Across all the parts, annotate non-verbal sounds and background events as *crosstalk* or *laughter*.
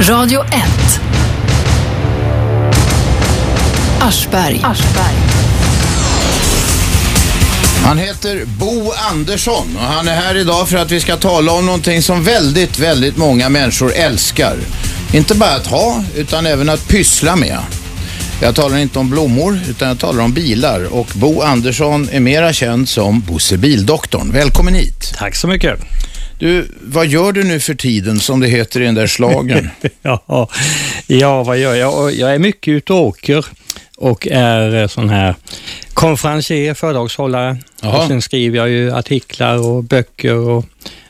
Radio 1. Aschberg. Han heter Bo Andersson och han är här idag för att vi ska tala om någonting som väldigt, väldigt många människor älskar. Inte bara att ha, utan även att pyssla med. Jag talar inte om blommor, utan jag talar om bilar och Bo Andersson är mera känd som Bosse Bildoktorn. Välkommen hit! Tack så mycket. Du, vad gör du nu för tiden som det heter i den där slagen? *laughs* Ja, ja vad gör jag? Jag är mycket ute och åker och är eh, sån här konferencier, föredragshållare. Jaha. Och sen skriver jag ju artiklar och böcker och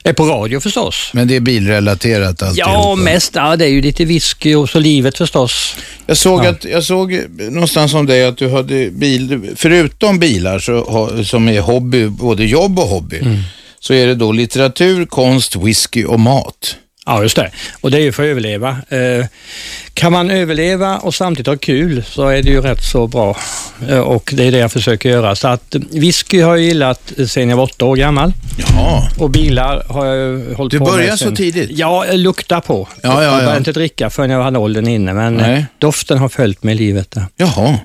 är på radio förstås. Men det är bilrelaterat Ja, alltihopa. mest. Ja, det är ju lite whisky och så livet förstås. Jag såg, att, jag såg eh, någonstans om dig att du hade bil, förutom bilar så, ha- som är hobby, både jobb och hobby, Mm. så är det då litteratur, konst, whisky och mat. Ja, just det. Och det är ju för att överleva. Eh, kan man överleva och samtidigt ha kul så är det ju rätt så bra. Eh, och det är det jag försöker göra. Så att eh, whisky har jag gillat eh, sedan jag var åtta år gammal. Ja, Och bilar har jag hållit Du på med började så sen- tidigt? Ja, jag luktar på. Ja, ja, jag ja. började inte dricka förrän jag hade åldern inne, men Nej. eh, doften har följt mig i livet. Där. jaha.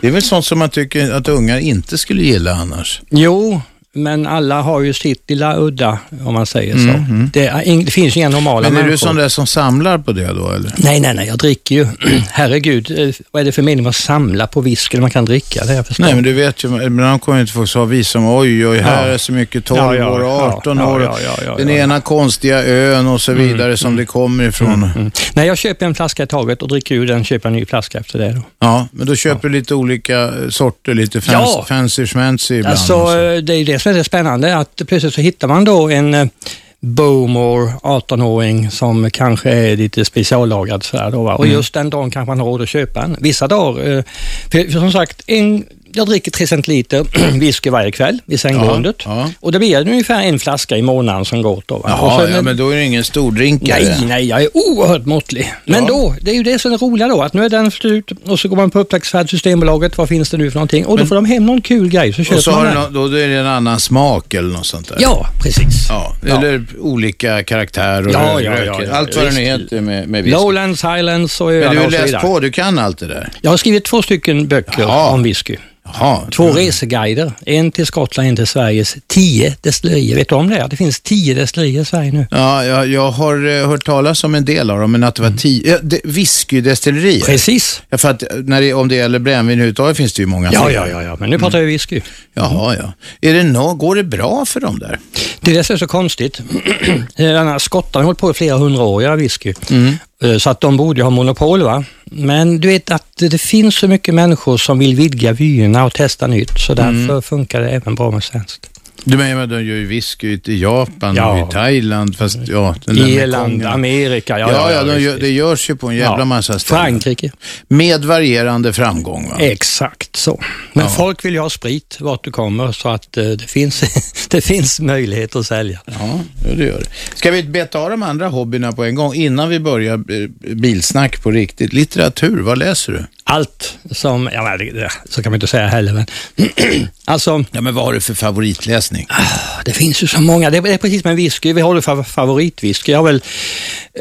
Det är väl sånt som man tycker att ungar inte skulle gilla annars. Jo, men alla har ju sitt lilla udda, om man säger så. Det, är ing- det finns inga normala Mhm. Men är människor. du sån där som samlar på det då eller? Nej, nej, nej, jag dricker ju. *clears throat* Herregud, eh, vad är det för mening med att samla på whisky när man kan dricka det? Jag förstår. Nej, men du vet ju, ibland kommer ju inte folk så vi som oj, oj, här är så mycket 12 Ja, ja, år, ja, 18 ja, år, ja, ja, ja, den ja. ena konstiga ön och så vidare som det kommer ifrån. Mm. Nej, jag köper en flaska i taget och dricker ur den, köper en ny flaska efter det. Då. Ja, men då köper du lite olika eh, sorter, lite fancy, Ja. fancy schmancy ibland. Alltså, och så. eh, det är ju det som är det spännande, att plötsligt så hittar man då en eh, Bowmore 18-åring som kanske är lite speciallagrad sådär då, va? Mm. och just den dagen kanske man har råd att köpa en. Vissa dagar, eh, för, för som sagt, en, jag dricker 3 centiliter *clears throat* whisky varje kväll vid sänggrundet ja. och det blir ungefär en flaska i månaden som går åt då. Va? och Jaha, sen- ja, men då är det ingen stordrinkare. Nej, nej, jag är oerhört måttlig. Men Ja. då, det är ju det som är roliga då, att nu är den slut och så går man på upptäcktsfärd Systembolaget, vad finns det nu för någonting? Och då får de hem någon kul grej, så köper Och så man har du den. nå- då är det en annan smak eller något sånt där. Ja, precis. Ja, eller olika karaktärer och Ja, ja, rökröker. ja, ja, Allt vad det nu visst. heter med, med whisky. Lowlands, Highlands och Men du öarna har och så läst vidare. på, du kan allt det där. Jag har skrivit två stycken böcker Jaha. om whisky. Jaha. Mm. Två reseguider, en till Skottland, en till Sveriges tio destillerier. Vet du om det? Det finns tio destillerier i Sverige nu. Ja, jag, jag har eh, hört talas om en del av dem, men att det var tio... Ja, det- Whiskydestillerier. Mm. Precis. Ja, för att eh, när det, om det gäller brännvin överhuvudtaget finns det ju många Ja, fler. Mm. ja, ja, ja. men nu pratar vi whisky. Jaha, ja. Är det nå- går det bra för dem där? Det är det som är så konstigt. *clears throat* Eh, Den här Skottarna har hållit på i flera hundra år, ja, whisky. Mm. Eh, Så att de borde ju ha monopol. va? Men du vet att det finns så mycket människor som vill vidga vyerna och testa nytt, så Mm. därför funkar det även bra med svenskt. Du menar, de gör ju whisky i Japan Ja. Mm. och i Thailand, fast ja... Den där Irland, mekongen. Amerika, ja, Ja, ja, de visst, gör, visst. det görs ju på en jävla Ja. massa ställen. Frankrike, Med varierande framgång, va? exakt så. Men folk vill ju ha sprit vart du kommer så att eh, det, finns, *laughs* det finns möjlighet att sälja. Ja, ja, det gör det. Ska vi beta av de andra hobbyerna på en gång innan vi börjar eh, bilsnack på riktigt? Litteratur, vad läser du? Allt som, ja, men det- det- så kan man inte säga heller, men *clears throat* alltså Ja, men vad har du för favoritläsning? Det finns ju så många. Det är det är precis med whisky. Vi håller för favoritwhisky. Jag har väl,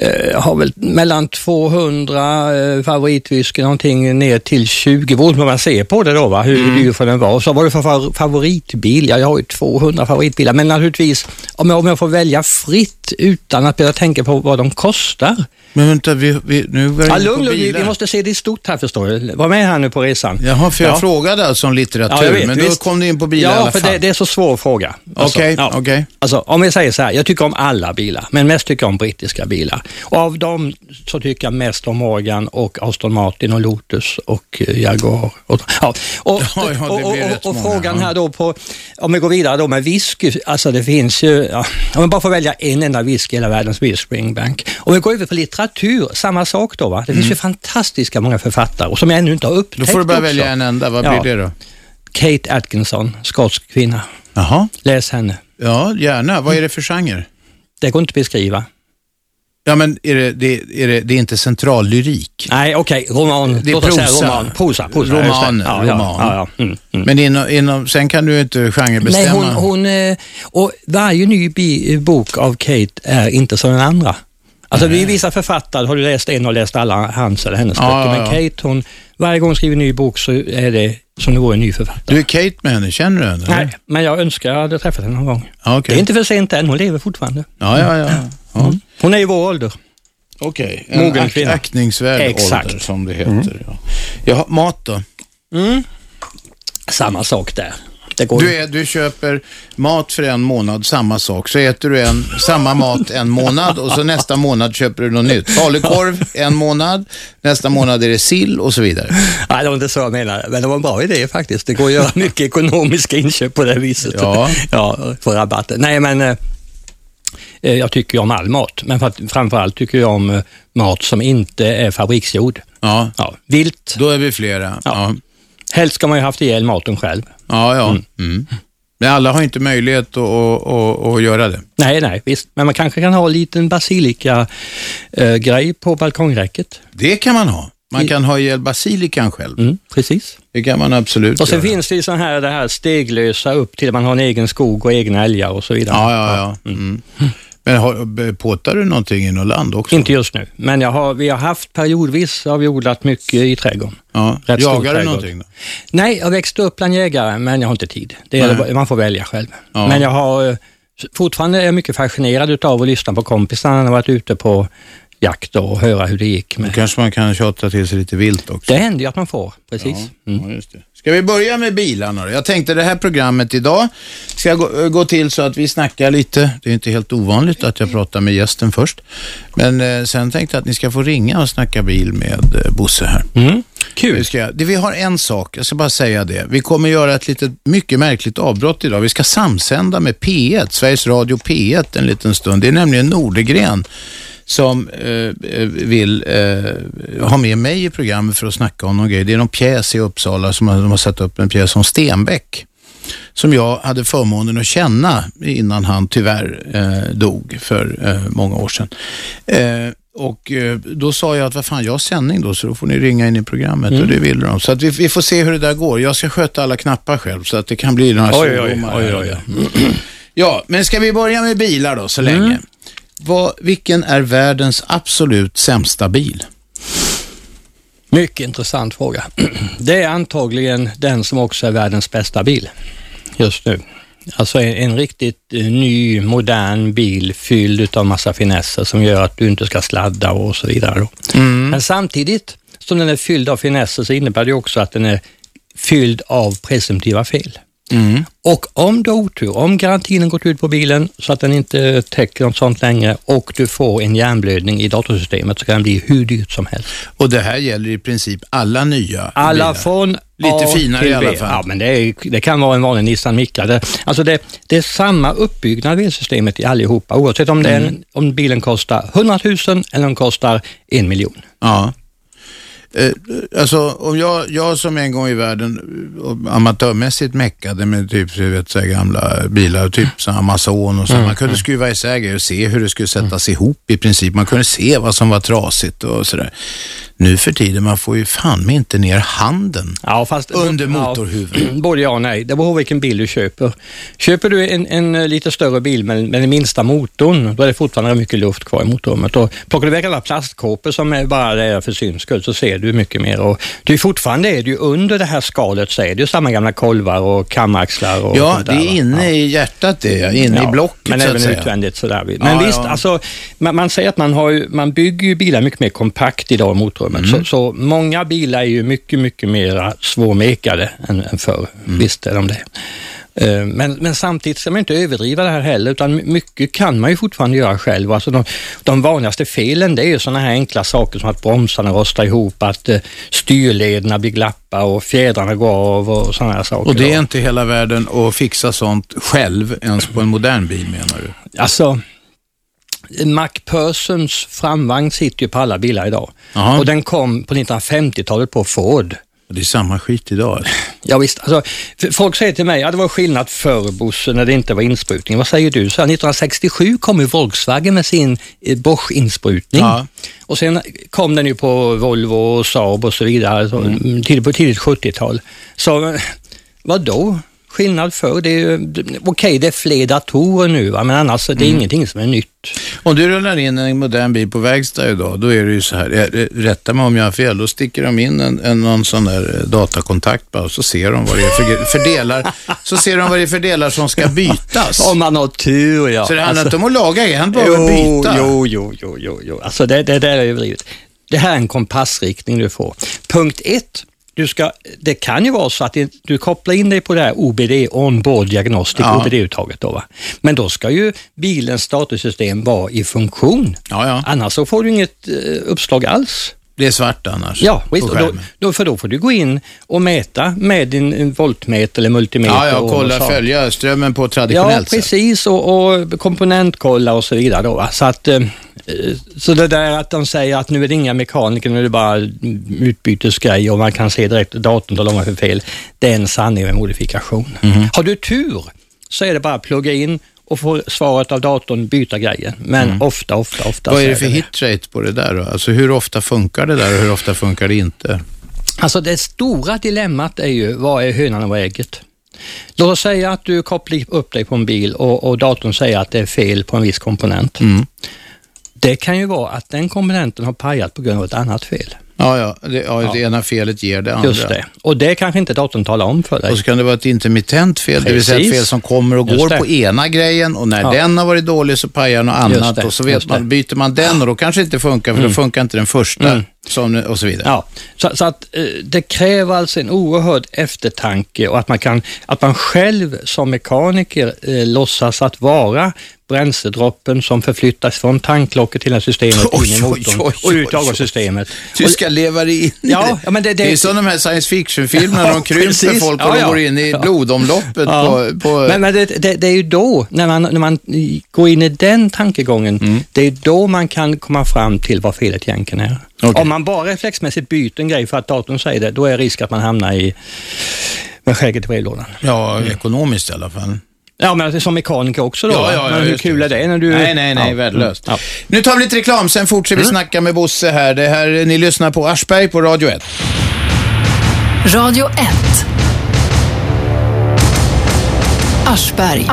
eh, har väl mellan 200 eh, favoritwhisky någonting ner till 20. Beroende på vad man ser på det då, va? Mm. hur dyr får den vara. Och Så vad är det för fa- favoritbil? Ja, jag har ju 200 favoritbilar. Men naturligtvis, om jag, om jag får välja fritt utan att börja tänka på vad de kostar. Men vänta, vi, vi, nu var Ja, jag inne på lugn, lugn, vi- bilar. vi måste se det i stort här förstår du. Var med här nu på resan. Jaha, för jag Ja. frågade alltså om litteratur, Ja, jag vet, men då visst. kom du in på bilar ja, i alla för fall. det, det är så svår fråga. Okej, okej. Alltså, om vi säger så här, jag tycker om alla bilar, men mest tycker jag om brittiska bilar. Och av dem så tycker jag mest om Morgan och Aston Martin och Lotus och eh, Jaguar. Och, ja. och, *laughs* Ja, ja, det och, och, blir rätt och, och många, frågan ja. här då på, om vi går vidare då med whisky, alltså det finns ju, ja, om man bara får välja en enda whisky i hela världen så blir det Springbank. Om vi går över på litteratur, samma sak då va? Det Mm. finns ju fantastiska många författare och som jag ännu inte har upptäckt Då får du bara också. välja en enda, vad Ja. blir det då? Kate Atkinson, skotsk kvinna. Jaha, Läs henne. ja gärna. Vad är det för genre? Det går inte att beskriva. Ja, men är det, det, är det, det är inte centrallyrik. Nej, okej, roman. Det är Låt oss prosa. säga roman. Prosa, prosa. Roman, just det. ja, roman. Ja, ja, ja. Mm. Men inom, inom, sen kan du ju inte Nej, genrebestämma. hon, hon, eh, och varje ny bi, bok av Kate är inte som den andra. Alltså det är vissa författare, har du läst en och läst alla hans eller hennes Ja, böcker, ja, men Kate hon, varje gång hon skriver en ny bok så är det som det vore en ny författare. Du är Kate med henne, känner du henne? eller? Nej, men jag önskar jag hade träffat henne någon gång. Ja, Det okej. är inte för sent än, hon lever fortfarande. Ja, ja, ja. ja. Hon är i vår ålder. Okej, en Mogen ak- kvinna. aktningsvärd Exakt. Mm. ålder som det heter. Ja. Jaha, mat då? Samma sak där. Det går Du, är, du köper mat för en månad, samma sak. Så äter du en, samma mat en månad och så nästa månad köper du något nytt. Falukorv en månad, nästa månad är det sill och så vidare. Nej, det var inte så jag menade, men det var en bra idé faktiskt. Det går att *laughs* göra mycket ekonomiska inköp på det viset. Ja. ja för rabatter. Nej, men eh, eh, jag tycker ju om all mat, men fram- framförallt tycker jag om eh, mat som inte är fabriksgjord. Ja, Ja, vilt. då är vi flera. Ja, Helst ska man ju haft ihjäl maten själv. ja. ja. Mm. Men alla har inte möjlighet att, att, att, att göra det. Nej, nej, visst. Men man kanske kan ha en liten basilika-grej på balkongräcket. Det kan man ha. Man kan ha ihjäl basilikan själv. Mm, precis. Det kan man absolut Och sen göra. finns det ju så här, det här steglösa upp till man har en egen skog och egna älgar och så vidare. Ja, ja, ja. Mm. Men har, b- påtar du någonting i något land också? Inte just nu, men jag har, vi har haft periodvis har vi odlat mycket i trädgården. Ja. Rätt stor Jagar du trädgård. någonting då? Nej, jag växte upp bland jägare, men jag har inte tid. Det är, man får välja själv. Ja. Men jag har eh, fortfarande är jag mycket fascinerad utav att lyssna på kompisarna när jag varit ute på jakt och höra hur det gick. Då Med. kanske man kan tjata till sig lite vilt också. Det händer ju att man får, precis. Mm. Ja, just det. Ska vi börja med bilarna då? Jag tänkte det här programmet idag ska gå, gå till så att vi snackar lite. Det är inte helt ovanligt att jag pratar med gästen först. Men eh, sen tänkte jag att ni ska få ringa och snacka bil med eh, Bosse här. Mm. Vi, Kul. ska, det, vi har en sak, jag ska bara säga det. Vi kommer göra ett litet, mycket märkligt avbrott idag. Vi ska samsända med P1, Sveriges Radio P1 en liten stund. Det är nämligen Nordegren som eh, eh, vill eh, ha med mig i programmet för att snacka om någon grej. Det är någon pjäs i Uppsala som har, de har satt upp, en pjäs om Stenbeck som jag hade förmånen att känna innan han tyvärr eh, dog för eh, många år sedan. Eh, och eh, då sa jag att vad fan, jag har sändning då, så då får ni ringa in i programmet och det ville de. Så att vi, vi får se hur det där går. Jag ska sköta alla knappar själv så att det kan bli några Oj, oj, svordomar oj, här och oj, där. Mm. *clears throat* Ja, men ska vi börja med bilar då så länge? Mm. Vad, vilken är världens absolut sämsta bil? Mycket intressant fråga. *clears throat* Det är antagligen den som också är världens bästa bil just nu. Alltså en, en riktigt eh, ny, modern bil fylld utav massa finesser som gör att du inte ska sladda och så vidare. Då. Mm. Men samtidigt som den är fylld av finesser så innebär det också att den är fylld av presumtiva fel. Mm. Och om du har otur, om garantinen gått ut på bilen så att den inte täcker något sånt längre och du får en hjärnblödning i datorsystemet så kan det bli hur dyrt som helst. Och det här gäller i princip alla nya Alla bilar. från Lite A finare till i alla B. fall. Ja, men det, är, det kan vara en vanlig Nissan Micra. Det, alltså det, det är samma uppbyggnad av elsystemet i allihopa, oavsett om, det Mm. är en, om bilen kostar 100 000 eller om den kostar en miljon. Ja. Eh, alltså, om jag, jag som en gång i världen eh, amatörmässigt meckade med typ du vet, så här gamla bilar, Mm. typ så här Amazon och så. Man kunde skruva isär grejer och se hur det skulle Mm. sättas ihop i princip. Man kunde se vad som var trasigt och sådär. Nu för tiden, man får ju fan mig inte ner handen Ja, fast, under ja, *clears throat* motorhuven. Både ja och nej. Det beror på vilken bil du köper. Köper du en, en eh, lite större bil med, med den minsta motorn, då är det fortfarande mycket luft kvar i motorrummet. Och plockar du väg alla plastkåpor som är bara där för syns skull så ser du mycket mer. Och du, fortfarande är det ju under det här skalet så är det ju samma gamla kolvar och kamaxlar. Och Ja, sånt det där, va? är inne Ja. i hjärtat det, är, inne i Ja, blocket Men så att även säga. utvändigt sådär. Men Ja, visst, ja. Alltså, man, man säger att man, har ju, man bygger ju bilar mycket mer kompakt idag i motorrummet. Mm. Så, så många bilar är ju mycket, mycket mer svårmekade än, än förr. Mm. Visst är de det. Eh, Men, men samtidigt ska man inte överdriva det här heller, utan my- mycket kan man ju fortfarande göra själv. Alltså de, de vanligaste felen det är ju sådana här enkla saker som att bromsarna rostar ihop, att eh, styrlederna blir glappa och fjädrarna går av och sådana här saker. Och det då. är inte hela världen att fixa sånt själv ens på en modern bil menar du? Alltså, MacPhersons framvagn sitter ju på alla bilar idag. Jaha. Och den kom på 1950-talet på Ford. Det är samma skit idag. alltså. Ja, visst, alltså, f- folk säger till mig att ja, det var skillnad förr Bosse när det inte var insprutning. Vad säger du? Så här, 1967 kom ju Volkswagen med sin eh, Bosch-insprutning. Ja. Och sen kom den ju på Volvo mm, och Saab och så vidare så, mm. tidigt, på tidigt 70-tal. Så eh, vadå? skillnad för. Det är ju, d- okej, det är fler datorer nu, va? men annars det är Mm. ingenting som är nytt. Om du rullar in en modern bil på verkstad idag, då är det ju så här, eh, eh, rätta mig om jag har fel, då sticker de in en, en någon sån där eh, datakontakt bara, och så ser de vad det är för, gre- för *laughs* delar, så ser de vad det är för delar som ska bytas. Om man har tur, ja. så det handlar Alltså- inte om att laga, det handlar bara om jo, att byta. jo, jo, jo, jo, jo. Alltså det, det där är överdrivet. Det här är en kompassriktning du får. Punkt ett, du ska, det kan ju vara så att det- du kopplar in dig på det här OBD, on-board diagnostic, Ja. OBD-uttaget då va. Men då ska ju bilens statussystem vara i funktion. Ja, ja. Annars så får du inget eh, uppslag alls. Det är svart annars. Ja, på visst. Och Då, skärmen. då, för då får du gå in och mäta med din eh, voltmeter eller multimeter. Ja, ja, och- och kolla, så. följa strömmen på Ja, traditionellt sätt. precis och, och komponentkolla och så vidare. Då, va? Så, att, eh, så det där att de säger att nu är det inga mekaniker, nu är det bara utbytesgrejer och man kan se direkt datorn talar om vad för fel. Det är en sanning med modifikation. Mm-hmm. Har du tur så är det bara att plugga in och få svaret av datorn, byta grejen. Men ofta, ofta, ofta. Vad så är det för hitrate på det där då? Alltså hur ofta funkar det där och hur ofta funkar det inte? Alltså det stora dilemmat är ju, vad är hönan och vad är ägget? Låt oss säga att du kopplar upp dig på en bil och, och datorn säger att det är fel på en viss komponent. Mm. Det kan ju vara att den komponenten har pajat på grund av ett annat fel. Ja, ja, det, ja, det ena felet ger det andra. Just det. Och det kanske inte datorn talar om för dig. Och så kan det vara ett intermittent fel, det vill säga ett Precis. fel som kommer och Just går det. på ena grejen och när Ja. den har varit dålig så pajar något Just annat det, och så vet just det. man, byter man den och då kanske det inte funkar för då funkar inte den första som, och så vidare. Mm. Ja, så, så att eh, det kräver alltså en oerhörd eftertanke och att man, kan, att man själv som mekaniker eh, låtsas att vara bränsledroppen som förflyttas från tanklocket till det här systemet in Oj, i oj, motorn oj, och ut i oj, oj. avgassystemet. Du ska leva dig in i Ja, ja, men det- det- är som de här science fiction-filmerna, Ja, de krymper precis. folk och Ja, de ja. går in i Ja. blodomloppet Ja. på... på Men, men det, det, det är ju då, när man, när man i- går in i den tankegången, Mm. det är då man kan komma fram till vad felet egentligen är. Okej. Om man bara reflexmässigt byter en grej för att datorn säger det, då är risk att man hamnar i med skägget i brevlådan. Mm. Ja, ekonomiskt i alla fall. Ja, men alltså som mekaniker också då. va? men hur just kul är det när du... Nej, nej, nej, ja. Mm. värdelöst. Ja. Mm. Nu tar vi lite reklam, sen fortsätter vi snacka med Bosse här. Det här. Ni lyssnar på Aschberg på Radio 1. Radio 1. Aschberg.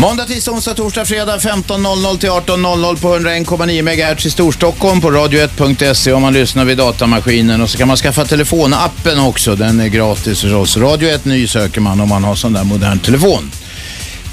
Måndag, tisdag, onsdag, torsdag, fredag 15.00 till 18.00 på 101,9 MHz i Storstockholm på radio1.se om man lyssnar vid datamaskinen. Och så kan man skaffa telefonappen också. Den är gratis förstås. Radio 1 Ny söker man om man har sån där modern telefon.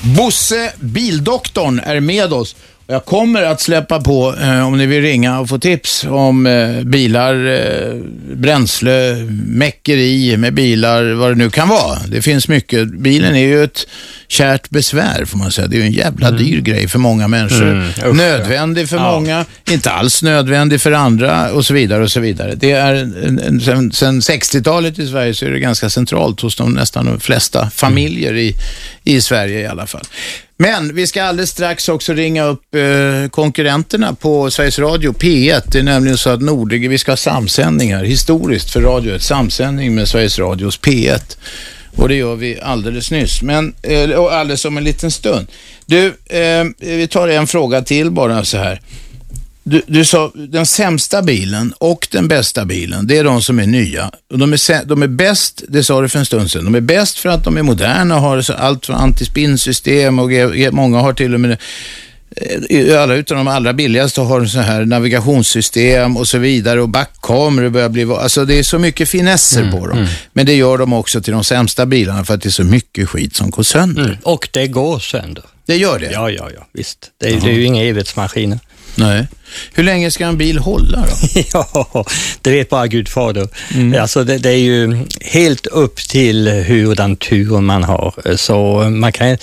Bosse, bildoktorn, är med oss. Och Jag kommer att släppa på, eh, om ni vill ringa och få tips om eh, bilar, eh, bränsle, meckeri med bilar, vad det nu kan vara. Det finns mycket. Bilen är ju ett kärt besvär får man säga. Det är ju en jävla dyr grej för många människor. Mm. usch, nödvändig för många, inte alls nödvändig för andra och så vidare. och så vidare. Det är en, en, sen, sen 60-talet i Sverige så är det ganska centralt hos de, nästan de flesta familjer i, i Sverige i alla fall. Men vi ska alldeles strax också ringa upp eh, konkurrenterna på Sveriges Radio P1. Det är nämligen så att Nordegren, vi ska ha samsändningar historiskt för radio, ett samsändning med Sveriges Radios P1. Och det gör vi alldeles nyss, men, eh, och alldeles om en liten stund. Du, eh, vi tar en fråga till bara så här. Du, du sa den sämsta bilen och den bästa bilen, det är de som är nya. Och de, är, sä- de är bäst, det sa du för en stund sedan, de är bäst för att de är moderna och har så allt från antispinnsystem och ge- ge- många har till och med eh, alla utan de allra billigaste har så här navigationssystem och så vidare och backkameror börjar bli, alltså det är så mycket finesser Mm, på dem. Men det gör de också till de sämsta bilarna för att det är så mycket skit som går sönder. Mm. Och det går sönder. Det gör det? Ja, ja, ja, visst. Det, är- det är ju inga evighetsmaskiner. Nej. Hur länge ska en bil hålla då? *laughs* Mm. ja, det vet bara Gud fader. Alltså det, det är ju helt upp till hur den tur man har. Så man kan,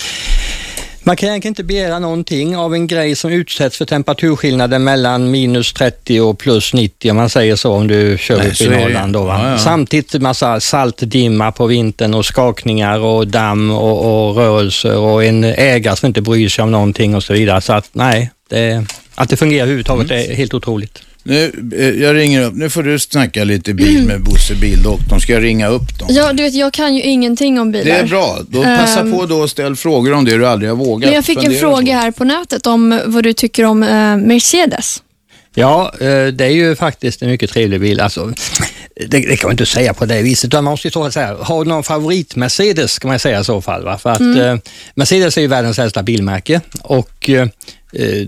man kan egentligen inte begära någonting av en grej som utsätts för temperaturskillnader mellan minus 30 och plus 90 om man säger så om du kör Nej, upp så i är det. Norrland. Då, va? Ja, ja. Samtidigt massa saltdimma på vintern och skakningar och damm och, och rörelser och en ägare som inte bryr sig om någonting och så vidare. Så att nej, det, att det fungerar överhuvudtaget Mm. är helt otroligt. Nu, eh, jag ringer upp. Nu får du snacka lite bil med Bosse Bildoktorn. Ska jag ringa upp dem? Ja, du vet, jag kan ju ingenting om Det bilar. är bra. Då passa Ehm. på då och ställ frågor om det du aldrig har vågat. Men jag fick en fundera på. fråga här på nätet om vad du tycker om eh, Mercedes. Ja, eh, det är ju faktiskt en mycket trevlig bil. Alltså, det, det kan man inte säga på det viset, utan man måste ju så att säga, har du någon favorit-Mercedes kan man säga i så fall. Va? För att eh, Mercedes är ju världens äldsta bilmärke och eh, eh,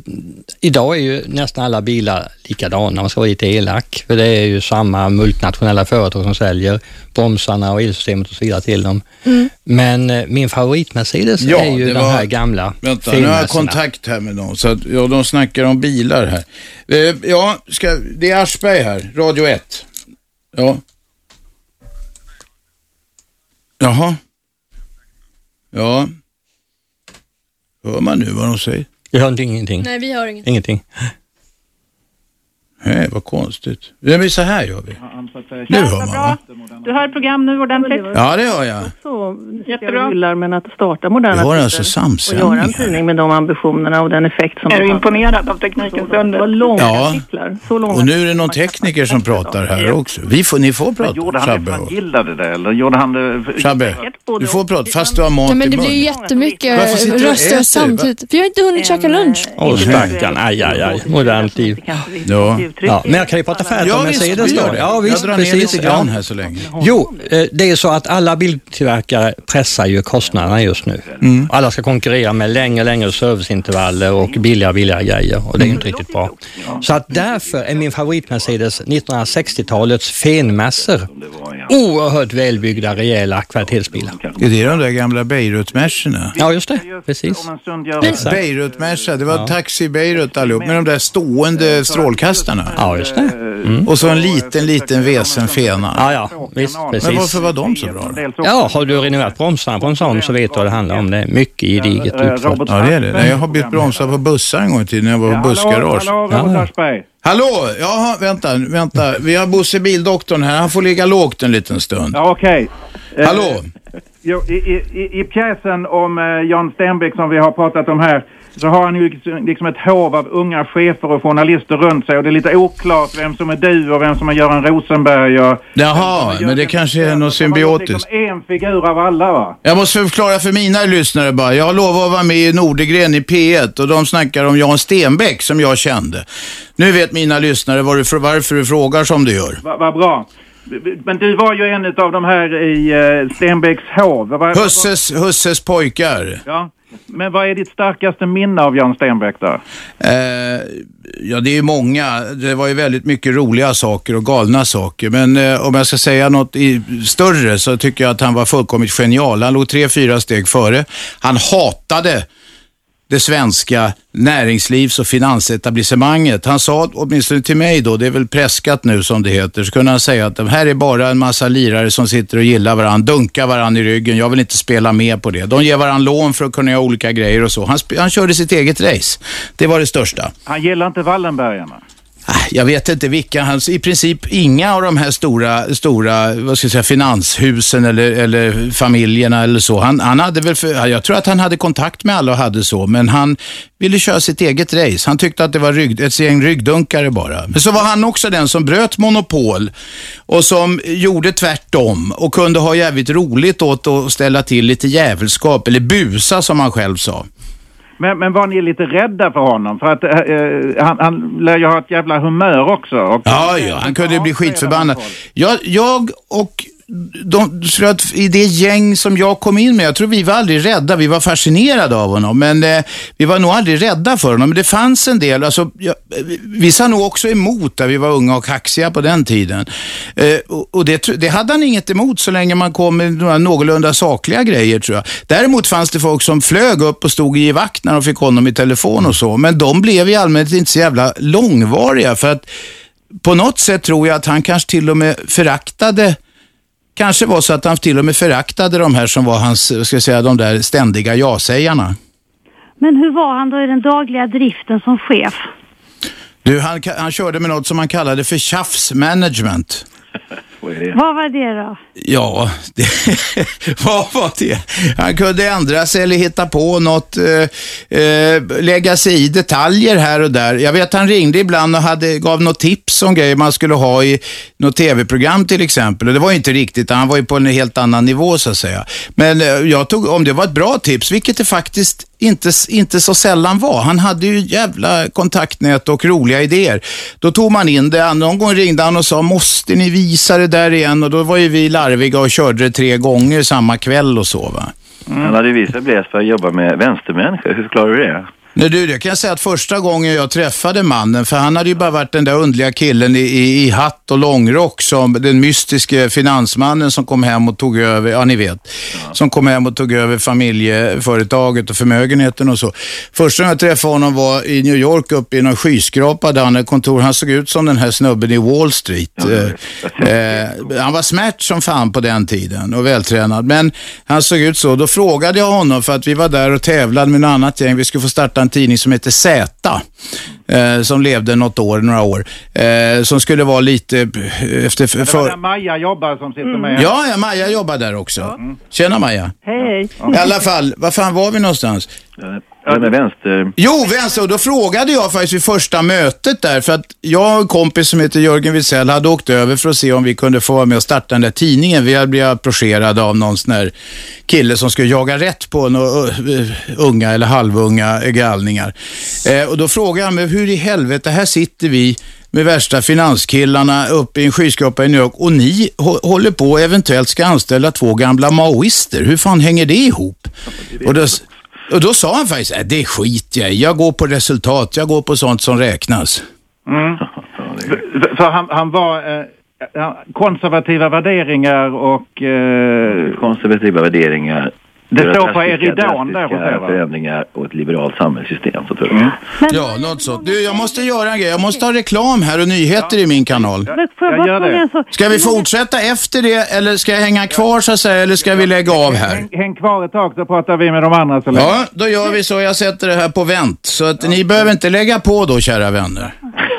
idag är ju nästan alla bilar likadana, om man ska vara lite elak. För det är ju samma multinationella företag som säljer bromsarna och elsystemet och så vidare till dem. Mm. Men eh, min favorit-Mercedes Ja, är ju det den var- här gamla Vänta, nu har jag finmässorna. kontakt här med dem. Så att, ja, de snackar om bilar här. Eh, ja, ska, det är Aschberg här, Radio 1. Ja. Jaha. Ja. Hör man nu vad de säger? Jag hörde ingenting. Nej, vi hör inget. Ingenting. Nej, vad konstigt. Nej, men så här gör vi. Nu hör man, va? Du har ett program nu ordentligt. Ja, det gör jag. så Jättebra. jag hyllar, men att starta moderna Vi har alltså tider och göra en samsändningar. tidning med de ambitionerna och den effekt som Är du det har. imponerad av teknikens Det var under? långa Ja. artiklar. Så långa Och nu är det någon tekniker som pratar här också. Vi får, ni får Men gjorde prata, han det Shabbe. för och- han gillade det eller gjorde han det... Shabbe, du får prata fast du har mat Nej, men i det blir ju munnen. Varför jättemycket sitter du och äter? röster samtidigt. Vi har inte hunnit käka lunch. En, eh, Åh, stackarn. Aj, aj, aj. Modernt liv. Ja. Ja, men jag kan ju prata färdigt Ja, om visst, Mercedes vi då. gör det. Ja, jag visst, drar ner precis. lite grann Ja. här så länge. Jo, eh, det är så att alla biltillverkare pressar ju kostnaderna just nu. Mm. Alla ska konkurrera med längre och längre serviceintervaller och billigare och billigare grejer och det är Mm. ju inte riktigt bra. Så att därför är min favorit Mercedes 1960-talets fenmassor oerhört välbyggda, rejäla kvartersbilar. Är det de där gamla Beirut-mässorna? Ja, just det. Precis. Om en stund gör han Exakt. Beirut-mässa, det var taxi i Beirut allihop med de där Eh, stående strålkastarna. Ja, just det. Mm. Och så en liten, liten Eh, vesen fena. Ja, ja, visst, Men precis. varför var de så bra då? Eh, Ja, har du renoverat bromsarna på en sån så vet du vad det handlar om. Det är mycket gediget eh, utfört. Robert Ja, det är det. Nej, jag har bytt bromsar på bussar en gång i tiden när jag var på bussgarage. Hallå, hallå Robert Aschberg. Hallå! Jaha, vänta, vänta. Vi har Bosse Bildoktorn här. Han får ligga lågt en liten stund. Ja, okej. Eh, Hallå! Jo, i, i- i, I pjäsen om eh, Jan Stenbeck som vi har pratat om här så har han ju liksom- liksom ett hov av unga chefer och journalister runt sig och det är lite oklart vem som är du och vem som är Göran Rosenberg och... Jaha, men det kanske är något symbiotiskt. Man har liksom en figur av alla va? Jag måste förklara för mina lyssnare bara. Jag lovade att vara med i Nordegren i P1 och de snackar om Jan Stenbeck som jag kände. Nu vet mina lyssnare var du, varför du frågar som du gör. Va- Vad bra. Men du var ju en av de här i eh, Stenbecks hov. Va- va- Husses, husses pojkar. Ja. Men vad är ditt starkaste minne av Jan Stenbeck då? Eh, ja, det är ju många. Det var ju väldigt mycket roliga saker och galna saker. Men eh, om jag ska säga något i, större så tycker jag att han var fullkomligt genial. Han låg tre, fyra steg före. Han hatade det svenska näringslivs och finansetablissemanget. Han sa, åtminstone till mig då, det är väl preskat nu som det heter, så kunde han säga att det här är bara en massa lirare som sitter och gillar varandra, dunkar varandra i ryggen. Jag vill inte spela med på det. De ger varandra lån för att kunna göra olika grejer och så. Han, sp- han körde sitt eget race. Det var det största. Han gillar inte Wallenbergarna. Ah, Jag vet inte vilka. Han, I princip inga av de här stora, stora vad ska jag säga, finanshusen eller, eller familjerna eller så. Han, han hade väl för, jag tror att han hade kontakt med alla och hade så, men han ville köra sitt eget race. Han tyckte att det var rygg, ett gäng ryggdunkare bara. Men så var han också den som bröt monopol och som gjorde tvärtom och kunde ha jävligt roligt åt att ställa till lite jävelskap, eller busa som han själv sa. Men, men var ni lite rädda för honom? För att eh, eh, han, han lär ju ha ett jävla humör också. Och Ja, ja, han kunde ju bli skitförbannad. Jag, jag och de, tror att i det gäng som jag kom in med, jag tror vi var aldrig rädda, vi var fascinerade av honom, men eh, vi var nog aldrig rädda för honom. Men det fanns en del, alltså, jag, vi- vi sa nog också emot där vi var unga och kaxiga på den tiden. Eh, och och det, tro- det hade han inget emot så länge man kom med några någorlunda sakliga grejer tror jag. Däremot fanns det folk som flög upp och stod i vakt när de fick honom i telefon och så, men de blev i allmänhet inte så jävla långvariga för att på något sätt tror jag att han kanske till och med föraktade Kanske var så att han till och med föraktade de här som var hans, ska jag säga, de där ständiga ja-sägarna. Men hur var han då i den dagliga driften som chef? Du, han, ka- han körde med något som han kallade för tjafsmanagement. Vad var det då? Ja, det, *laughs* vad var det? Han kunde ändra sig eller hitta på något, eh, eh, lägga sig i detaljer här och där. Jag vet att han ringde ibland och hade, gav något tips om grejer man skulle ha i något tv-program till exempel. Och det var ju inte riktigt, han var ju på en helt annan nivå så att säga. Men eh, jag tog, om det var ett bra tips, vilket det faktiskt inte, s- inte så sällan var. Han hade ju jävla kontaktnät och roliga idéer. Då tog man in det. Någon gång ringde han och sa, måste ni visa det där igen? Och då var ju vi larviga och körde det tre gånger samma kväll och så. Va? Han Mm. hade visat Blaise för att jobba med vänstermänniskor. Hur klarar du det? Nej du, det kan jag säga att första gången jag träffade mannen, för han hade ju bara varit den där underliga killen i, i, i hatt och långrock som den mystiske finansmannen som kom hem och tog över, ja ni vet, som kom hem och tog över familjeföretaget och förmögenheten och så. Första gången jag träffade honom var i New York uppe i någon skyskrapa där han hade kontor. Han såg ut som den här snubben i Wall Street. Eh, eh, han var smärt som fan på den tiden och vältränad. Men han såg ut så. Då frågade jag honom för att vi var där och tävlade med något annat gäng. Vi skulle få starta en tidning som heter Z. Eh, som levde något år, några år. Eh, som skulle vara lite eh, efter... Det var där För... Maja Mm. jobbar som Mm. sitter med. Ja, ja, Maja jobbar där också. Tjena Maja. Hej. I alla fall, var fan var vi någonstans? Ja, med vänster... Jo, vänster. Och då frågade jag faktiskt vid första mötet där, för att jag och en kompis som heter Jörgen Widsell hade åkt över för att se om vi kunde få vara med och starta den där tidningen. Vi hade blivit approcherade av någon sån här kille som skulle jaga rätt på några eh, unga eller halvunga gallningar. Eh, och då frågade han mig, hur i helvete, här sitter vi med värsta finanskillarna uppe i en skyskrapa i New York och ni hå- håller på och eventuellt ska anställa två gamla maoister. Hur fan hänger det ihop? Och då, s- och då sa han faktiskt, "Äh, det skiter jag i. Jag går på resultat, jag går på sånt som räknas. Mm. För, för han, han var eh, han- konservativa värderingar och... Eh, konservativa värderingar. Det Göra står på drastiska- Eridan där drastiska och så, va? Mm. förändringar och ett liberalt samhällssystem så tror jag. Ja, något sånt. Du, jag måste göra en grej. Jag måste ha reklam här och nyheter i min kanal. Men får Jag jag bara gör fråga det. en sak? Ska vi Hur många- fortsätta efter det eller ska jag hänga kvar så att säga eller ska vi lägga av här? häng, häng kvar ett tag så pratar vi med de andra så länge. Ja, då gör vi så. Jag sätter det här på vänt. Så att ni behöver inte lägga på då, kära vänner.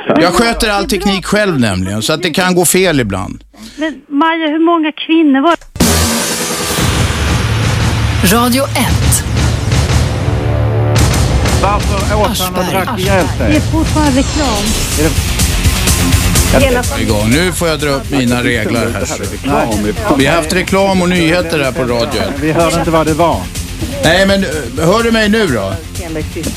Jag sköter all teknik själv nämligen, så att det kan gå fel ibland. Men Maja, hur många kvinnor var det? Radio 1. Varför åt han och Aschberg, drack ihjäl Det är sig? fortfarande reklam. Igång. Nu får jag dra upp mina regler här. Vi har haft reklam och nyheter här på radio. Vi hörde inte vad det var. Nej, men eh, hör du mig nu då?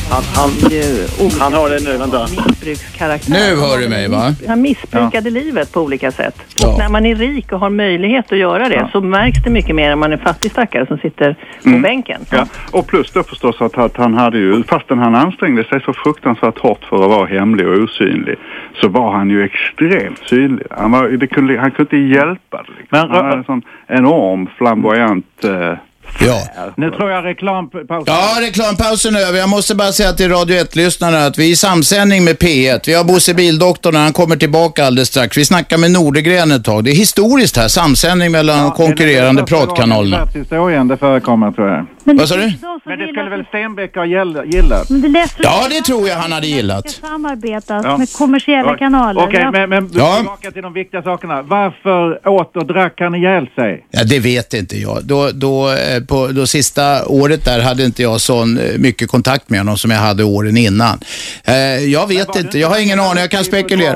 Han, han, eh, oh, han har det nu, vänta. Brukskaraktär. Nu hör du mig va? Han missbrukade livet på olika sätt. Ja. Och när man är rik och har möjlighet att göra det så märks det mycket mer än man är fattig stackare som sitter Mm. på bänken. Ja, och plus då förstås att, att han hade ju, fastän han ansträngde sig så fruktansvärt hårt för att vara hemlig och osynlig, så var han ju extremt synlig. Han, var, det kunde, han kunde inte hjälpa det. Liksom. Men- han hade en sån enorm flamboyant... Eh, Ja. Nu tror jag reklampausen... Ja, reklampausen är över. Jag måste bara säga till Radio 1-lyssnarna att vi är i samsändning med P1. Vi har Bosse Bildoktorn och han kommer tillbaka alldeles strax. Vi snackar med Nordegren ett tag. Det är historiskt här, samsändning mellan konkurrerande pratkanalerna. Världshistorien det förekommer tror jag. Men Vad sa du? Men Men det skulle väl Stenbeck ha gäll- gillat? Men det lät så- Ja, det tror jag han hade gillat. ska samarbetas Ja. med kommersiella kanaler. Okej, men, men Ja. tillbaka till de viktiga sakerna. Varför åt och drack han ihjäl sig? Ja, det vet inte jag. Då, då, eh, på, då sista året där hade inte jag så mycket kontakt med honom som jag hade åren innan. Eh, jag vet inte, jag har ingen aning. Jag kan spekulera.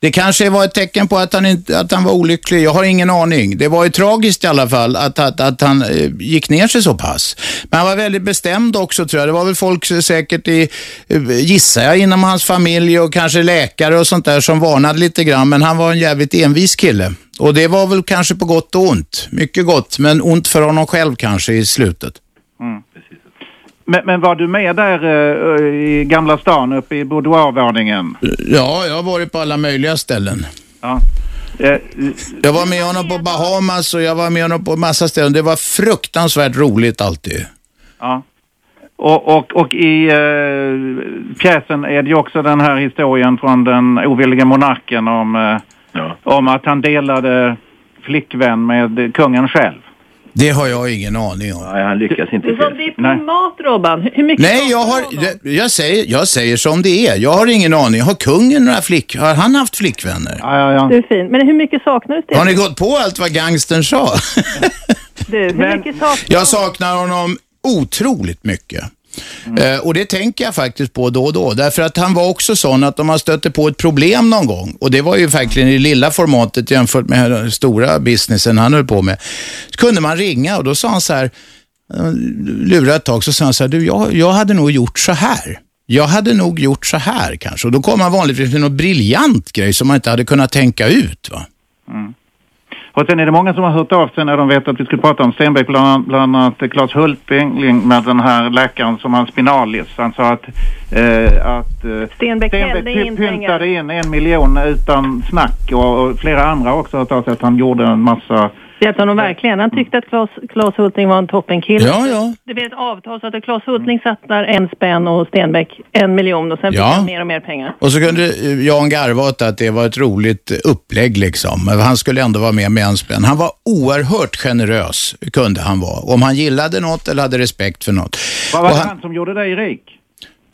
Det kanske var ett tecken på att han, inte, att han var olycklig. Jag har ingen aning. Det var ju tragiskt i alla fall att, att, att han eh, gick ner sig så pass. Men han var väldigt bestämd också tror jag. Det var väl folk eh, säkert i, eh, gissar jag, inom hans familj och kanske läkare och sånt där som varnade lite grann. Men han var en jävligt envis kille. Och det var väl kanske på gott och ont. Mycket gott, men ont för honom själv kanske i slutet. Mm. Men, men var du med där eh, i Gamla stan uppe i boudoirvåningen? Ja, jag har varit på alla möjliga ställen. Ja. Eh, Jag var med honom på Bahamas och jag var med honom på massa ställen. Det var fruktansvärt roligt alltid. ja. Och, och, och i eh, pjäsen är det ju också den här historien från den ovillige monarken om, eh, Ja. om att han delade flickvän med kungen själv. Det har jag ingen aning om. Nej, han lyckas inte. Som diplomat, Robban, hur mycket Nej, jag, har, jag, jag, säger, jag säger som det är. Jag har ingen aning. Har kungen några flick... Har han haft flickvänner? Ja, ja, ja. Du är fin. Men hur mycket saknar du Sten? Har ni gått på allt vad gangstern sa? *laughs* Du, hur Men- mycket saknar Jag saknar honom otroligt mycket. Mm. Eh, och det tänker jag faktiskt på då och då. Därför att han var också sån att om man stötte på ett problem någon gång, och det var ju verkligen i det lilla formatet jämfört med den stora businessen han höll på med, så kunde man ringa och då sa han så här, eh, lurade ett tag så sa han så här, du jag, jag hade nog gjort så här. Jag hade nog gjort så här kanske. Och då kom han vanligtvis med någon briljant grej som man inte hade kunnat tänka ut. Va? Och sen är det många som har hört av sig när de vet att vi skulle prata om Stenbeck, bland, annat- bland annat Claes Hultling med den här läkaren som har spinalis. Han sa att, eh, att eh, Stenbeck hällde py- in pengar. pyntade in en miljon utan snack och, och flera andra har också hört av sig att han gjorde en massa... Det hjälpte honom verkligen. Han tyckte att Claes, Claes Hultling var en toppenkille. Ja, ja. Det blev ett avtal så att Claes Hultling satt där en spänn och Stenbeck en miljon och sen fick Ja. han mer och mer pengar. Och så kunde eh, Jan garva åt att det var ett roligt eh, upplägg liksom. Men Han skulle ändå vara med med en spänn. Han var oerhört generös, kunde han vara. Om han gillade något eller hade respekt för något. Vad Och var det han- han som gjorde dig rik?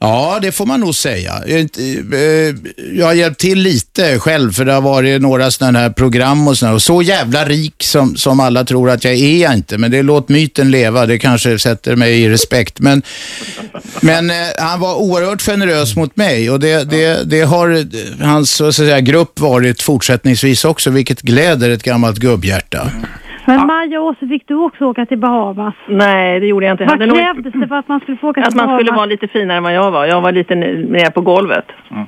Ja, det får man nog säga. Jag, är inte- eh, jag har hjälpt till lite själv för det har varit några sådana här program och sådär. Och så jävla rik som, som alla tror att jag är jag inte. Men det låt myten leva, det kanske sätter mig i respekt. Men, men eh, han var oerhört generös mot mig och det, det, det har eh, hans så att säga, grupp varit fortsättningsvis också, vilket gläder ett gammalt gubbhjärta. Ah. Men Maja och Åse, fick du också åka till Bahamas? Nej, det gjorde jag inte. Jag Vad hade nog- krävdes det för att man skulle få åka Att till man Bahamas? skulle vara lite finare än vad jag var. Jag var lite n- mer på golvet. Mm.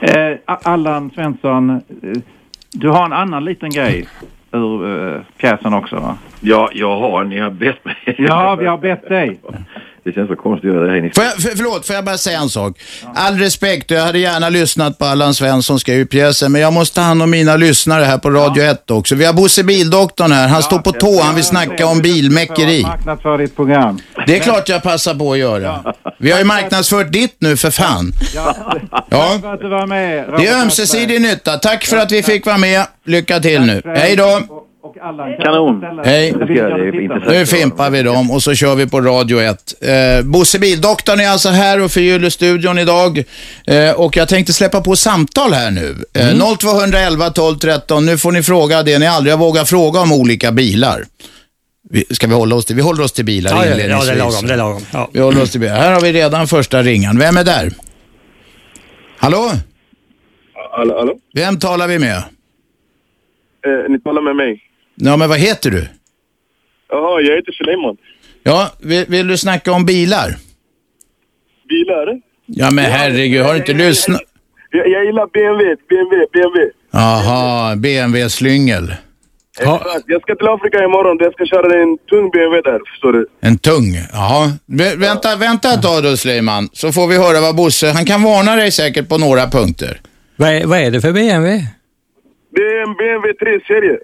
ah. Eh, A- Allan Svensson, eh, du har en annan liten grej ur eh, pjäsen också va? Ja, jag har. Ni har bett mig. Ja, vi har bett dig. Det känns så konstigt att göra det här. Ni- Får jag, för, förlåt, får jag bara säga en sak? All respekt, jag hade gärna lyssnat på Allan Svensson skrev ju pjäsen, men jag måste ta hand om mina lyssnare här på Radio 1 också. Vi har Bosse Bildoktorn här, han står på tå, han vill snacka om bilmäckeri. Marknadsför ditt program. Det är klart jag passar på att göra. Vi har ju marknadsfört ditt nu för fan. Ja. Tack för att du var med. Det är ömsesidig nytta. Tack för att vi fick vara med. Lycka till nu. Hej då! Kanon. Hej. Det ska jag göra, det är intressant. Nu fimpar vi dem och så kör vi på Radio 1. Eh, Bosse Bildoktorn är alltså här och förgyller studion idag. Eh, och jag tänkte släppa på samtal här nu. Eh, 0211 12 13. Nu får ni fråga det ni aldrig har vågat fråga om olika bilar. Vi, ska vi hålla oss till? Vi håller oss till bilar Ja, ja, ja, det är inledningsvis. lagom, det är lagom. Vi håller oss till bilar. Här har vi redan första ringan. Vem är där? Hallå? Hallå, hallå? Vem talar vi med? Eh, ni talar med mig. Ja, men vad heter du? Jaha, jag heter Suleiman. Ja, vill, vill du snacka om bilar? Bilar? Ja, men herregud, har du inte lyssnat? Jag, jag gillar BMW, BMW, BMW. Jaha, BMW-slyngel. Exakt. Jag ska till Afrika imorgon. Jag ska köra en tung BMW där, förstår du. En tung, jaha. Vä- Vänta, vänta ett tag då Sleiman, så får vi höra vad Bosse, han kan varna dig säkert på några punkter. Vad är, vad är det för BMW? Det är en BMW 3-serie.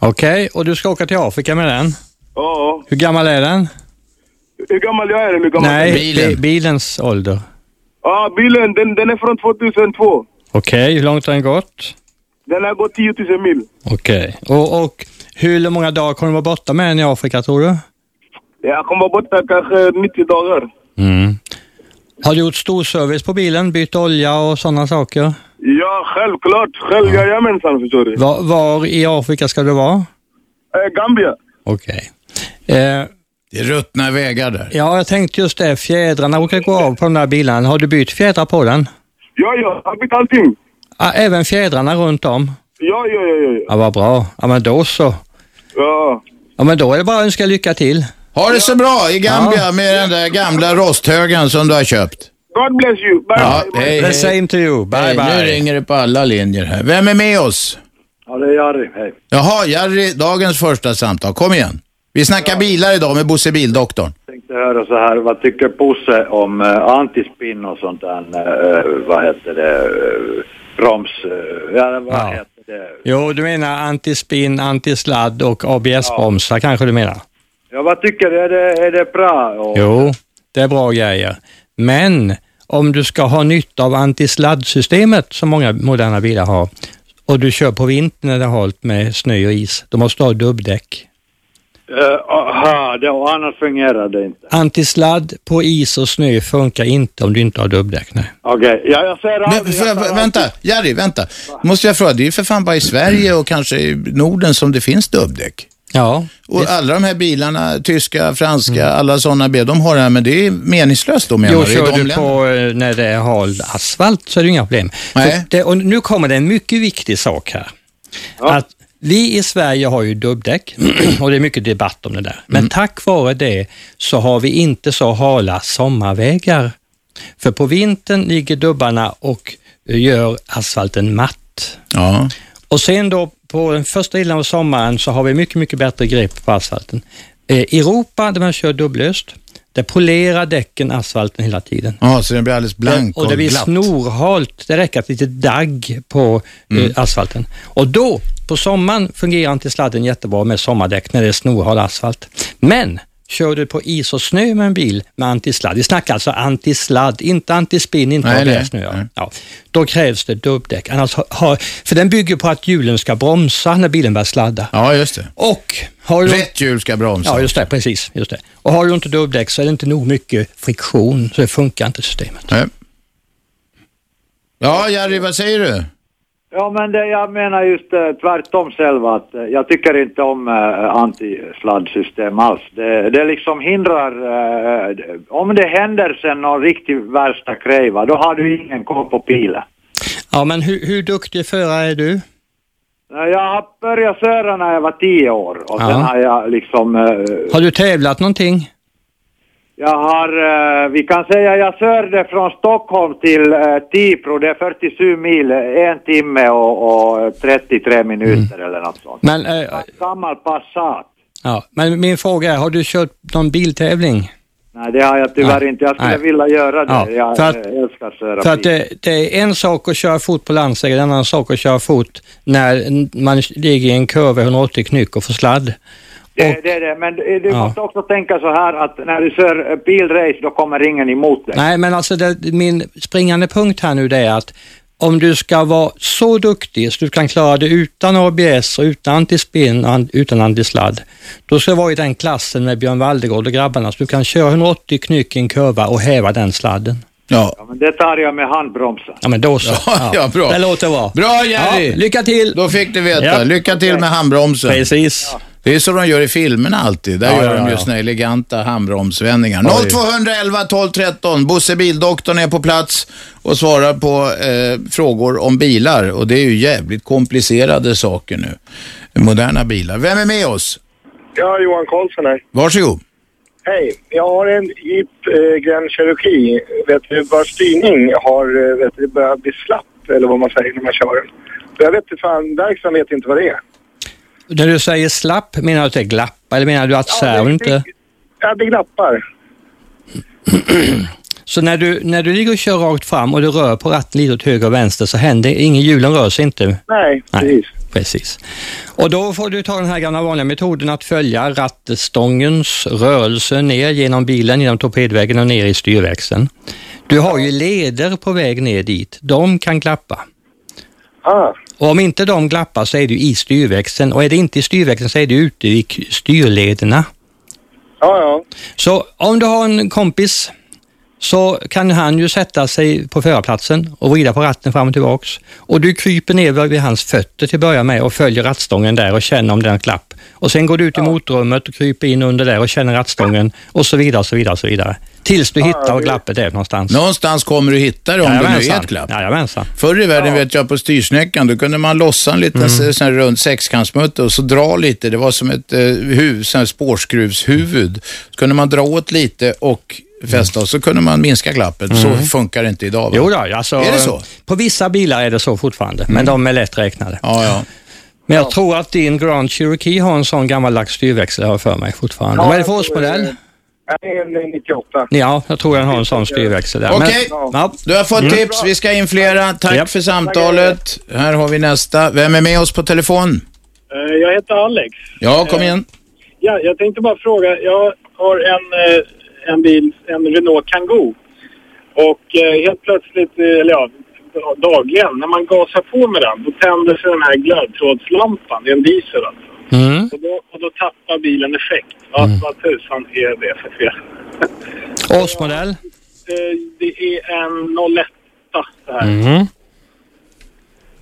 Okej, och du ska åka till Afrika med den. Ja, ja. Hur gammal är den? Hur gammal jag är eller hur gammal Nej, jag är? bi- bilens ålder. Ja, bilen. Den, den är från 2002. Okej, hur långt har den gått? Den har gått 10 000 mil. Okej. Och, och hur många dagar kommer du vara borta med den i Afrika tror du? Jag kommer vara borta kanske 90 dagar. Mm. Har du gjort stor service på bilen? Bytt olja och sådana saker? Ja, självklart. Själv, jajamensan, förstår du. Var, var i Afrika ska du vara? Eh, Gambia. Okej. Eh, det är ruttna vägar där. Ja, jag tänkte just det. Fjädrarna råkar gå av på den där bilen. Har du bytt fjädrar på den? Ja, ja. Har bytt allting. Ah, även fjädrarna runt om? Ja, ja, ja, ja. Ja, vad bra. Ja, men då så. Ja. Ja, men då är det bara att önska lycka till. Ha det så bra i Gambia Ja. med den där gamla rosthögen som du har köpt. God bless you. Bye. Ja, hej, The hej. same to you. Bye, Hej, bye. Nu ringer det på alla linjer här. Vem är med oss? Ja, det är Jari. Hej. Jaha, Jerry, dagens första samtal. Kom igen. Vi snackar bilar idag med Bosse Bildoktorn. Tänkte höra så här, vad tycker Bosse om eh, antispinn och sånt där, eh, vad heter det, eh, broms, eh, ja, vad Ja. heter det? Jo, du menar antispinn, antisladd och ABS-bromsar kanske du menar? Ja, vad tycker du, är det, är det bra? Och, Jo, det är bra grejer. Men om du ska ha nytta av antisladdsystemet som många moderna bilar har och du kör på vintern när det är halt med snö och is, då måste du ha dubbdäck. Eh, aha, det, och annars fungerar det inte. Antisladd på is och snö funkar inte om du inte har dubbdäck. Nej. Okej, ja, jag säger Men, får jag, vänta, Jerry, vänta. Måste jag fråga, det är ju för fan bara i Sverige och kanske i Norden som det finns dubbdäck. Ja. Mm. Och alla de här bilarna, tyska, franska, alla sådana bilar, de har det här, men det är meningslöst då menar Jo, i kör de du på eh, när det är hal asfalt så är det inga problem. Nej. Så Det, och nu kommer det en mycket viktig sak här. Att Vi i Sverige har ju dubbdäck *clears throat* och det är mycket debatt om det där. Mm. Men tack vare det så har vi inte så hala sommarvägar. För på vintern ligger dubbarna och gör asfalten matt. Ja. Och sen då på den första delen av sommaren så har vi mycket, mycket bättre grepp på asfalten. Eh, I Europa där man kör dubblöst, där polerar däcken asfalten hela tiden. Eh, Ja, så den blir alldeles blank Och, det blir glatt. snorhalt. Det räcker att lite dagg på eh, Mm. asfalten. Och då, på sommaren, fungerar inte sladden jättebra med sommardäck när det är snorhal asfalt. Men Kör du på is och snö med en bil med antisladd, vi snackar alltså antisladd, inte antispinn, inte Nej, vad det är nej, snö. Ja. Ja. Då krävs det dubbdäck, Annars har- har, för den bygger på att hjulen ska bromsa när bilen börjar sladda. Ja, just det. Och har du... Rätt hjul ska bromsa. Ja, just det, precis. Just det. Och har du inte dubbdäck så är det inte nog mycket friktion, så det funkar inte systemet. Nej. Ja, Jerry, vad säger du? Ja, men det, jag menar just eh, tvärtom själv att eh, jag tycker inte om eh, antisladdsystem alls. Det, det liksom hindrar, eh, d- om det händer sen någon riktigt värsta grej va, då har du ingen koll på pilen. Ja, men hur, hur duktig förare är du? Eh, Jag började köra när jag var tio år och Ja. sen har jag liksom, eh, Har du tävlat någonting? jag har, eh, vi kan säga jag körde från Stockholm till eh, Tibro, det är 47 mil, eh, en timme och, och 33 minuter eller något sånt. Mm. Men, eh, Gammal Passat. ja, men min fråga är, har du kört någon biltävling? Nej, det har jag tyvärr Nej. inte. Jag skulle Nej. vilja göra det. Ja, jag för att- eh, älskar att köra För att eh, bil. det, det är en sak att köra fot på landsväg, en annan sak att köra fot när man ligger i en kurva i 180 knyck och får sladd. det, det, är det. Men eh, du Ja. måste också tänka så här att när du kör eh, bilrace då kommer ingen emot dig. Nej, men alltså det, min springande punkt här nu det är att om du ska vara så duktig så du kan klara det utan ABS och utan antispinn och an- utan antisladd, då ska du vara i den klassen med Björn Waldegård och grabbarna så du kan köra 180 knyck i en kurva och häva den sladden. Ja. Men det tar jag med handbromsen. Ja, men då så. *laughs* Ja, ja, bra. Det låter bra. Bra Jerry! Ja, lycka till! Då fick du veta. Ja. Lycka till med handbromsen. Precis. Det är så de gör i filmerna alltid. Där Ja, gör ja, de ja. ju såna eleganta handbromsvändningar. Oj. 0211 12 13. Bosse Bildoktorn är på plats och svarar på eh, frågor om bilar. Och det är ju jävligt komplicerade saker nu. Moderna bilar. Vem är med oss? Ja, Johan Karlsson här. Varsågod. Hej, jag har en Jeep eh, Grand Cherokee. Vet du, bara styrning har eh, vet du, börjat bli slapp, eller vad man säger när man kör den. Så Jag vet inte fan, verkstaden vet inte vad det är. När du säger slapp, menar du att det är glapp eller menar du att servon inte... Ja, det glappar. Så när du, när du ligger och kör rakt fram och du rör på ratten lite åt höger och vänster så händer ingen hjulen rör sig inte? Nej, precis. precis. Och då får du ta den här gamla vanliga metoden att följa rattstångens rörelse ner genom bilen, genom torpedvägen och ner i styrväxeln. Du har ju leder på väg ner dit. De kan glappa. Ah. Och om inte de glappar så är du i styrväxeln och är det inte i styrväxeln så är du ute i k- styrlederna. Ja, ja. Så om du har en kompis så kan han ju sätta sig på förarplatsen och vrida på ratten fram och tillbaks. Och du kryper ner vid hans fötter till att börja med och följer rattstången där och känner om den har klapp. Och sen går du ut i motrummet och kryper in under där och känner rattstången och så vidare, så vidare, så vidare. Tills du hittar var glappet är någonstans. Någonstans kommer du hitta det om det nu är ett glapp. Jajamensan. Förr i världen vet jag på styrsnäckan, då kunde man lossa en liten Mm. mm. sån här rund sexkantsmutter och så dra lite. Det var som ett eh, huvud, sån här spårskruvshuvud. Så kunde man dra åt lite och fästa och så kunde man minska glappet. Så Mm. funkar det inte idag. va? Jo då, alltså, Är det så? Mm. På vissa bilar är det så fortfarande, men de är lätt räknade. Ja, ja. Men jag tror att din Grand Cherokee har en sån gammaldags styrväxel, har jag för mig fortfarande. Vad är det för årsmodell? Det är en 98. Ja, jag tror den har en sån styrväxel där. Okej, Men- ja. Mm. du har fått tips. Vi ska in flera. Tack Japp. för samtalet. Här har vi nästa. Vem är med oss på telefon? Eh, Jag heter Alex. Ja, kom igen. Ja, jag tänkte bara fråga. Jag har en, eh, en bil, en Renault Kangoo. Och eh, helt plötsligt, eh, eller ja, dagligen, när man gasar på med den, då tänder sig den här glödtrådslampan. Det är en diesel alltså. Mm. Och, då, och då tappar bilen effekt. Ja, Vad tusan är det för fel? Årsmodell? Eh, Det är en 01 det här. Mm.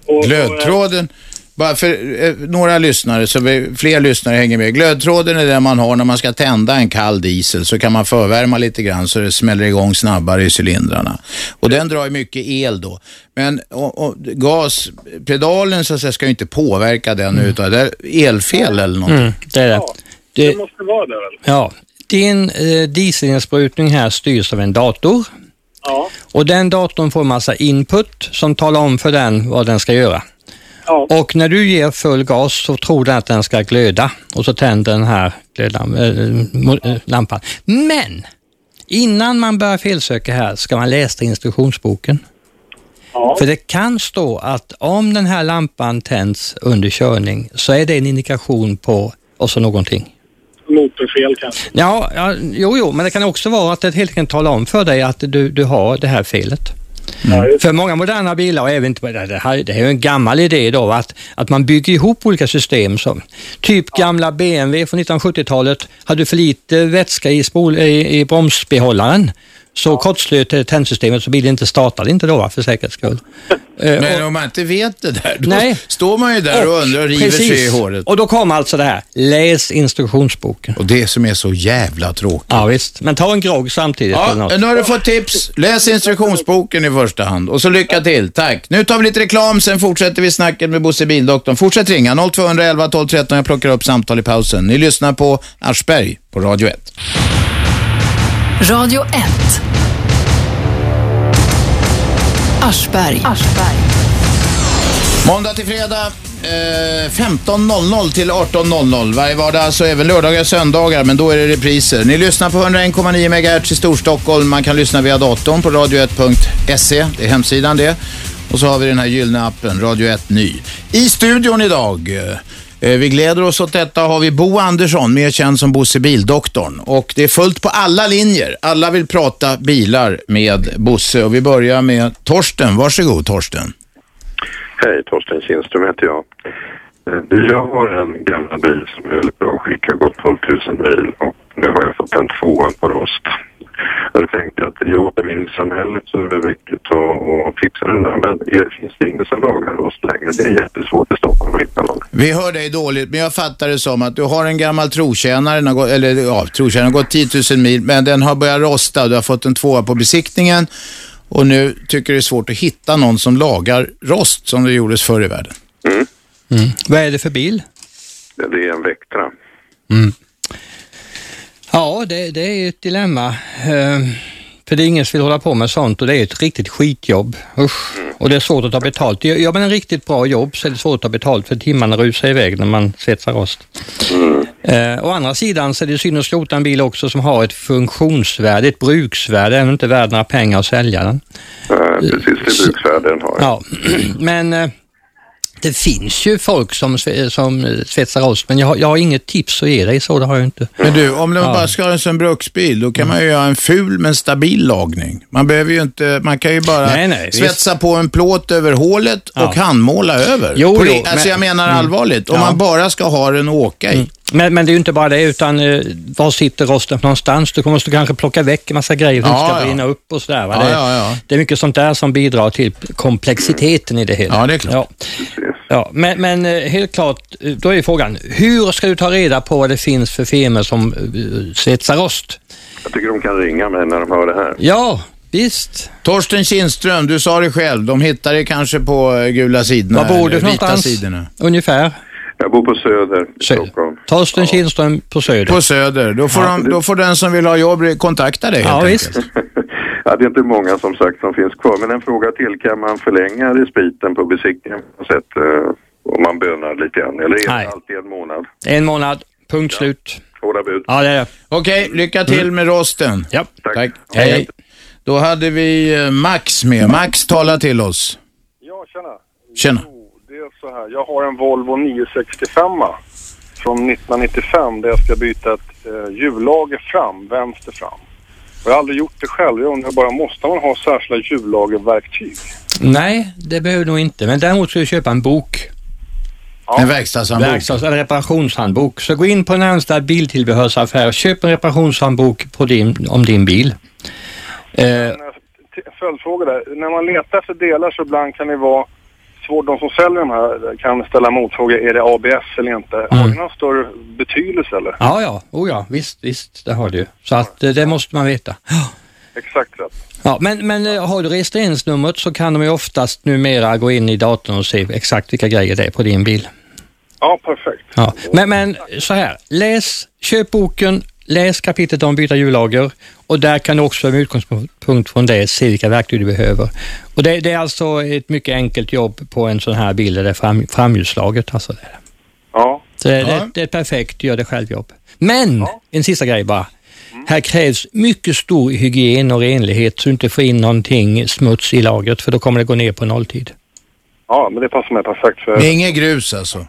Och- Glödtråden. Bara för eh, några lyssnare, så vi, fler lyssnare hänger med. Glödtråden är den man har när man ska tända en kall diesel så kan man förvärma lite grann så det smäller igång snabbare i cylindrarna. Och den drar ju mycket el då. Men och, och, gaspedalen så att säga, ska ju inte påverka den utan det är elfel eller någonting. Mm, det är det. Det, måste vara det väl? Ja, din eh, dieselinsprutning här styrs av en dator. Ja. Och den datorn får massa input som talar om för den vad den ska göra. Och när du ger full gas så tror den att den ska glöda och så tänder den här glödlam- eh, mo- eh, lampan. Men innan man börjar felsöka här ska man läsa instruktionsboken. För det kan stå att om den här lampan tänds under körning så är det en indikation på och så någonting. Motorfel kanske? Ja, ja, jo, jo, men det kan också vara att det helt enkelt talar om för dig att du, du har det här felet. För många moderna bilar, och även det här, det här är ju en gammal idé då, va, att, att man bygger ihop olika system. Som, typ gamla BMW från 1970-talet, hade för lite vätska i, spol, i, i bromsbehållaren så kortslöt tändsystemet så bilen inte startade inte då va, för säkerhets skull. Men om man inte vet det där, då står man ju där och, undrar och river sig i håret. Och då kom alltså det här, läs instruktionsboken. Och det som är så jävla tråkigt. Ja visst, men ta en grogg samtidigt. eller Ja, något. nu har du fått tips. Läs instruktionsboken i första hand. Och så lycka till. Tack. Nu tar vi lite reklam, sen fortsätter vi snacket med Bosse Bildoktorn. Fortsätt ringa 0211 12 13. Jag plockar upp samtal i pausen. Ni lyssnar på Aschberg på Radio 1. Radio 1. Aschberg. Måndag till fredag eh, 15.00 till 18.00. Varje vardag, så även lördagar och söndagar, men då är det repriser. Ni lyssnar på 101,9 MHz i Storstockholm. Man kan lyssna via datorn på radio1.se. Det är hemsidan det. Och så har vi den här gyllene appen, Radio 1 Ny. I studion idag. eh, Vi gläder oss åt detta har vi Bo Andersson, mer känd som Bosse Bildoktorn. Och det är fullt på alla linjer. Alla vill prata bilar med Bosse. Och vi börjar med Torsten. Varsågod Torsten. Hej, Torsten Kindström heter jag. Eh, Jag har en gammal bil som är väldigt bra skick, har gått 12 000 mil och nu har jag fått en tvåa på rost. Jag tänkte att i återvinningssamhället så är det viktigt att, att fixa den där, men det finns det ingen som lagar rost längre. Det är jättesvårt i Stockholm att hitta någon. Vi hör dig dåligt, men jag fattar det som att du har en gammal trotjänare, den har gått- eller ja, trotjänaren har gått 10 000 mil, men den har börjat rosta. Du har fått en tvåa på besiktningen och nu tycker det är svårt att hitta någon som lagar rost som det gjordes förr i världen. Mm. Vad är det för bil? Mm. Det är en Vectra. Ja, det, det är ju ett dilemma. Ehm, för det är ingen som vill hålla på med sånt och det är ett riktigt skitjobb. Usch. Mm. Och det är svårt att ta betalt. Gör gör man en riktigt bra jobb så är det svårt att ta betalt för timmarna rusar iväg när man svetsar rost. Mm. Eh, å andra sidan så är det synd att skrota en bil också som har ett funktionsvärde, ett bruksvärde, även om inte värd några pengar att sälja den. Eh, Precis det bruksvärde den har. Ja, *clears throat* men eh, det finns ju folk som, sve- som eh, svetsar rost, men jag har, jag har inget tips att ge dig, så det har jag inte. Men du, om man Ja. bara ska ha den som bruksbil, då kan man ju göra en ful men stabil lagning. Man behöver ju inte, man kan ju bara Nej, nej, visst. svetsa på en plåt över hålet Ja. och handmåla över. Jo, På jo, ri- alltså men- jag menar Mm. allvarligt, om Ja. Mm. man bara ska ha den att åka i. Men, men det är ju inte bara det, utan eh, var sitter rosten någonstans? Du måste kanske plocka väck en massa grejer för att det Ja, ska ja. eh, brinna upp och sådär. Va? Ja, det, ja, ja. det är mycket sånt där som bidrar till komplexiteten i det hela. Ja, det är klart. Ja. Ja, men, men eh, helt klart, eh, då är frågan, hur ska du ta reda på vad det finns för firmor som eh, svetsar rost? Jag tycker de kan ringa mig när de hör det här. Ja, visst. Torsten Kindström, du sa det själv. De hittar dig kanske på eh, gula sidorna. Var bor du eller för vita någonstans? sidorna. Ungefär. Jag bor på Söder i Stockholm. Torsten Kindström på Söder. På Söder. Då får, de, då får den som vill ha jobb kontakta dig helt enkelt. Ja, det är inte många som sagt som finns kvar. Men en fråga till. Kan man förlänga respiten på besiktningen på något sätt? eh, Om man bönar lite grann? Eller är Nej. det alltid en månad? En månad, punkt slut. Hårda bud. Ja, det är det. Mm. Okej, lycka till med rosten. Ja. Tack. Hej. Hej. Då hade vi eh, Max med. Max, tala till oss. Ja, tjena. Tjena. Det är så här. Jag har en Volvo 965 från 1995 där jag ska byta ett eh, hjullager fram, vänster fram. Och jag har aldrig gjort det själv. Jag undrar bara, måste man ha särskilda hjullagerverktyg? Nej, det behöver du nog inte, men däremot ska du köpa en bok. En verkstadshandbok. Verkstads eller reparationshandbok. Så gå in på närmsta biltillbehörsaffär och köp en reparationshandbok på din, om din bil. Eh, eh, T- Följdfråga där. När man letar efter delar så ibland kan det vara svårt, de som säljer de här kan ställa motfrågor, är det ABS eller inte? Mm. Har det någon större betydelse eller? Ja, ja, oh, ja. visst, visst, det har du. Så att eh, det måste man veta. Exakt rätt. Ja, men, men eh, har du registreringsnumret så kan de ju oftast numera gå in i datorn och se exakt vilka grejer det är på din bil. Ja, perfekt. Ja. Men, men så här, läs, köp boken, läs kapitlet om byta hjullager och där kan du också med utgångspunkt från det se vilka verktyg du behöver. Och det, det är alltså ett mycket enkelt jobb på en sån här bil där det är fram, framhjulslaget. Alltså det. Ja. Så det, det, det är ett perfekt gör det självjobb. Men, en sista grej bara. Här krävs mycket stor hygien och renlighet så du inte får in någonting smuts i lagret för då kommer det gå ner på nolltid. Ja, men det passar mig perfekt. För... Men inget grus alltså? *laughs*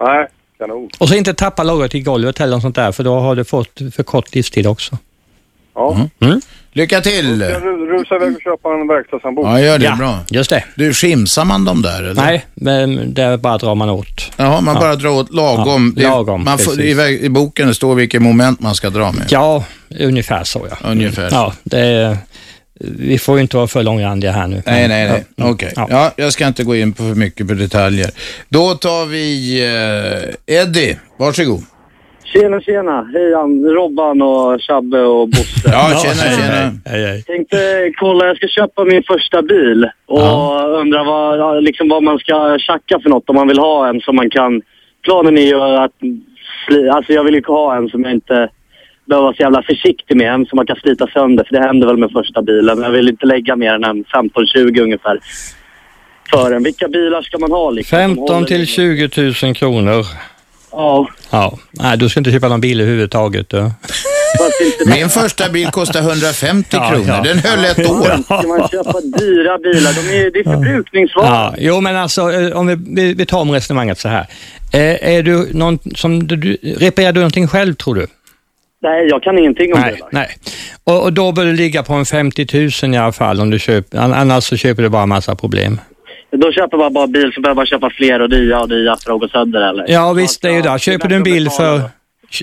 Nej, kanon. Och så inte tappa lagret i golvet eller något sånt där för då har du fått för kort livstid också. Ja. Mm. Lycka till! Jag ru- rusar iväg och köper en verkstadshandbok. Ja, gör det. Bra. Just det. Du, skimsar man dem där eller? Nej, men där bara drar man åt. Jaha, man Ja. bara drar åt lagom. Ja, Det- lagom, man får, precis. i, väg- I boken står vilket moment man ska dra med. Ja, ungefär så ja. Ungefär så. Ja, det är, vi får ju inte vara för långrandiga här nu. Nej, nej, nej. Ja. Mm. Okej. Ja, jag ska inte gå in på för mycket på detaljer. Då tar vi eh, Eddie. Varsågod. Tjena, tjena. Hej, Ann- Robban och Chabbe och Bosse. Ja, tjena, tjena. Tänkte kolla, jag ska köpa min första bil och undrar vad, ja, liksom vad man ska tjacka för något om man vill ha en som man kan... Planen är ju att... sli- Alltså jag vill ju ha en som jag inte behöver vara så jävla försiktig med, en som man kan slita sönder för det händer väl med första bilen. Jag vill inte lägga mer än en 15-20 ungefär för den. Vilka bilar ska man ha liksom? som 15 håller till länge? 20 000 kronor. Ja, Ja, nej du ska inte köpa någon bil överhuvudtaget. Du. Min första bil kostade 150 Ja, kronor. ja. Den höll ett år. ska man köpa dyra bilar? De är, det är förbrukningsvaror. Ja, jo, men alltså eh, om vi, vi, vi tar om resonemanget så här. Eh, är du någon som, du, du- reparerar du någonting själv tror du? Nej, jag kan ingenting om Nej, nej. Och, och då bör du ligga på en 50 000 i alla fall om du köper, an- annars så köper du bara massa problem. det. Då köper man bara bil så behöver man köpa fler och dyra och dyra för att gå sönder eller? Ja visst, det är ju det. Köper du en bil för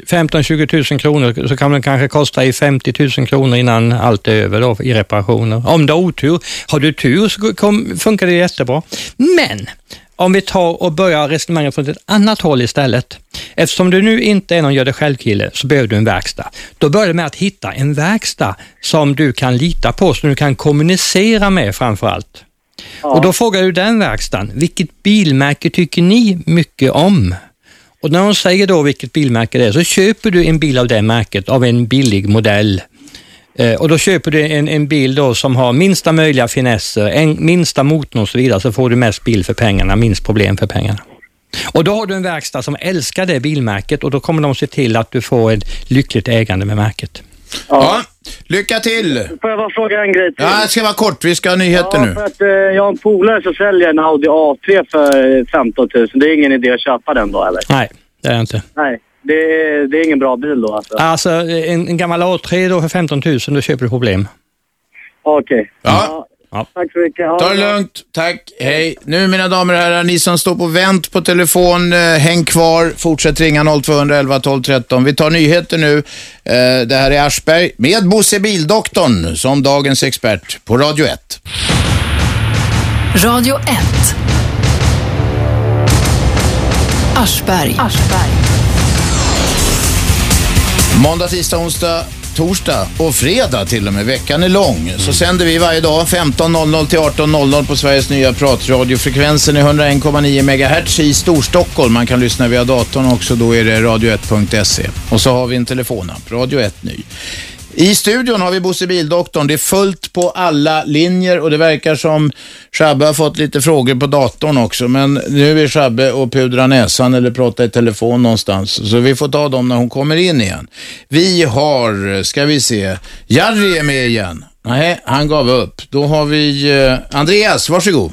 15-20 000 kronor så kan den kanske kosta i 50 000 kronor innan allt är över då, i reparationer. Om du har otur, har du tur så kom, funkar det jättebra. Men om vi tar och börjar resonemanget från ett annat håll istället. Eftersom du nu inte är någon gör det själv-kille så behöver du en verkstad. Då börjar du med att hitta en verkstad som du kan lita på, som du kan kommunicera med framför allt. Och då frågar du den verkstaden, vilket bilmärke tycker ni mycket om? Och när de säger då vilket bilmärke det är så köper du en bil av det märket av en billig modell. Eh, och då köper du en, en bil då som har minsta möjliga finesser, en, minsta motorn och så vidare så får du mest bil för pengarna, minst problem för pengarna. Och då har du en verkstad som älskar det bilmärket och då kommer de se till att du får ett lyckligt ägande med märket. Ja, lycka till! Får jag bara fråga en grej till? Ja, det ska vara kort. Vi ska ha nyheter Ja, nu. för att eh, jag har en polare som säljer en Audi A3 för eh, 15 000. Det är ingen idé att köpa den då eller? Nej, det är det inte. Nej, det är, det är ingen bra bil då alltså? Alltså en, en gammal A3 då för 15 000, då köper du problem. Okej. Ja. Tack så mycket. Ha Ta det lugnt. Tack. Hej. Nu mina damer och herrar, ni som står på vänt på telefon, eh, häng kvar. Fortsätt ringa 0211 12 13. Vi tar nyheter nu. Eh, det här är Aschberg med Bosse Bildoktorn som dagens expert på Radio 1. Radio 1. Aschberg. Måndag, tisdag, onsdag, torsdag och fredag till och med. Veckan är lång. Så sänder vi varje dag 15.00 till 18.00 på Sveriges nya pratradio. Frekvensen är 101,9 MHz i Storstockholm. Man kan lyssna via datorn också. Då är det radio1.se. Och så har vi en telefonapp, Radio 1 ny. I studion har vi Bosse Bildoktorn. Det är fullt på alla linjer och det verkar som Shabbe har fått lite frågor på datorn också. Men nu är Shabbe och pudrar näsan eller pratar i telefon någonstans. Så vi får ta dem när hon kommer in igen. Vi har, ska vi se, Jari är med igen. Nej, han gav upp. Då har vi eh, Andreas, varsågod.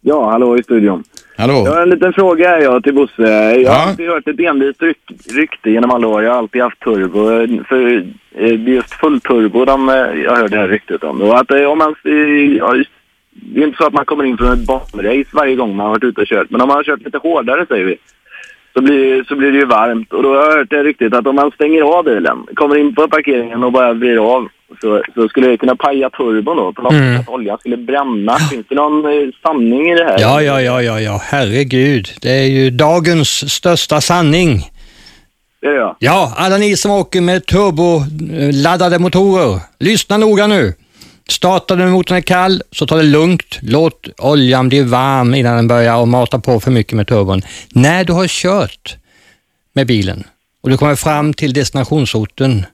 Ja, hallå i studion. Hallå. Jag har en liten fråga här, jag till Bosse. Jag har alltid hört ett envist ryk- rykte genom alla år. Jag har alltid haft turbo. För eh, det är just full turbo de, eh, jag hörde det här ryktet om. Och att, eh, om man, eh, ja, just- det är inte så att man kommer in från ett banrace varje gång man har varit ute och kört. Men om man har kört lite hårdare säger vi. Så blir, så blir det ju varmt. Och då har jag hört det ryktet att om man stänger av bilen, kommer in på parkeringen och bara blir av. så, så skulle det kunna paja turbon då. På något Mm. sätt att oljan skulle bränna. Finns det någon eh, sanning i det här? Ja, ja, ja, ja, ja, herregud. Det är ju dagens största sanning. Det är det, ja. Ja, alla ni som åker med turboladdade motorer, lyssna noga nu. Starta när motorn är kall, så ta det lugnt. Låt oljan bli varm innan den börjar att mata på för mycket med turbon. När du har kört med bilen och du kommer fram till destinationsorten,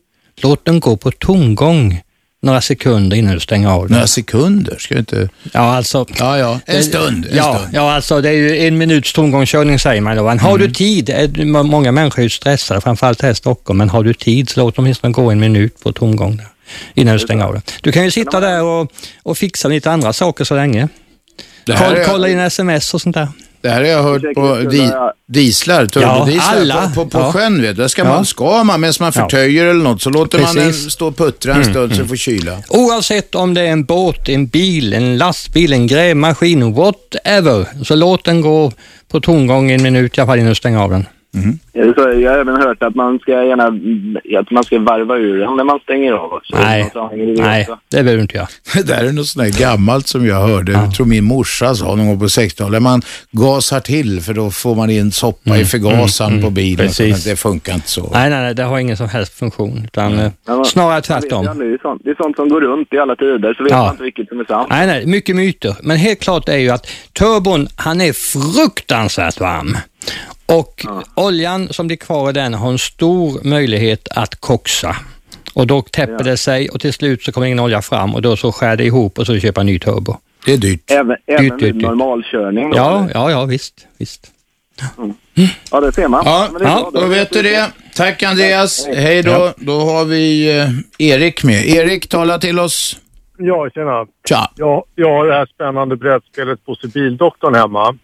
låt den gå på tomgång några sekunder innan du stänger av den. Några sekunder? Ska du inte... Ja, alltså... Ja, ja. En Det- stund. En ja, stund. ja, alltså det är ju en minuts tomgångskörning säger man då. Men har Mm. du tid, är det- må- många människor är ju stressade, framförallt här i Stockholm, men har du tid så låt åtminstone gå en minut på tomgång där, innan du stänger av det. Du kan ju sitta där och, och fixa lite andra saker så länge. Det här Koll, är- Kolla dina sms och sånt där. Det här har jag hört på di dieslar, turbodieslar. Ja, alla. På, på, på Ja. sjön vet du. Där ska Ja. man, ska man medan man Ja. förtöjer eller något så låter man den Precis. stå och puttra en Mm, stund så mm. får kyla. Oavsett om det är en båt, en bil, en lastbil, en grävmaskin, whatever, så låt den gå på tomgång en minut i alla fall innan du stänger av den. Är det så? Jag har även hört att man ska gärna, att man ska varva ur den när man stänger av också. Nej. Så hänger det Nej, också. det behöver du inte göra. *laughs* Det där är något sånt där gammalt som jag hörde, jag tror min morsa sa någon gång på 60-talet. Man gasar till för då får man in soppa i Mm, förgasaren mm, mm, på bilen. och sånt. precis. Det funkar inte så. Nej, nej, nej, det har ingen som helst funktion, utan eh, Ja, men- snarare Jag tvärtom. vet ju aldrig, Det är, sånt, det är sånt som går runt i alla tider, så vet Ja. man inte vilket som är sant. Nej, nej, mycket myter. Men helt klart är ju att turbon, han är fruktansvärt varm. Och oljan som blir kvar i den har en stor möjlighet att koxa. Och då täpper det sig och till slut så kommer ingen olja fram och då så skär det ihop och så köper en ny turbo. Det är dyrt. Även, även Dyrt, dyrt, vid dyrt. normalkörning. då, Ja, eller? ja, ja, visst, visst. Mm. Mm. ja, det ser man. Ja, Men det är ja bra. då vet du det. Tack Andreas. Hej då. Ja. Då har vi eh, Erik med. Erik, tala till oss. Ja, tjena. Tja. Jag, jag har det här spännande brädspelet på Civildoktorn hemma.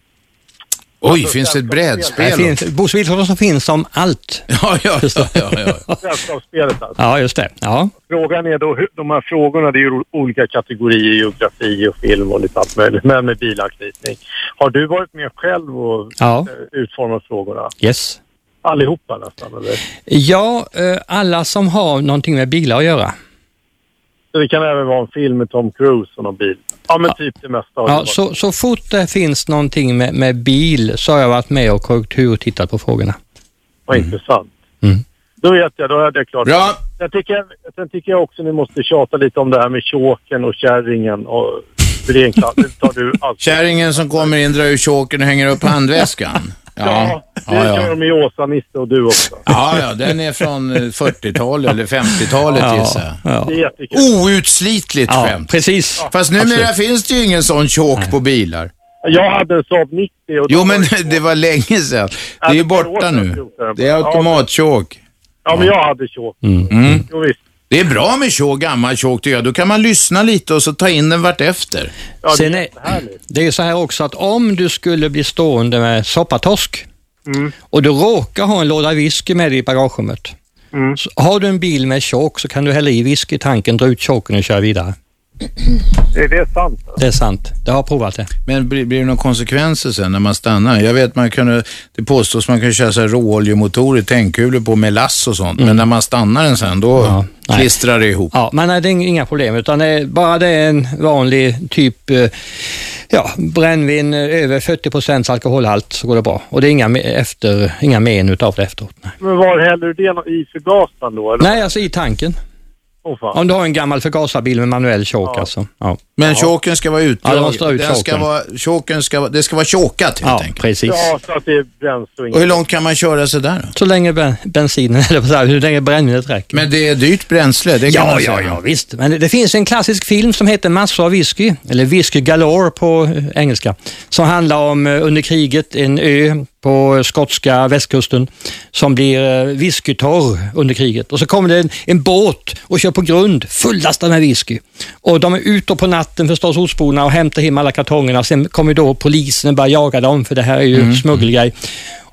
Oj, finns det ett brädspel? Det finns, Bosse Wilhelmsson som finns om allt. Ja, ja, ja, ja, Sällskapsspelet alltså. ja, just det. Ja. Frågan är då, hur- de här frågorna, det är ju olika kategorier, geografi och film och lite allt möjligt, men med bilanknytning. Har du varit med själv och Ja. eh, utformat frågorna? Yes. Allihopa nästan, eller? Ja, eh, alla som har någonting med bilar att göra. Så det kan även vara en film med Tom Cruise och någon bil. Ja, men typ det mesta. har det Ja, varit. så, så fort det finns någonting med, med bil så har jag varit med och korrektur och tittat på frågorna. Vad intressant. Mm. Då vet jag, då hade jag klart. Bra. Sen tycker, jag, sen tycker jag också ni måste tjata lite om det här med tjåken och kärringen och för det är en klass. Det tar du alltid. Kärringen som kommer in, drar ur tjåken och hänger upp handväskan. Ja, Det ja, gör ja. de i Åsa-Nisse och du också. Alltså. ja, ja den är från eh, 40-talet eller 50-talet Ja, gissar Det är jag. jättekul. Outslitligt Ja, skämt. Precis. Fast numera Absolut. finns det ju ingen sån tjåk på bilar. Jag hade en Saab 90 och då Jo, var men det- *laughs* det var länge sedan. Det är ju borta nu. Det är automattjåk. Ja, men jag hade tjåk. Mm. Jo, visst. Det är bra med tjåk, gammal tjåk tycker jag. Då kan man lyssna lite och så ta in den vartefter. Ja, Sen är, det är ju så här också att om du skulle bli stående med soppatorsk Mm. och du råkar ha en låda whisky med dig i bagagerummet. Mm. Så har du en bil med tjock så kan du hälla i whiskytanken, dra ut tjocken och köra vidare. Det, det är sant. Det är sant. Det har jag provat det. Men blir, blir det några konsekvenser sen när man stannar? Jag vet man kunde, det påstås man kan köra så här råoljemotorer, tändkulor på med lass och sånt. Mm. Men när man stannar den sen, då klistrar det ihop. Ja, men nej, det är ing- inga problem, utan det är, bara det är en vanlig typ eh, ja, brännvin eh, över 40 alkoholhalt så går det bra. Och det är inga, me- efter, inga men utav det efteråt. Nej, Men var häller du det nå- i förgasaren då? Eller? nej alltså i tanken. Åh, fan. Om du har en gammal förgasarbil med manuell choke alltså. Ja. Men tjåken ska vara utdragen. Ja, det måste vara ut Den ska tjåken. vara, tjåken ska, vara- det ska vara tjåkat helt Ja, enkelt. precis. Ja, så att det är bränsle och Och hur inget. långt kan man köra sig där? Så länge ben, bensinen, eller vad säger jag, hur länge brännvinet räcker. Men det är dyrt bränsle, det kan ja, man ja, säga. ja, visst. Men det, det finns en klassisk film som heter Massor av whisky, eller Whisky Galore på eh, engelska, som handlar om eh, under kriget en ö på eh, skotska västkusten som blir eh, whiskytorr under kriget. Och så kommer det en, en båt och kör på grund fullastad med whisky. Och de är ute på natten förstås, ostborna, och hämtar hem alla kartongerna. Sen kommer då polisen och börjar jaga dem, för det här är ju Mm. smuggelgrej.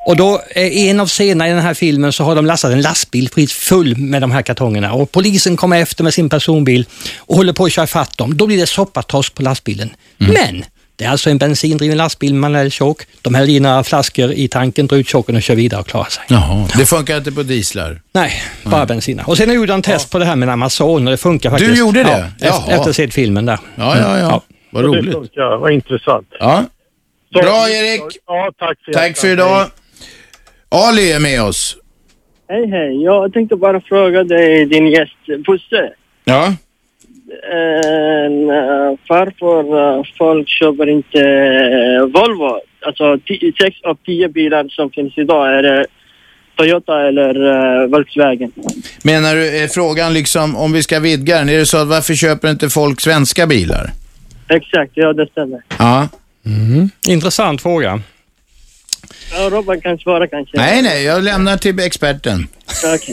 Och då, eh, en av scenerna i den här filmen så har de lastat en lastbil precis full med de här kartongerna och polisen kommer Mm. efter med sin personbil och håller på att köra fatt dem. Då blir det soppatorsk på lastbilen. Men Det är alltså en bensindriven lastbil, man är tjock. De häller in några flaskor i tanken, drar ut tjocken och kör vidare och klarar sig. Jaha. Det funkar inte på dieslar? Nej, bara bensin. Och sen gjorde jag en test på det här med en Amazon och det funkar faktiskt. gjorde det? Ja, efter, Jaha. efter att ha sett filmen där. Ja, ja, ja. Vad Ja, det roligt. Ja, vad intressant. Ja. Så- Bra, Erik. Ja, tack för Tack för idag. Ali är med oss. Hej, hej. Jag tänkte bara fråga dig, din gäst Bosse. Ja. Eh, eh, varför eh, folk köper inte eh, Volvo? Alltså, ti- sex av tio bilar som finns idag är eh, Toyota eller eh, Volkswagen. Menar du, är frågan liksom om vi ska vidga den, är det så att varför köper inte folk svenska bilar? Exakt, ja det stämmer. Ja. Mm. Intressant fråga. Ja, Robban kan svara kanske. Nej, nej, jag lämnar till experten. *laughs* Tack.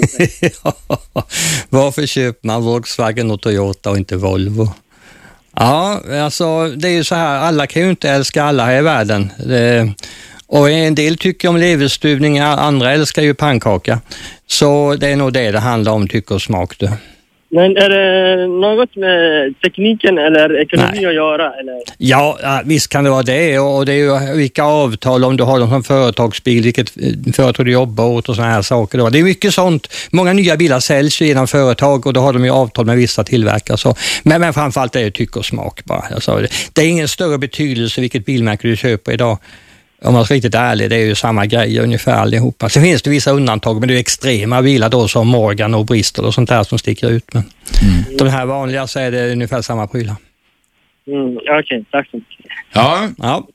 Varför köper man Volkswagen och Toyota och inte Volvo? Ja, alltså det är ju så här, alla kan ju inte älska alla här i världen. Det, och en del tycker om leverstuvning, a- andra älskar ju pannkaka. Så det är nog det det handlar om, tycke och smak du. Men är det något med tekniken eller ekonomi att göra? Eller? Ja, ja, visst kan det vara det och det är ju vilka avtal, om du har dem som företagsbil, vilket eh, företag du jobbar åt och sådana här saker. Då. Det är mycket sånt. Många nya bilar säljs ju genom företag och då har de ju avtal med vissa tillverkare. Så. Men, men framförallt är det tycke och smak bara. Jag sa det. det är ingen större betydelse vilket bilmärke du köper idag. Om man ska vara riktigt ärlig, det är ju samma grejer ungefär allihopa. Sen finns det vissa undantag, men det är extrema bilar då som Morgan och Bristol och sånt där som sticker ut. Men de här vanliga så är det ungefär samma prylar. Mm, Okej, tack så mycket. Ja. ja.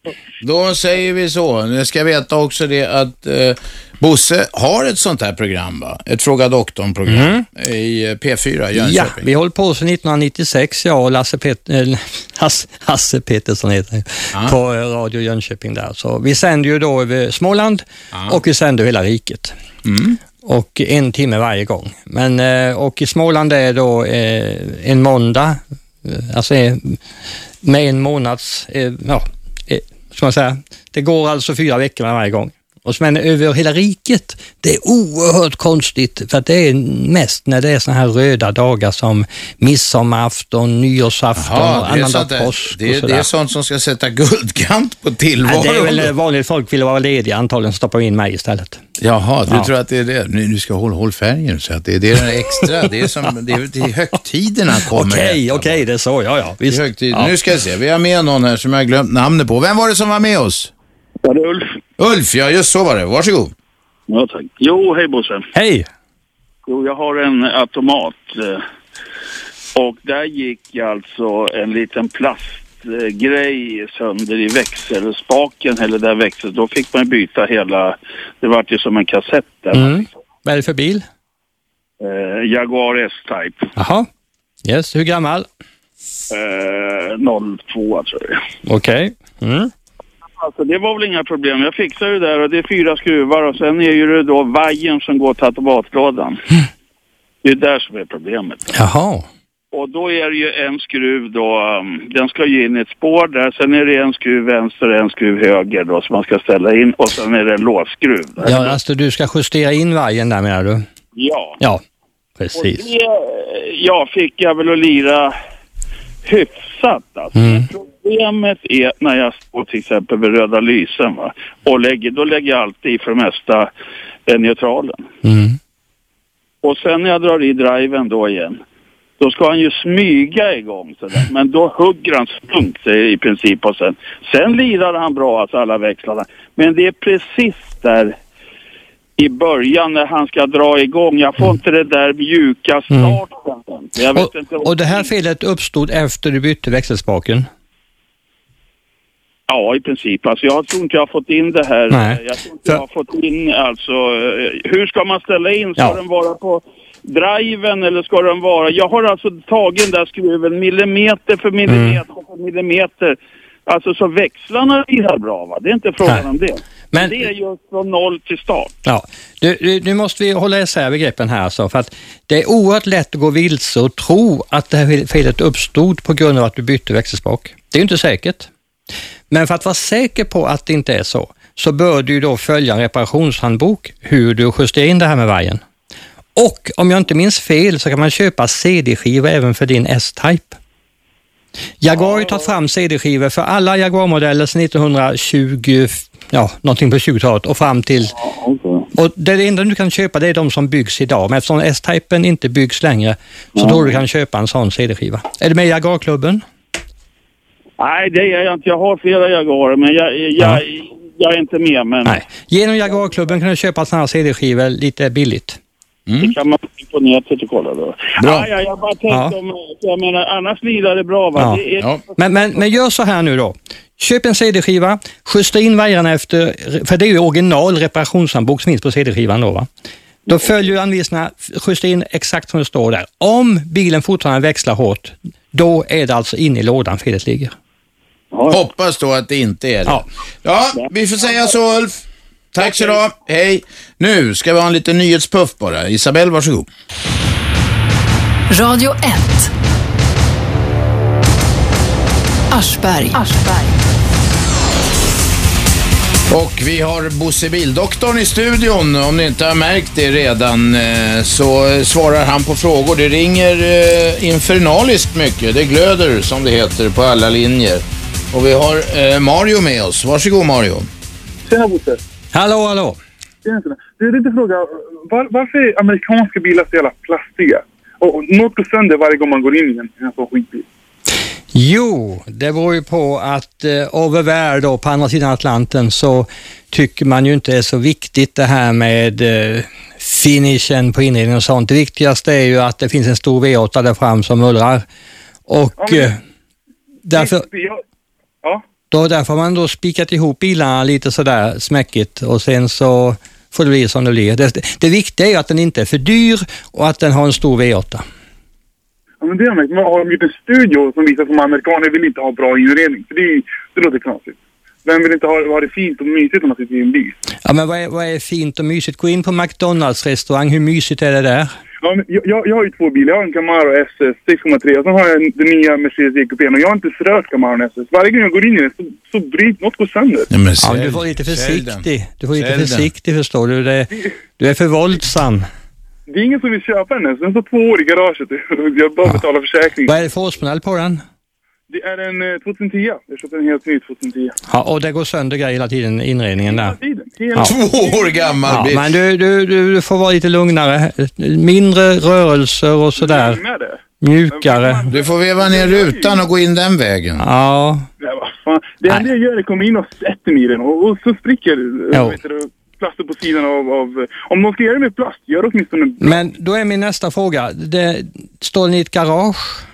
Då säger vi så. Nu ska jag veta också det att eh, Bosse har ett sånt här program, va? Ett Fråga Doktorn-program Mm. i eh, P4 Jönköping. Ja, vi håller på sedan 1996, jag och Lasse, Pet- eh, *laughs* Hasse, Hasse Peterson heter han, på eh, Radio Jönköping där. Så vi sänder ju då över Småland och vi sänder hela riket. Och en timme varje gång. Men, eh, och i Småland är då eh, en måndag, eh, alltså eh, med en månads, eh, ja, eh, ska man säga, det går alltså fyra veckor med varje gång. Och så, men över hela riket, det är oerhört konstigt för att det är mest när det är såna här röda dagar som midsommarafton, nyårsafton Jaha, och det är, annandag sånt där, påsk det, och är, det sådär. är sånt som ska sätta guldkant på tillvaron. Ja, det är väl eh, vanligt folk vill vara lediga, antagligen stoppar vi in mig istället. Jaha, du Ja. tror att det är det? Nu, nu ska jag hålla, håll färgen så att det, det är den extra, det *laughs* är som, det är till högtiderna kommer Okej, okej, det är så, ja, ja. Visst. Högtiderna. Ja. Nu ska jag se, vi har med någon här som jag har glömt namnet på. Vem var det som var med oss? Ja, det är Ulf. Ulf, ja just så var det. Varsågod. Ja, tack. Jo, hej Bosse. Hej! Jo, jag har en automat. eh, Och där gick alltså en liten plastgrej sönder i växelspaken, eller där växeln. Då fick man byta hela, det vart ju som en kassett där. Mm. Vad är det för bil? Eh, Jaguar S-Type, Jaha, yes, hur gammal? eh, 02 tror jag. Okej. Mm. Alltså det var väl inga problem. Jag fixade det där och det är fyra skruvar och sen är ju det då vajern som går till automatlådan. Det är där som är problemet. Jaha. Och då är det ju en skruv då, um, den ska ju in i ett spår där, sen är det en skruv vänster och en skruv höger då som man ska ställa in och sen är det en låsskruv. Där. Ja, alltså du ska justera in vajern där menar du? Ja. Ja, Och precis. det, ja, fick jag väl att lira hyfsat alltså. Problemet är E- när jag står till exempel vid röda lysen va, och lägger, då lägger jag alltid i för det mesta eh, neutralen. Mm. Och sen när jag drar i driven då igen, då ska han ju smyga igång sådär. Men då hugger han stumt eh, i princip och sen, sen lirar han bra alltså alla växlarna. Men det är precis där i början när han ska dra igång. Jag får inte det där mjuka starten. Jag vet inte Mm. Och, och det här felet uppstod efter du bytte växelspaken? Ja, i princip. Alltså, jag tror inte jag har fått in det här. eh, Nej. Jag tror inte jag har fått in alltså, eh, hur ska man ställa in? Ska Ja. den vara på driven eller ska den vara... Jag har alltså tagit den där skruven millimeter för Mm. millimeter för millimeter. Alltså så växlarna lirar bra va? Det är inte frågan om det. Men... Det är just från noll till start. Ja, du, du, nu måste vi hålla isär begreppen här alltså, för att det är oerhört lätt att gå vilse och tro att det här felet uppstod på grund av att du bytte växelspak. Det är ju inte säkert. Men för att vara säker på att det inte är så, så bör du ju då följa en reparationshandbok hur du justerar in det här med vajern. Och om jag inte minns fel så kan man köpa CD-skivor även för din S-Type. Jaguar har ju tagit fram CD-skivor för alla Jaguar-modeller sedan 1920, ja, någonting på 20-talet och fram till... Och det enda du kan köpa det är de som byggs idag, men eftersom S-Typen inte byggs längre så tror du kan köpa en sån CD-skiva. Är du med i Jaguar-klubben? Nej, det är jag inte. Jag har flera Jaguarer, men jag, jag, jag är inte med. Men Nej. Genom Jaguar-klubben kan du köpa såna här CD-skivor lite billigt. det kan man gå på nätet och kolla då. Ah, Bra. Nej, jag, jag bara tänkte Ja. om... Jag menar, annars lirar det bra va? Ja. Det är, Men, men, men gör så här nu då. Köp en CD-skiva, justa in vajrarna efter, för det är ju original reparationshandbok som finns på CD-skivan då va. Då följer du anvisningarna, justa in exakt som det står där. Om bilen fortfarande växlar hårt, då är det alltså inne i lådan felet ligger. Hoppas då att det inte är det. Ja, vi får säga så Ulf. Tack så du ha. Hej. Nu ska vi ha en liten nyhetspuff bara. Isabel, varsågod. Radio 1. Aschberg. Och vi har Bosse Bildoktorn i studion. Om ni inte har märkt det redan eh, så svarar han på frågor. Det ringer eh, infernaliskt mycket. Det glöder som det heter på alla linjer. Och vi har eh, Mario med oss. Varsågod Mario. Tjena Bosse! Hallå, hallå! Tjena, tjena. Du, jag tänkte fråga, var, varför är amerikanska bilar så jävla plastiga? Och, och något går sönder varje gång man går in i en en sån skitbil. Jo, det beror ju på att eh, över värld och på andra sidan Atlanten så tycker man ju inte är så viktigt det här med eh, finishen på inredningen och sånt. Det viktigaste är ju att det finns en stor V8 där fram som mullrar. Och eh, därför, Jag, då, därför har man då spikat ihop bilarna lite sådär smäckigt och sen så får det bli som det blir. Det, det viktiga är ju att den inte är för dyr och att den har en stor V8. ja, men det har jag märkt. Man har de gjort en studio som visar att amerikaner vill inte ha bra inredning. För det, är ju- det låter knasigt. Vem vill inte ha, ha det fint och mysigt när man sitter i en bil? Ja, men vad är, vad är fint och mysigt? Gå in på McDonalds restaurang, hur mysigt är det där? Ja, men jag, jag, jag har ju två bilar. Jag har en Camaro SS 6,3 och sen har jag en, den nya Mercedes EQP'n. Och jag har inte ens rört Camaron SS. Varje gång jag går in i den så, så bryter något går sönder. Ja, men du får lite försiktig. Du får lite Sälj den. försiktig förstår du. Det, du är för våldsam. Det är ingen som vill köpa den ens. Den står två år i garaget. *laughs* Jag bara betalar försäkring. Vad är det för årsmodell på den? Det är en eh, 2010. Jag köpte den helt ny 2010. Ja, och det går sönder grejer hela tiden, inredningen där. Hela- ja, Men du, du, du, du får vara lite lugnare. Mindre rörelser och sådär. Lugnare? Mjukare. Du får veva ner rutan och gå in den vägen. Ja. Nej, vad fan. Det enda jag gör är att komma in och sätta mig i den och, och så spricker eh, Ja. ja. vet du, plasten på sidan av, av... Om de ska göra det med plast, gör det åtminstone... en- Men då är min nästa fråga. Det, står den i ett garage?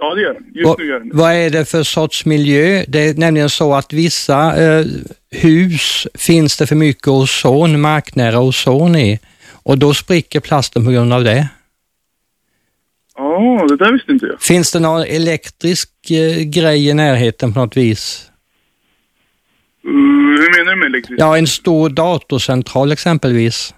Ja, det gör den. Just Vad- nu gör den det. Vad är det för sorts miljö? Det är nämligen så att vissa eh, hus finns det för mycket ozon, marknära ozon i och då spricker plasten på grund av det. Ja, det där visste inte jag. Finns det någon elektrisk eh, grej i närheten på något vis? Mm, hur menar du med elektriskt? Ja, en stor datorcentral exempelvis.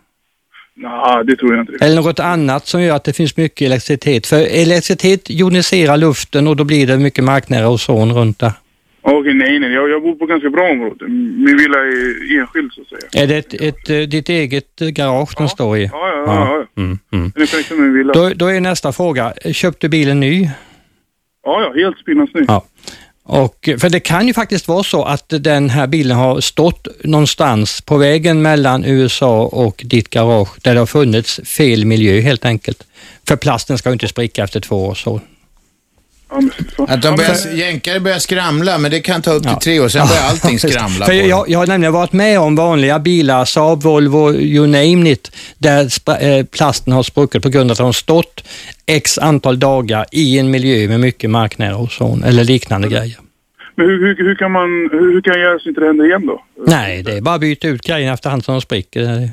Nja, det tror jag inte. Eller något annat som gör att det finns mycket elektricitet. För elektricitet joniserar luften och då blir det mycket marknära ozon runt där. Okej, nej, nej. Jag, jag bor på ganska bra område. Min villa är enskild, så att säga. Är det ett, ett, eh, ditt eget eh, garage den står i? Ja, ja, ja. ja. Mm, mm. Den är connectad med min villa. Då, då är nästa fråga, köpte bilen ny? Ja, ja. Helt spinnans ny. Ja. Och, för det kan ju faktiskt vara så att den här bilen har stått någonstans på vägen mellan USA och ditt garage där det har funnits fel miljö helt enkelt. För plasten ska ju inte spricka efter två år. Så. Att de börjar, jänkare börjar skramla, men det kan ta upp till tre år. Sen börjar *laughs* allting skramla. För på dem. jag, jag har nämligen varit med om vanliga bilar, Saab, Volvo, you name it, där spra- eh, plasten har spruckit på grund av att de har stått x antal dagar i en miljö med mycket marknära ozon eller liknande grejer. Men hur, hur, hur kan man... Hur, hur kan jag göra så inte det händer igen då? Nej, det är bara att byta ut grejerna efterhand som de spricker.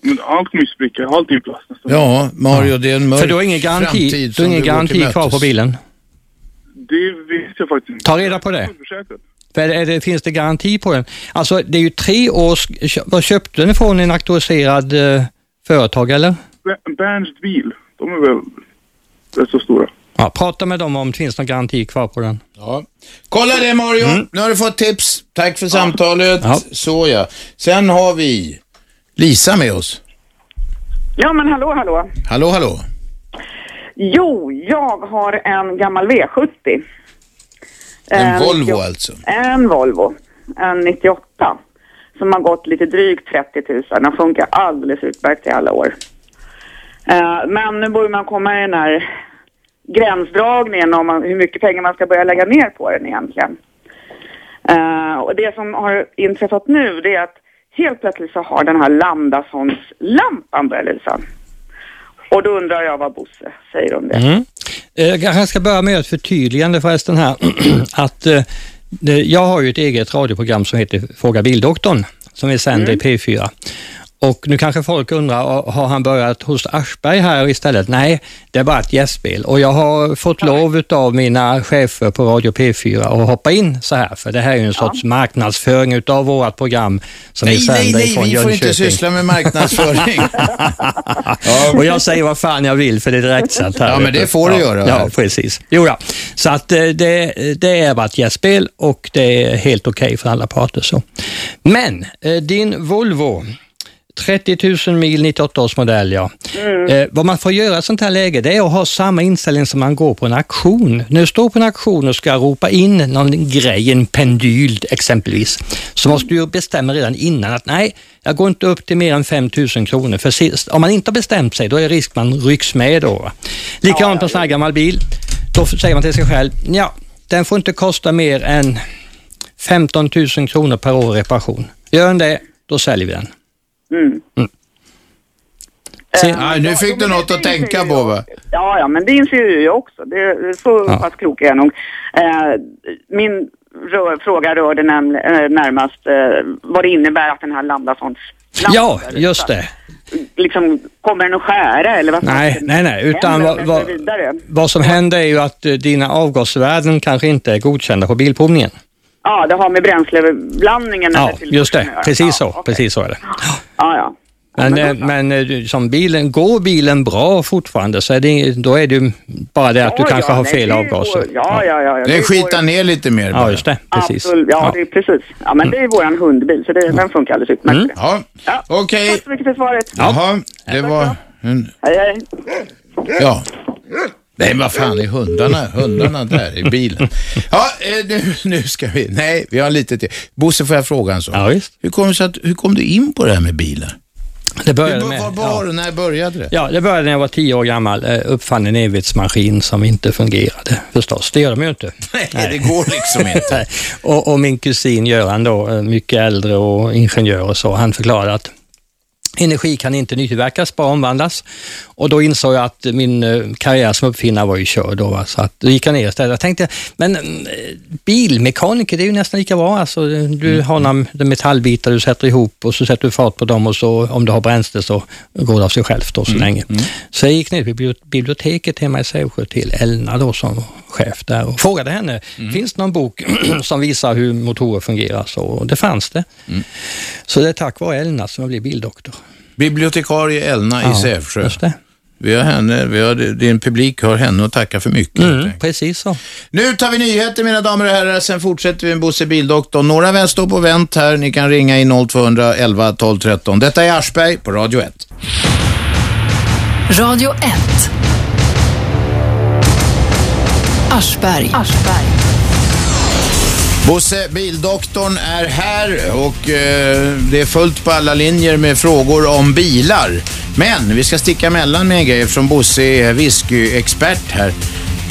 Men allt kommer ju spricka. Allt är ju plast. Ja, Mario, det är en mörk För du har ingen garanti, framtid du som har ingen går till garanti mötes. kvar på bilen. Det visste jag faktiskt inte. Ta reda på det. För är det, finns det garanti på den? Alltså, det är ju tre års... Vad köpte du den från? En auktoriserad eh, företag, eller? Be- Berns bil. De är väl rätt så stora. Ja, prata med dem om det finns någon garanti kvar på den. Ja. Kolla det Mario, Mm. nu har du fått tips. Tack för samtalet. Så ja. Sen har vi Lisa med oss. Ja, men hallå, hallå. Hallå, hallå. Jo, jag har en gammal V70 En Eh, Volvo 90 alltså? En Volvo. En 98. Som har gått lite drygt 30 000. Den funkar alldeles utmärkt i alla år. Eh, men nu borde man komma i den här gränsdragningen om man, hur mycket pengar man ska börja lägga ner på den egentligen. Eh, och det som har inträffat nu det är att helt plötsligt så har den här Lambdasons-lampan börjat lysa. Och då undrar jag vad Bosse säger om det. Mm. Eh, Jag kanske ska börja med ett förtydligande förresten här. *clears throat* att, eh, det- jag har ju ett eget radioprogram som heter Fråga Bildoktorn som vi sänder Mm. i P4. Och nu kanske folk undrar, "Ah, har han börjat hos Aschberg här istället? Nej, det är bara ett gästspel och jag har fått lov av mina chefer på Radio P4 att hoppa in så här, för det här är ju en sorts marknadsföring utav vårt program som vi Nej, sänder nej, nej, ifrån vi får inte Jönköping. syssla *laughs* med *laughs* marknadsföring. Och jag säger vad fan jag vill för det är direktsänt här. Ja, men det får du göra. Ja, precis. Jo, ja. Så att eh, det, det är bara ett gästspel och det är helt okej för alla parter. Så. Men eh, din Volvo, 30 000 mil 98 års modell, ja. Eh, vad man får göra i ett sånt här läge, det är att ha samma inställning som man går på en auktion. När du står på en auktion och ska ropa in någon grej, en pendyl exempelvis, så måste du ju bestämma redan innan att nej, jag går inte upp till mer än 5 000 kronor. För sist, om man inte har bestämt sig, då är risk man rycks med då. va. Likadant på en sån här gammal bil. Då säger man till sig själv, ja, den får inte kosta mer än 15 000 kronor per år i reparation. Gör den det, då säljer vi den. Mm. Nej, nu fick du något att tänka på va? Ja, ja, men det inser ju jag också. Det, så Ja. pass klok är jag nog. Eh, min rör, fråga rörde näm- eh, närmast eh, vad det innebär att den här Lambdasons Ja, just det. liksom kommer den att skära eller vad fan Nej, händer nej, nej. Utan om vad, den vad, kör vidare? vad som händer är ju att eh, dina avgasvärden kanske inte är godkända på bilprovningen. Ja, det har med bränsleblandningen Ja, eller till- just det. Ja, Precis så. Precis så är det. ja, ja. Men, eh, men eh, du- som bilen, går bilen bra fortfarande så är det, då är det ju bara det att du Ja, kanske ja, har nej, fel det avgaser. går- ja, ja, ja, ja. Det går- ner lite mer. Ja, just det. Precis. Absolut, ja, det är precis. Ja, men det är våran hundbil, så det, den funkar alldeles utmärkt. Mm. Ja, okej. Tack så mycket för svaret. Jaha, det var... En... Hej, hej. Ja. Nej, vad fan är hundarna? Hundarna där i bilen. Ja, eh, nu, nu ska vi... Nej, vi har lite till. Bosse, får jag fråga en sak? Ja, visst. Hur kom, det sig att, hur kom du in på det här med bilar? Det började Hur- med... Var var du? När började det? Ja, det började när jag var tio år gammal. Eh, Uppfann en evighetsmaskin som inte fungerade förstås. Det gör de ju inte. *laughs* Nej, det går liksom inte. Nej. *laughs* och, och min kusin Göran då, eh, mycket äldre och ingenjör och så, han förklarade att energi kan inte nytillverkas, bara omvandlas. Och då insåg jag att min eh, karriär som uppfinnare var ju körd då, va? så att då gick jag ner istället. Jag tänkte, men eh, bilmekaniker, det är ju nästan lika bra. Alltså, du har några Mm. metallbitar du sätter ihop och så sätter du fart på dem och så om du har bränsle så går det av sig självt då Mm. så länge. Så jag gick ner till bibli- biblioteket hemma i Sävsjö till Elna då som var chef där och frågade henne, Mm. finns det någon bok *clears throat* som visar hur motorer fungerar? Så och det fanns det. Mm. Så det är tack vare Elna som jag blev bildoktor. Bibliotekarie Elna i Ja, Sävsjö. just det. Vi har henne, vi har, din publik har henne att tacka för mycket. Mm, precis så. Nu tar vi nyheter mina damer och herrar, sen fortsätter vi med Bosse Bildoktor. Några vän står på vänt här, ni kan ringa in 0211 12 13. Detta är Aschberg på Radio 1. Radio 1. Aschberg. Bosse, bildoktorn är här och eh, det är fullt på alla linjer med frågor om bilar. Men vi ska sticka emellan med en grej eftersom Bosse är whiskyexpert här.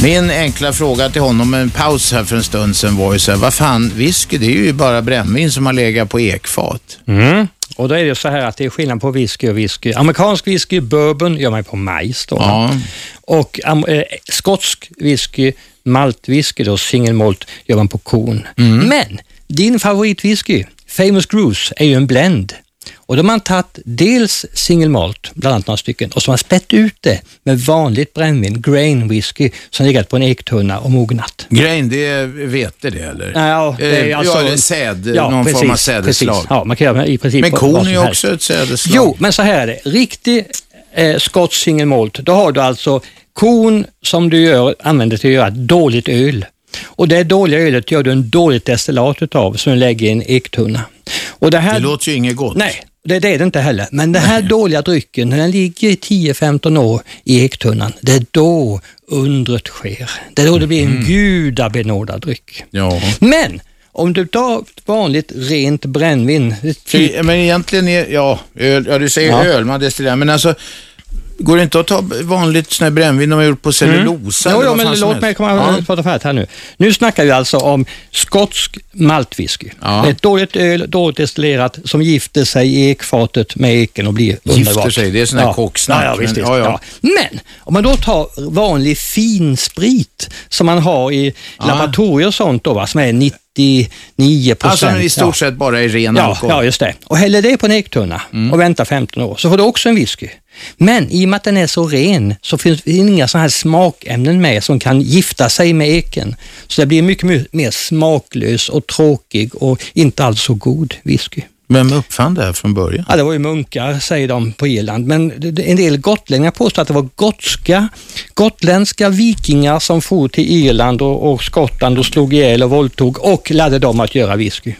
Min enkla fråga till honom med en paus här för en stund sedan var ju så här, vad fan, whisky det är ju bara brännvin som har legat på ekfat. Mm. Och då är det så här att det är skillnad på whisky och whisky. Amerikansk whisky, bourbon, gör man på majs då. Och am- eh, skotsk whisky, maltwhisky då, single malt, gör man på korn. Men din favoritwhisky, Famous Grooves, är ju en blend. Och då har man tagit dels single malt, bland annat några stycken, och så har man spätt ut det med vanligt brännvin, grain whisky, som legat på en ektunna och mognat. Grain, det är vete det eller? Nej, Ja, det är Eh, alltså, ja, det är säd, någon form av sädesslag. Precis. Ja, man kan göra i princip Men vad- kon vad är ju som också ett sädesslag. Jo, men så här är det. Riktig eh, skotsk single malt, då har du alltså kon som du gör, använder till att göra dåligt öl. Och det dåliga ölet gör du en dåligt destillat utav som du lägger i en ektunna. Och det, här, Det låter ju inget gott. Nej, Det, det är det inte heller. Men den här dåliga drycken, när den ligger i 10-15 år i ektunnan, det är då undret sker. Det är då det blir Mm. en gudabenådad dryck. Ja. Men om du tar vanligt rent brännvin, typ- Ty- Men egentligen är, ja, öl, ja du säger Ja. öl, man destillerar, men alltså Går det inte att ta vanligt sån här brännvin de har gjort på cellulosa? Mm. Jo, eller jo, vad fan men som låt helst? mig komma Ja. prata färdigt här nu. Nu snackar vi alltså om skotsk maltwhisky. Det är Ett dåligt öl, dåligt destillerat, som gifter sig i ekfatet med eken och blir Gifter underbart. sig, det är sån här kocksnack, Ja, ja, visst, men- visst, ja, ja, ja. men om man då tar vanlig finsprit som man har i laboratorier och sånt då, va, som är 99 procent. Alltså i stort sett bara är ren ja, alkohol. ja, just det. Och häller det på en ektunna Mm. och väntar 15 år, så får du också en whisky. Men i och med att den är så ren så finns det inga sådana här smakämnen med som kan gifta sig med eken. Så det blir mycket my- mer smaklös och tråkig och inte alls så god whisky. Vem uppfann det här från början? Ja, det var ju munkar, säger de på Irland, men det- det- en del gotlänningar påstår att det var gotska, gotländska vikingar som for till Irland och, och Skottland och slog ihjäl och våldtog och lärde dem att göra whisky.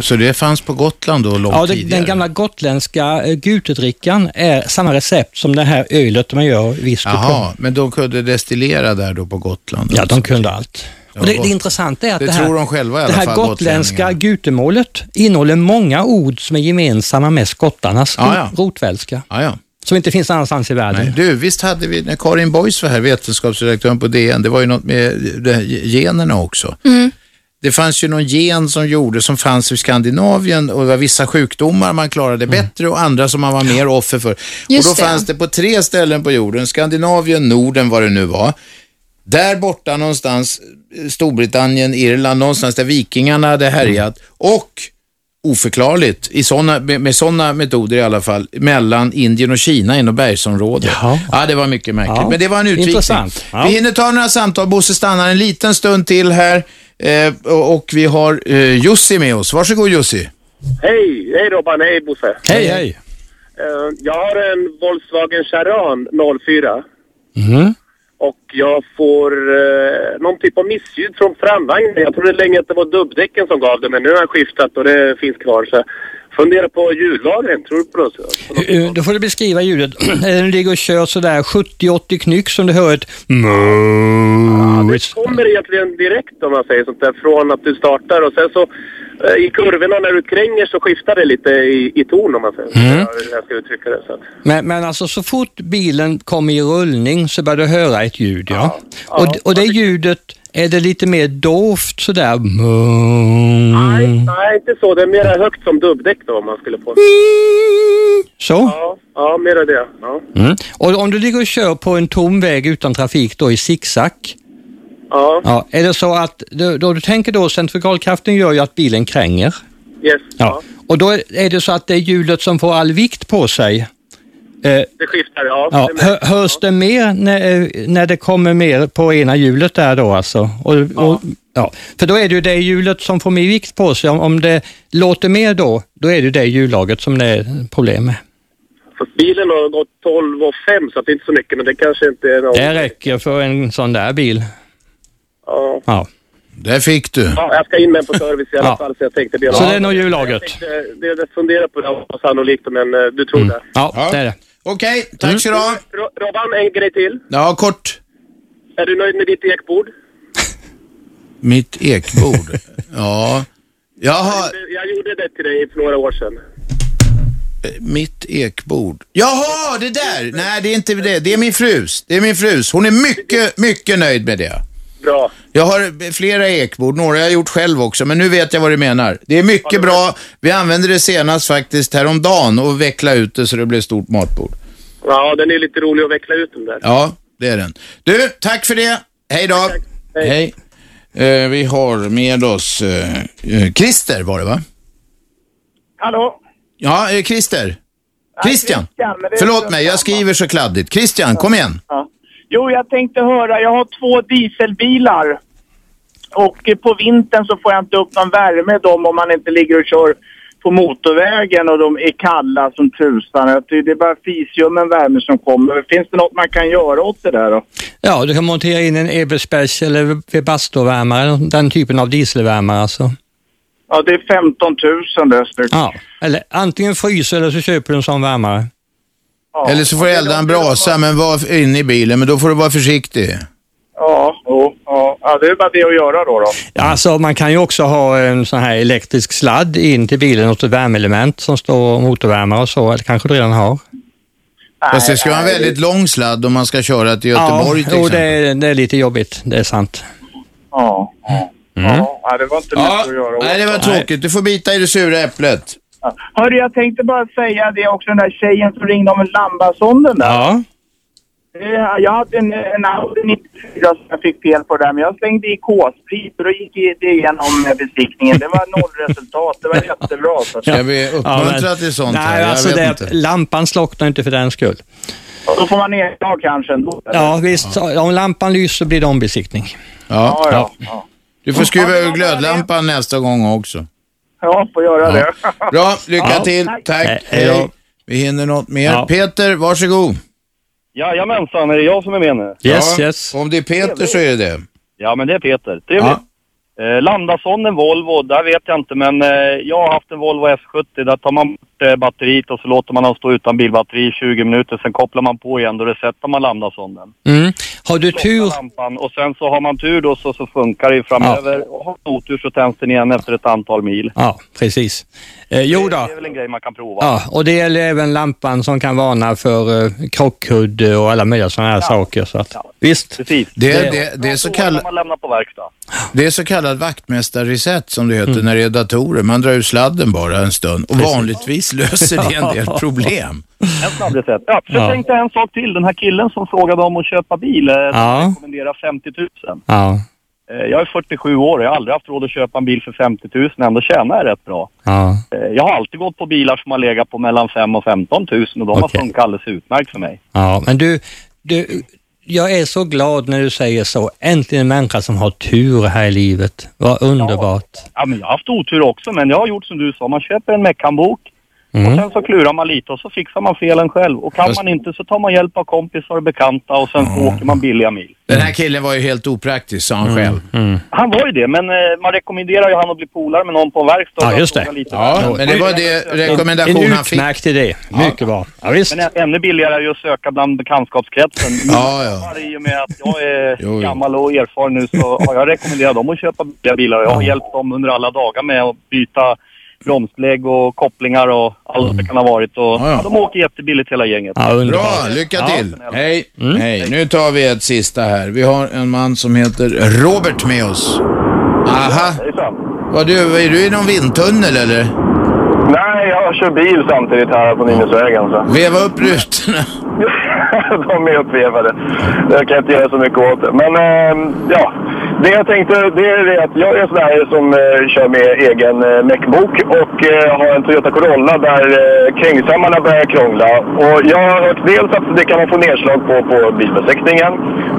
Så det fanns på Gotland då långt Ja, det, tidigare? den gamla gotländska eh, gutedrickan är samma recept som det här ölet man gör whisky Jaha, på. men de kunde destillera där då på Gotland? Ja, de kunde allt. Och det, det intressanta är att Det det, här, tror de själva i alla det här fall, gotländska gutemålet innehåller många ord som är gemensamma med skottarnas Ja, ja. rotvälska. Ja, ja. Som inte finns någon annanstans i världen. Nej, du, visst hade vi, när Karin Boys var här, vetenskapsredaktören på DN, det var ju något med det här generna också. Mm. Det fanns ju någon gen som gjorde som fanns i Skandinavien och det var vissa sjukdomar man klarade bättre och andra som man var mer offer för. Mm. Just och då det. fanns det på tre ställen på jorden, Skandinavien, Norden, vad det nu var. Där borta någonstans, eh, Storbritannien, Irland, någonstans där vikingarna hade härjat Mm. och oförklarligt, i såna, med, med sådana metoder i alla fall, mellan Indien och Kina inom bergsområdet. Ja, det var mycket märkligt. Ja. Men det var en utvikning. Intressant. Ja. Vi hinner ta några samtal. Bosse stannar en liten stund till här eh, och och vi har eh, Jussi med oss. Varsågod Jussi. Hej! Hej Robban, hej Bosse. Hej, hej. Eh, Jag har en Volkswagen Charan 04 Mhm, Mm. och jag får eh, någon typ av missljud från framvagnen. Jag trodde länge att det var dubbdäcken som gav det men nu har jag skiftat och det finns kvar. Så jag funderar på hjullagren, tror du på det? Eh, Då får du beskriva ljudet. *clears throat* Eh, Den ligger och kör sådär 70-80 knyck som du hör ett Det kommer egentligen direkt om man säger sånt där från att du startar och sen så eh, i kurvorna när du kränger så skiftar det lite i, i ton om man säger. Mm. Ja, hur jag ska uttrycka det. Så att. Men, men alltså så fort bilen kommer i rullning så börjar du höra ett ljud, ja. Och, och det ljudet, är det lite mer dovt sådär? Mm. Nej, nej, inte så. Det är mer högt som dubbdäck då om man skulle på. Så? Ja, ja mera det. Ja. Mm. Och om du ligger och kör på en tom väg utan trafik då i zigzag, Ja. ja, är det så att, då, då du tänker då centrifugalkraften gör ju att bilen kränger. Yes. Ja. Och då är- är det så att det är hjulet som får all vikt på sig. Eh, Det skiftar, ja. Ja, Det är hö- hörs det mer när, eh, när det kommer mer på ena hjulet där då alltså? Och, och, ja. För då är det ju det hjulet som får mer vikt på sig. Om, om det låter mer då, då är det ju det hjullaget som det är problem med. För bilen har gått 12 och 5 så att det är inte så mycket, men det kanske inte är någon... Det räcker för en sån där bil. Ja. Ja. Där fick du. ja, jag ska in med på service i alla Ja. fall så jag tänkte be om- Så det är nog hjullaget? Jag tänkte- Det jag funderar på det var sannolikt, men eh, du tror det. Ja, det är det. Mm. Okej, tack så du ha. Ro- Robban, en grej till. Ja, kort. Är du nöjd med ditt ekbord? Mitt ekbord. *laughs* ja. Jaha, Jag gjorde- Jag gjorde det till dig för några år sedan. eh, mitt ekbord. Jaha, det där! Nej, det är inte det. Det är min frus. Det är min frus. Hon är mycket, mycket nöjd med det. Bra. Jag har flera ekbord, några jag har gjort själv också, men nu vet jag vad du menar. Det är mycket bra. Vi använde det senast faktiskt häromdagen och veckla ut det så det blev stort matbord. Ja, den är lite rolig att veckla ut den där. Ja, det är den. Du, tack för det. Hej då. Hej. Eh, vi har med oss eh, eh, Christer var det va? Hallå? Ja, eh, Christer. Christian, Christian. men det är Förlåt så mig, jag skriver så kladdigt. Christian, kom igen. Ja. Jo, jag tänkte höra. Jag har två dieselbilar. Och eh, på vintern så får jag inte upp någon värme i dem om man inte ligger och kör på motorvägen och de är kalla som tusan. Jag tycker Det är bara fisljummen värme som kommer. Finns det något man kan göra åt det där då? Ja, du kan montera in en Eberspech eller Webasto-värmare, den typen av dieselvärmare alltså. Ja, det är 15 000 det stycket. Ja, eller antingen fryser eller så köper du en sån värmare. Eller så får du elda en brasa, men var inne i bilen. Men då får du vara försiktig. Ja, jo, ja. ja, det är bara det att göra då. då. Ja, Mm. Alltså, man kan ju också ha en sån här elektrisk sladd in till bilen, något värmeelement som står motorvärmare och så, eller kanske du redan har. Fast det ska vara en nej. väldigt lång sladd om man ska köra till Göteborg ja, till jo, exempel. det, är, det är lite jobbigt, det är sant. Ja. Mm. Ja, det var inte lätt att göra. Nej, det var tråkigt. Du får bita i det sura äpplet. Hörru, jag tänkte bara säga det också, den där tjejen som ringde om lambasonde. Ja. Eh, Jag hade en, en Audi 94 som jag fick fel på där, men jag slängde i K-sprit och då gick i- det igenom eh, besiktningen. Det var nollresultat. Det var jättebra. Så. Ska vi uppmuntra men- till sånt Nej, här? Jag alltså vet det, inte. lampan slocknar inte för den skull. Då får man erta kanske ändå. Ja, visst. Om lampan lyser blir det ombesiktning. Ja. Ja, Du får skruva ur glödlampan nästa gång också. Ja, får göra det. Bra, lycka Ja. till. Tack. Hej, Eh, Hej. hej då. Vi hinner något mer. Ja. Peter, varsågod. Jajamensan, är det jag som är med nu? Yes, Ja, yes. Om det är Peter så är det det. Ja, men det är Peter. Trevligt. Eh, Landasonden Volvo, där vet jag inte, men eh, jag har haft en Volvo S70. Där tar man bort eh, batteriet och så låter man den stå utan bilbatteri i 20 minuter. Sen kopplar man på igen, då resetar man Landasonden. Mm. Har du tur? Lampan, och sen så har man tur då så, så funkar det ju framöver. Och har man otur så tänds den igen efter ett antal mil. Ja, precis. Eh, jo Det då. är väl en grej man kan prova. Ja, och det gäller även lampan som kan varna för eh, krockkudde och alla möjliga sådana här saker. Så att, Visst. Precis. Det är, det, det, är så kallad, Man lämnar på verkstad. det är så kallad vaktmästarreset som det heter när det är datorer. Man drar ur sladden bara en stund och vanligtvis löser det en *laughs* del problem. En snabbreset. Ja, så Ja. jag tänkte en sak till. Den här killen som frågade om att köpa bil eh, Ja. rekommenderar 50 000. Ja. Eh, Jag är 47 år och jag har aldrig haft råd att köpa en bil för 50 000. Ändå tjänar jag rätt bra. Ja. Eh, Jag har alltid gått på bilar som har legat på mellan 5 000 och 15 000 och de har funkat alldeles utmärkt för mig. Ja, men du, du, jag är så glad när du säger så. Äntligen en människa som har tur här i livet. Vad underbart. Ja, men jag har haft otur också, men jag har gjort som du sa. Man köper en meckanbok och Mm. sen så klurar man lite och så fixar man felen själv. Och kan man inte så tar man hjälp av kompisar och bekanta och sen Mm. så åker man billiga mil. Den här killen var ju helt opraktisk, sa han själv. Han var ju det, men eh, man rekommenderar ju han att bli polare med någon på en verkstad. Ja, just det. Fråga Lite Ja, men det var det rekommendation en han fick. utmärkt idé. Mycket bra. Ja, visst. Men ä- ännu billigare är ju att söka bland bekantskapskretsen. *laughs* Ja, ja. Men I och med att jag *laughs* är gammal och erfaren nu så har jag rekommenderat dem att köpa billiga bilar. Jag har hjälpt dem under alla dagar med att byta bromslägg och kopplingar och allt det kan ha varit. Och, Mm. ja. ja, De åker jättebilligt hela gänget. Bra, lycka till. Hej. Hej. Nu tar vi ett sista här. Vi har en man som heter Robert med oss. Aha. Vad du, är du i någon vindtunnel eller? Nej, jag kör bil samtidigt här på Nynäsvägen. Så. Veva upp rutorna. *laughs* De är uppvevade. Jag kan inte göra så mycket åt det. Men ehm, ja, det jag tänkte det är det att jag är en sån här som eh, kör med egen eh, Mecbok och eh, har en Toyota Corolla där eh, kringsammarna börjar krångla. Och jag har hört dels att det kan man få nedslag på på bilbesiktningen.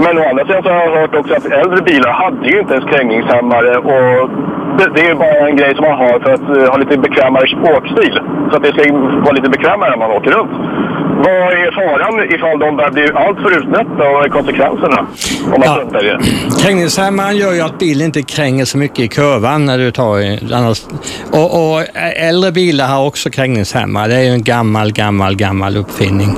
Men å andra sidan så har jag hört också att äldre bilar hade ju inte ens krängningshammare och det, det är ju bara en grej som man har för att eh, ha lite bekvämare sportstil. Så att det ska vara lite bekvämare när man åker runt. Vad är faran ifall de börjar bli alltför utnötta och vad är konsekvenserna? Om man struntar i det? *clears throat* Krängningshämmaren gör ju att bilen inte kränger så mycket i kurvan när du tar i, annars, och, och äldre bilar har också krängningshämmare. Det är ju en gammal, gammal, gammal uppfinning.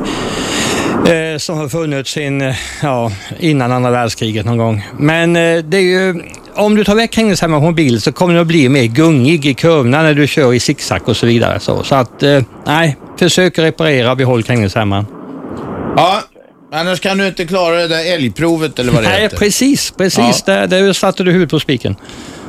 Eh, som har funnits sin, eh, ja, innan andra världskriget någon gång. Men eh, det är ju, om du tar väck krängningshämmaren från bilen så kommer den att bli mer gungig i kurvorna när du kör i zigzag och så vidare. Så, så att, eh, nej, försök att reparera och behåll krängningshämmaren. Ja, annars kan du inte klara det där älgprovet eller vad det Nej, heter. precis, precis. Där, där satte du huvudet på spiken.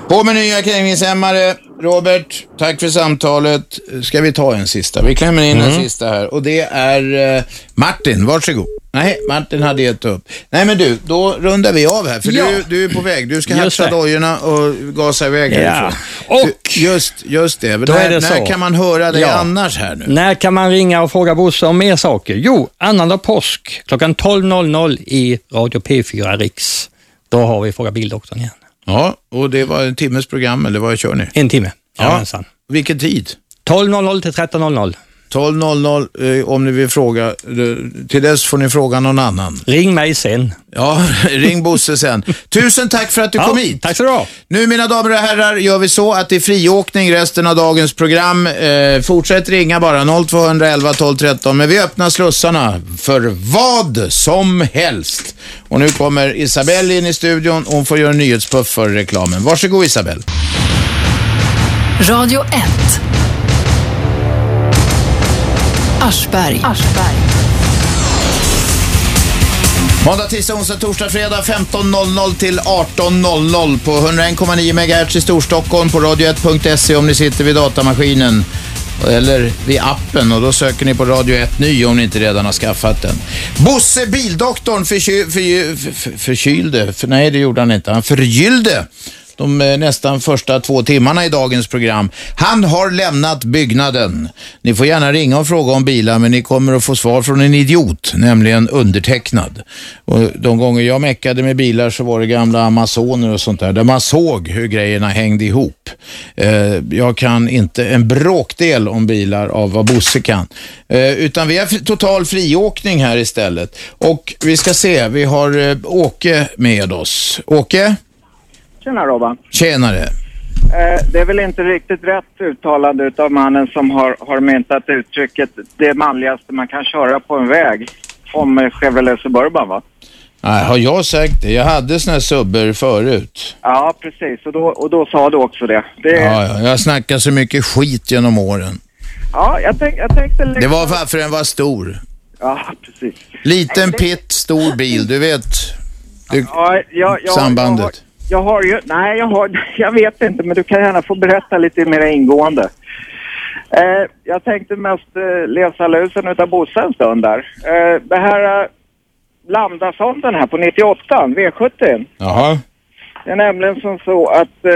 På med nya krängningshämmare. Robert, tack för samtalet. Ska vi ta en sista? Vi klämmer in en Mm. sista här och det är eh, Martin, varsågod. Nej, Martin hade gett upp. Nej men du, då rundar vi av här för Ja. du, *laughs* du är på väg. Du ska Just hatcha det. dojorna och gasa iväg Ja. härifrån. Du, just, just det. Då när, är det så. när kan man höra dig Ja. annars här nu? När kan man ringa och fråga Bosse om mer saker? Jo, annandag påsk klockan 12.00 i Radio P4 Riks. Då har vi Fråga Bildoktorn igen. Ja, och det var en timmes program eller vad kör ni? En timme. Ja. Vilken tid? 12.00 till 13.00. 12.00 eh, om ni vill fråga. Eh, Till dess får ni fråga någon annan. Ring mig sen. Ja, *laughs* ring Bosse sen. Tusen tack för att du Ja, kom hit. Tack så du ha. Nu mina damer och herrar gör vi så att det är friåkning resten av dagens program. Eh, fortsätt ringa bara 0211 12 13 men vi öppnar slussarna för vad som helst. Och nu kommer Isabelle in i studion och hon får göra en nyhetspuff för reklamen. Varsågod Isabelle. Radio 1. Aschberg. Måndag, tisdag, onsdag, torsdag, fredag 15.00 till 18.00 på 101,9 MHz i Storstockholm på radio1.se om ni sitter vid datamaskinen eller vid appen och då söker ni på Radio 1 Ny om ni inte redan har skaffat den. Bosse Bildoktorn förky, förgy, för, för, förkylde, för, nej det gjorde han inte, han förgyllde de eh, nästan första två timmarna i dagens program. Han har lämnat byggnaden. Ni får gärna ringa och fråga om bilar, men ni kommer att få svar från en idiot, nämligen undertecknad. Och de gånger jag meckade med bilar så var det gamla Amazoner och sånt där, där man såg hur grejerna hängde ihop. Eh, Jag kan inte en bråkdel om bilar av vad Bosse kan. Eh, Utan vi har fri- total friåkning här istället. Och vi ska se, vi har eh, Åke med oss. Åke? Tjena Robban. Tjenare. Eh, det är väl inte riktigt rätt uttalande utav mannen som har, har myntat uttrycket det manligaste man kan köra på en väg. Om eh, Chevrolet Suburban va? Nej, har jag sagt det? Jag hade såna här subber förut. Ja precis och då, och då sa du också det. det Ja, ja, jag snackar så mycket skit genom åren. ja jag, tänk, jag tänkte... liksom- Det var varför den var stor. Ja precis. Liten pitt, stor bil, du vet. Du, Ja, jag, jag, sambandet. Jag har ju, nej jag har, *laughs* jag vet inte men du kan gärna få berätta lite mer ingående. Eh, jag tänkte mest eh, läsa lusen utav Bosse en stund där. Eh, det här eh, Lambdasonden här på 98 V70. Jaha. Det är nämligen som så att eh,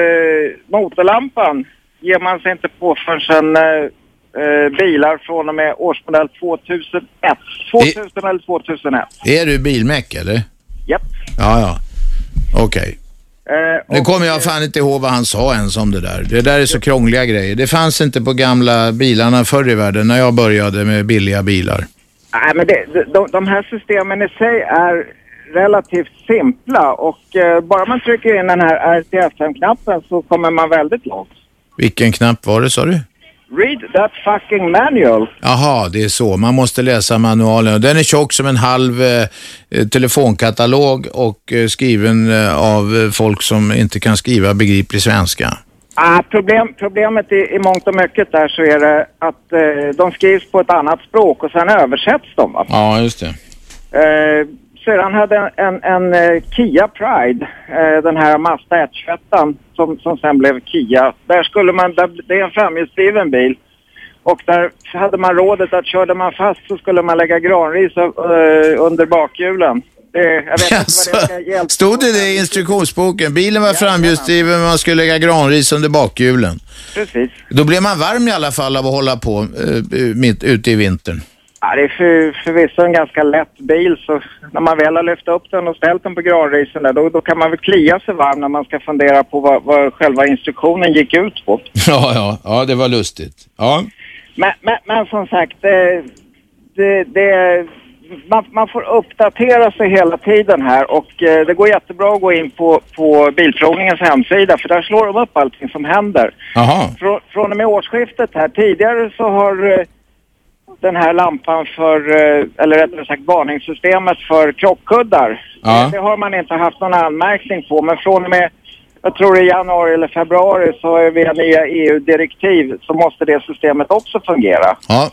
motorlampan ger man sig inte på förrän eh, eh, bilar från och med årsmodell 2001. 2000 eller 2001. Är du bilmäck eller? Japp. Ja, ja. Okej. Eh, Nu kommer jag fan inte ihåg vad han sa ens om det där. Det där är så krångliga grejer. Det fanns inte på gamla bilarna förr i världen när jag började med billiga bilar. Nej, men det, de- de, de här systemen i sig är relativt simpla och eh, bara man trycker in den här RTFM-knappen så kommer man väldigt långt. Vilken knapp var det sa du? Read that fucking manual. Jaha, det är så. Man måste läsa manualen. Och Den är tjock som en halv eh, eh, telefonkatalog och eh, skriven eh, av eh, folk som inte kan skriva begriplig svenska. Ah, problem, problemet i, i mångt och mycket där så är det att eh, de skrivs på ett annat språk och sen översätts de. Va? Ja, just det. Eh, syrran hade en, en, en eh, Kia Pride, eh, den här Mazda 121 som, som sen blev Kia. Där skulle man, där, det är en framhjulsdriven bil. Och där hade man rådet att körde man fast så skulle man lägga granris eh, under bakhjulen. Det, jag vet inte vad det ska hjälpa. Alltså, Stod det det i instruktionsboken? Bilen var framhjulsdriven, man skulle lägga granris under bakhjulen. Precis. Då blev man varm i alla fall av att hålla på eh, mitt, ute i vintern. Ja, det är för, förvisso en ganska lätt bil så när man väl har lyft upp den och ställt den på granrisen där då, då kan man väl klia sig varm när man ska fundera på vad, vad själva instruktionen gick ut på. Ja, ja, ja, det var lustigt. Ja. Men, men, men som sagt, eh, det, det, man, man får uppdatera sig hela tiden här och eh, det går jättebra att gå in på, på Bilprovningens hemsida för där slår de upp allting som händer. Jaha. Frå, från och med årsskiftet här, tidigare så har eh, den här lampan för, eh, eller rättare sagt varningssystemet för krockkuddar, Ja. det, det har man inte haft någon anmärkning på men från och med jag tror det är januari eller februari så är vi nya EU-direktiv så måste det systemet också fungera. Ja.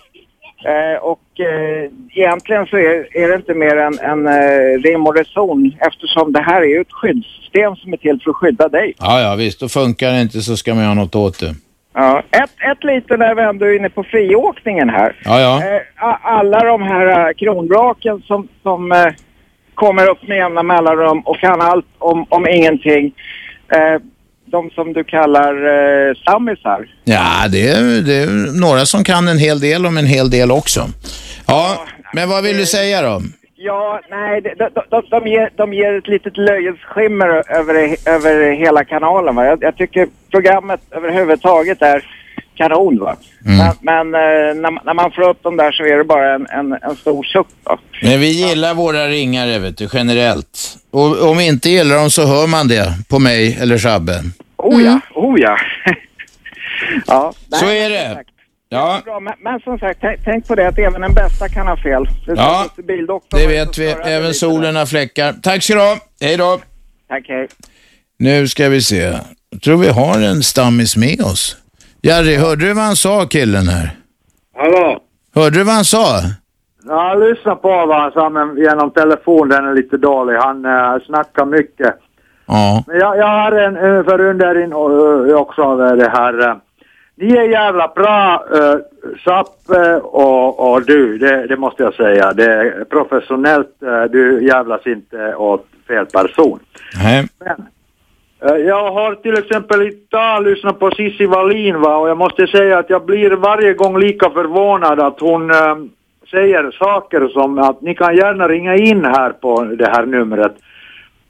Eh, och eh, egentligen så är, är det inte mer än, än eh, rim och reson eftersom det här är ju ett skyddssystem som är till för att skydda dig. Ja, ja, visst. Då funkar det inte så ska man göra något åt det. Ja. Ett, ett litet när vi ändå är inne på friåkningen här. Ja, ja. Eh, a- alla de här eh, kronvraken som, som eh, kommer upp med jämna mellanrum och kan allt om, om ingenting. Eh, de som du kallar eh, stammisar. Ja, det är, det är några som kan en hel del om en hel del också. Ja, men vad vill du säga då? Ja, nej, de, de, de, de, ger, de ger ett litet löjets skimmer över, över hela kanalen. Va? Jag, jag tycker programmet överhuvudtaget är kanon. Va? Mm. Men, men eh, när, när man får upp dem där så är det bara en, en, en stor suck. Va? Men vi gillar våra ringare, vet du, generellt. Och om vi inte gillar dem så hör man det på mig eller Shabbe. Oh Mm. ja, oh ja. *laughs* ja Så är det. Ja, Bra, men, men som sagt, tänk, tänk på det att även den bästa kan ha fel. Det Ja. står till bildoktorn. det vet vi. Även solen har fläckar. Tack ska du ha. Hej då. Tack, hej. Nu ska vi se. Jag tror vi har en stammis med oss. Jerry, hörde du vad han sa, killen här? Hallå? Hörde du vad han sa? Jag lyssnade på vad han sa men genom telefon, den är lite dålig. Han äh, snackar mycket. Ja. Men jag, jag har en eh, förundring eh, också över det här. eh. Ni är jävla bra, äh, Sappe och, och du, det, det måste jag säga. Det är professionellt, eh, du jävlas inte åt fel person. Nej. Eh, Jag har till exempel i dag lyssnat på Cissi Wallin va? och jag måste säga att jag blir varje gång lika förvånad att hon eh, säger saker som att ni kan gärna ringa in här på det här numret.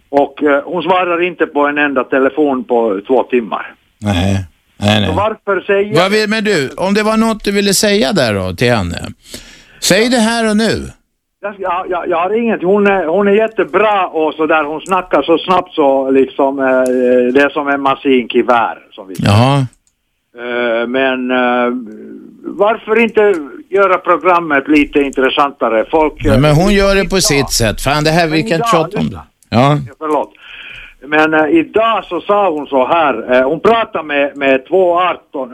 Och eh, hon svarar inte på en enda telefon på två timmar. Nej. Nej, Så nej. varför säger... Vad vill, men du, om det var något du ville säga där då till henne. Säg det här och nu. Jag, jag- jag, jag har inget, hon är, hon är jättebra och så där hon snackar så snabbt så liksom eh, det är som en maskingevär som vi Jaha. Eh, men eh, varför inte göra programmet lite intressantare? Folk... Nej, men hon gör det på sitt sätt. Fan, det här, vi kan inte tjata om det. Ja. Ja, Förlåt. Men eh, idag så sa hon så här, eh, hon pratade med, med två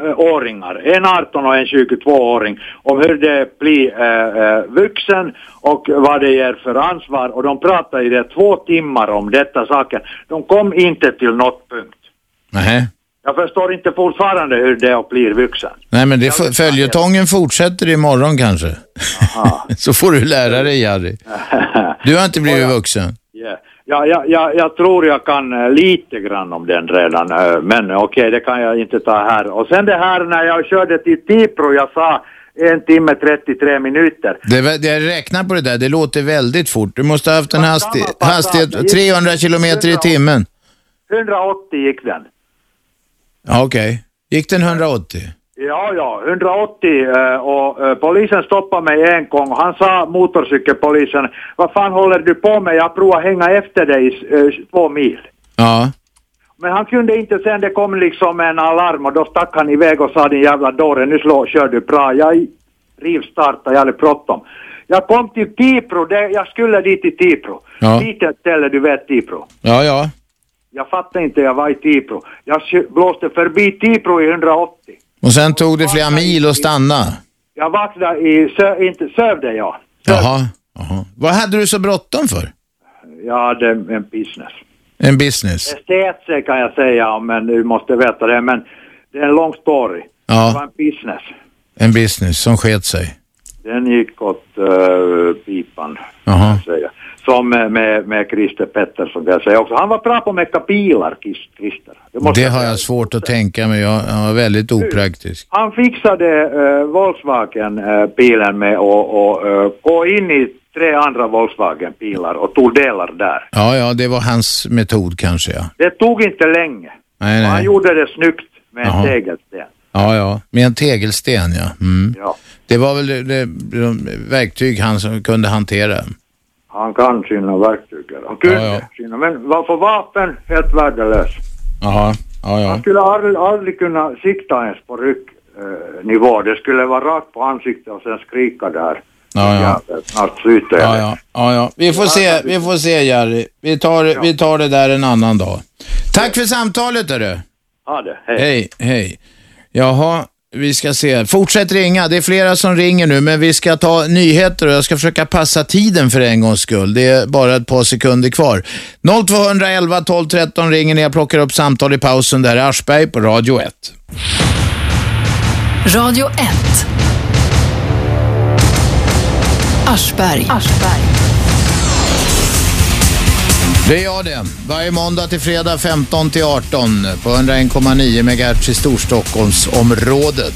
18-åringar, en 18 och en 22-åring, om hur det blir eh, eh, vuxen och vad det ger för ansvar och de pratade i det två timmar om detta saker. De kom inte till något punkt. Nej. Jag förstår inte fortfarande hur det är att bli vuxen. Nej, men det, f- följetongen fortsätter imorgon kanske. *laughs* Så får du lära dig, *laughs* Jerry. Du har inte blivit vuxen. Yeah. Ja, ja, ja, jag tror jag kan eh, lite grann om den redan, eh, men okej, det kan jag inte ta här. Och sen det här när jag körde till Tibro, jag sa en timme 33 minuter. Det, var- jag räknar på det där, det låter väldigt fort. Du måste ha haft en hasti hastighet 300 kilometer i timmen. 180 gick den. Ja, okej. Gick den 180? Ja, ja, 180 eh, och eh, polisen stoppade mig en gång. Han sa, motorcykelpolisen, vad fan håller du på med? Jag provar hänga efter dig eh, två mil. Ja. Men han kunde inte sen, det kom liksom en alarm och då stack han iväg och sa din jävla dåre, nu slår, kör du bra. Jag rivstartade, jag hade bråttom. Jag kom till Tibro, det, jag skulle dit i Tibro. Ja. Litet ställe, du vet Tibro. Ja, ja. Jag fattade inte, jag var i Tibro. Jag kö- blåste förbi Tibro i 180. Och sen tog det flera mil att stanna. Jag vaknade i, sö, inte sövde jag. Jaha. Jaha. Vad hade du så bråttom för? Jag hade en business. En business? Estet kan jag säga, men du måste veta det. Men det är en lång story. Det var Ja, en business. en business som sket sig. Den gick åt eh, pipan. Jaha. säga. Som eh, med, med Christer Pettersson kan jag säga också. Han var bra på att mecka bilar, Chris- Christer. Det har jag svårt att tänka mig. Jag jag är väldigt opraktisk. Han fixade eh, Volkswagen-bilen med att och, eh, gå in i tre andra Volkswagen-bilar och tog delar där. Ja, ja, det var hans metod kanske, ja. Det tog inte länge. Nej, Han nej. gjorde det snyggt med en Jaha. tegelsten. Ja, ja. Med en tegelsten, ja. Mm. Ja. Det var väl det, det, de verktyg han som kunde hantera. Han kan sina verktyg. Han kunde Ja, ja. sina. Men varför vapen? Helt värdelös. Jaha, ja, Han ja. skulle aldrig, aldrig kunna sikta ens på rycknivå. Det skulle vara rakt på ansiktet och sen skrika där. Ja, ja. Snart slutar jag. Ja, ja. Ja, ja. Vi får se, vi får se Jerry. Vi tar, vi tar det där en annan dag. Tack för samtalet hörru. Ha det. Hej. Hej, hej. Jaha, vi ska se. Fortsätt ringa. Det är flera som ringer nu, men vi ska ta nyheter och jag ska försöka passa tiden för en gångs skull. Det är bara ett par sekunder kvar. 0211 12 13 ringer ni. Jag plockar upp samtal i pausen. Där är Aschberg på Radio 1. Radio 1. Aschberg. Det är jag det. Varje måndag till fredag 15 till 18 på 101,9 MHz i Storstockholmsområdet.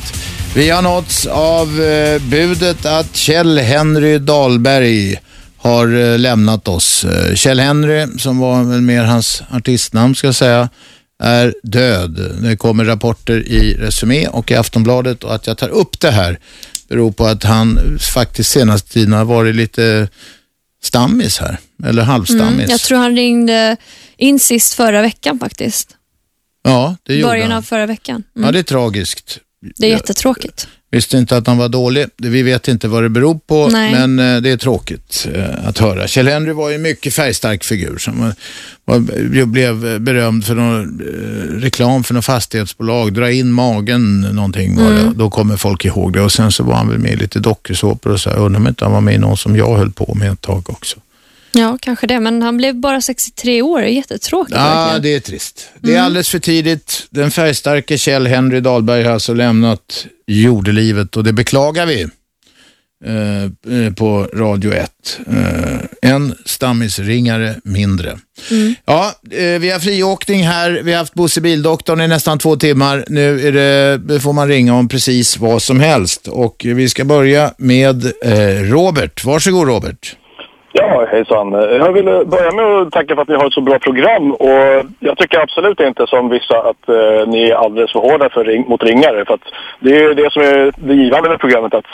Vi har nåtts av eh, budet att Kjell-Henry Dahlberg har eh, lämnat oss. Eh, Kjell-Henry, som var väl mer hans artistnamn ska jag säga, är död. Det kommer rapporter i Resumé och i Aftonbladet och att jag tar upp det här beror på att han faktiskt senaste tiden har varit lite stammis här, eller halvstammis. Mm, jag tror han ringde in sist förra veckan faktiskt. Ja, det gjorde Början han. av förra veckan. Mm. Ja, det är tragiskt. det är jättetråkigt. Visste inte att han var dålig. Vi vet inte vad det beror på, Nej. men eh, det är tråkigt eh, att höra. Kjell Henry var ju en mycket färgstark figur som var, var, blev eh, berömd för någon eh, reklam för något fastighetsbolag. Dra in magen någonting var det. Mm. Då kommer folk ihåg det. Och sen så var han väl med i lite dokusåpor och så. här. Undrar om inte han var med i någon som jag höll på med ett tag också. Ja, kanske det. Men han blev bara 63 år. Det är Mm. jättetråkigt. Ja, det är trist. Det är alldeles för tidigt. Den färgstarke Kjell Henry Dahlberg har alltså lämnat jordelivet och det beklagar vi eh, eh, på Radio 1. Eh, en stammisringare mindre. Mm. Ja, eh, vi har friåkning här. Vi har haft Bosse Bildoktorn i nästan två timmar. Nu är det, får man ringa om precis vad som helst. Och vi ska börja med eh, Robert. Varsågod Robert. Ja, hejsan. Jag vill börja med att tacka för att ni har ett så bra program. Och jag tycker absolut inte som vissa att eh, ni är alldeles för hårda för ring- mot ringare. För att det är ju det som är det givande med programmet, att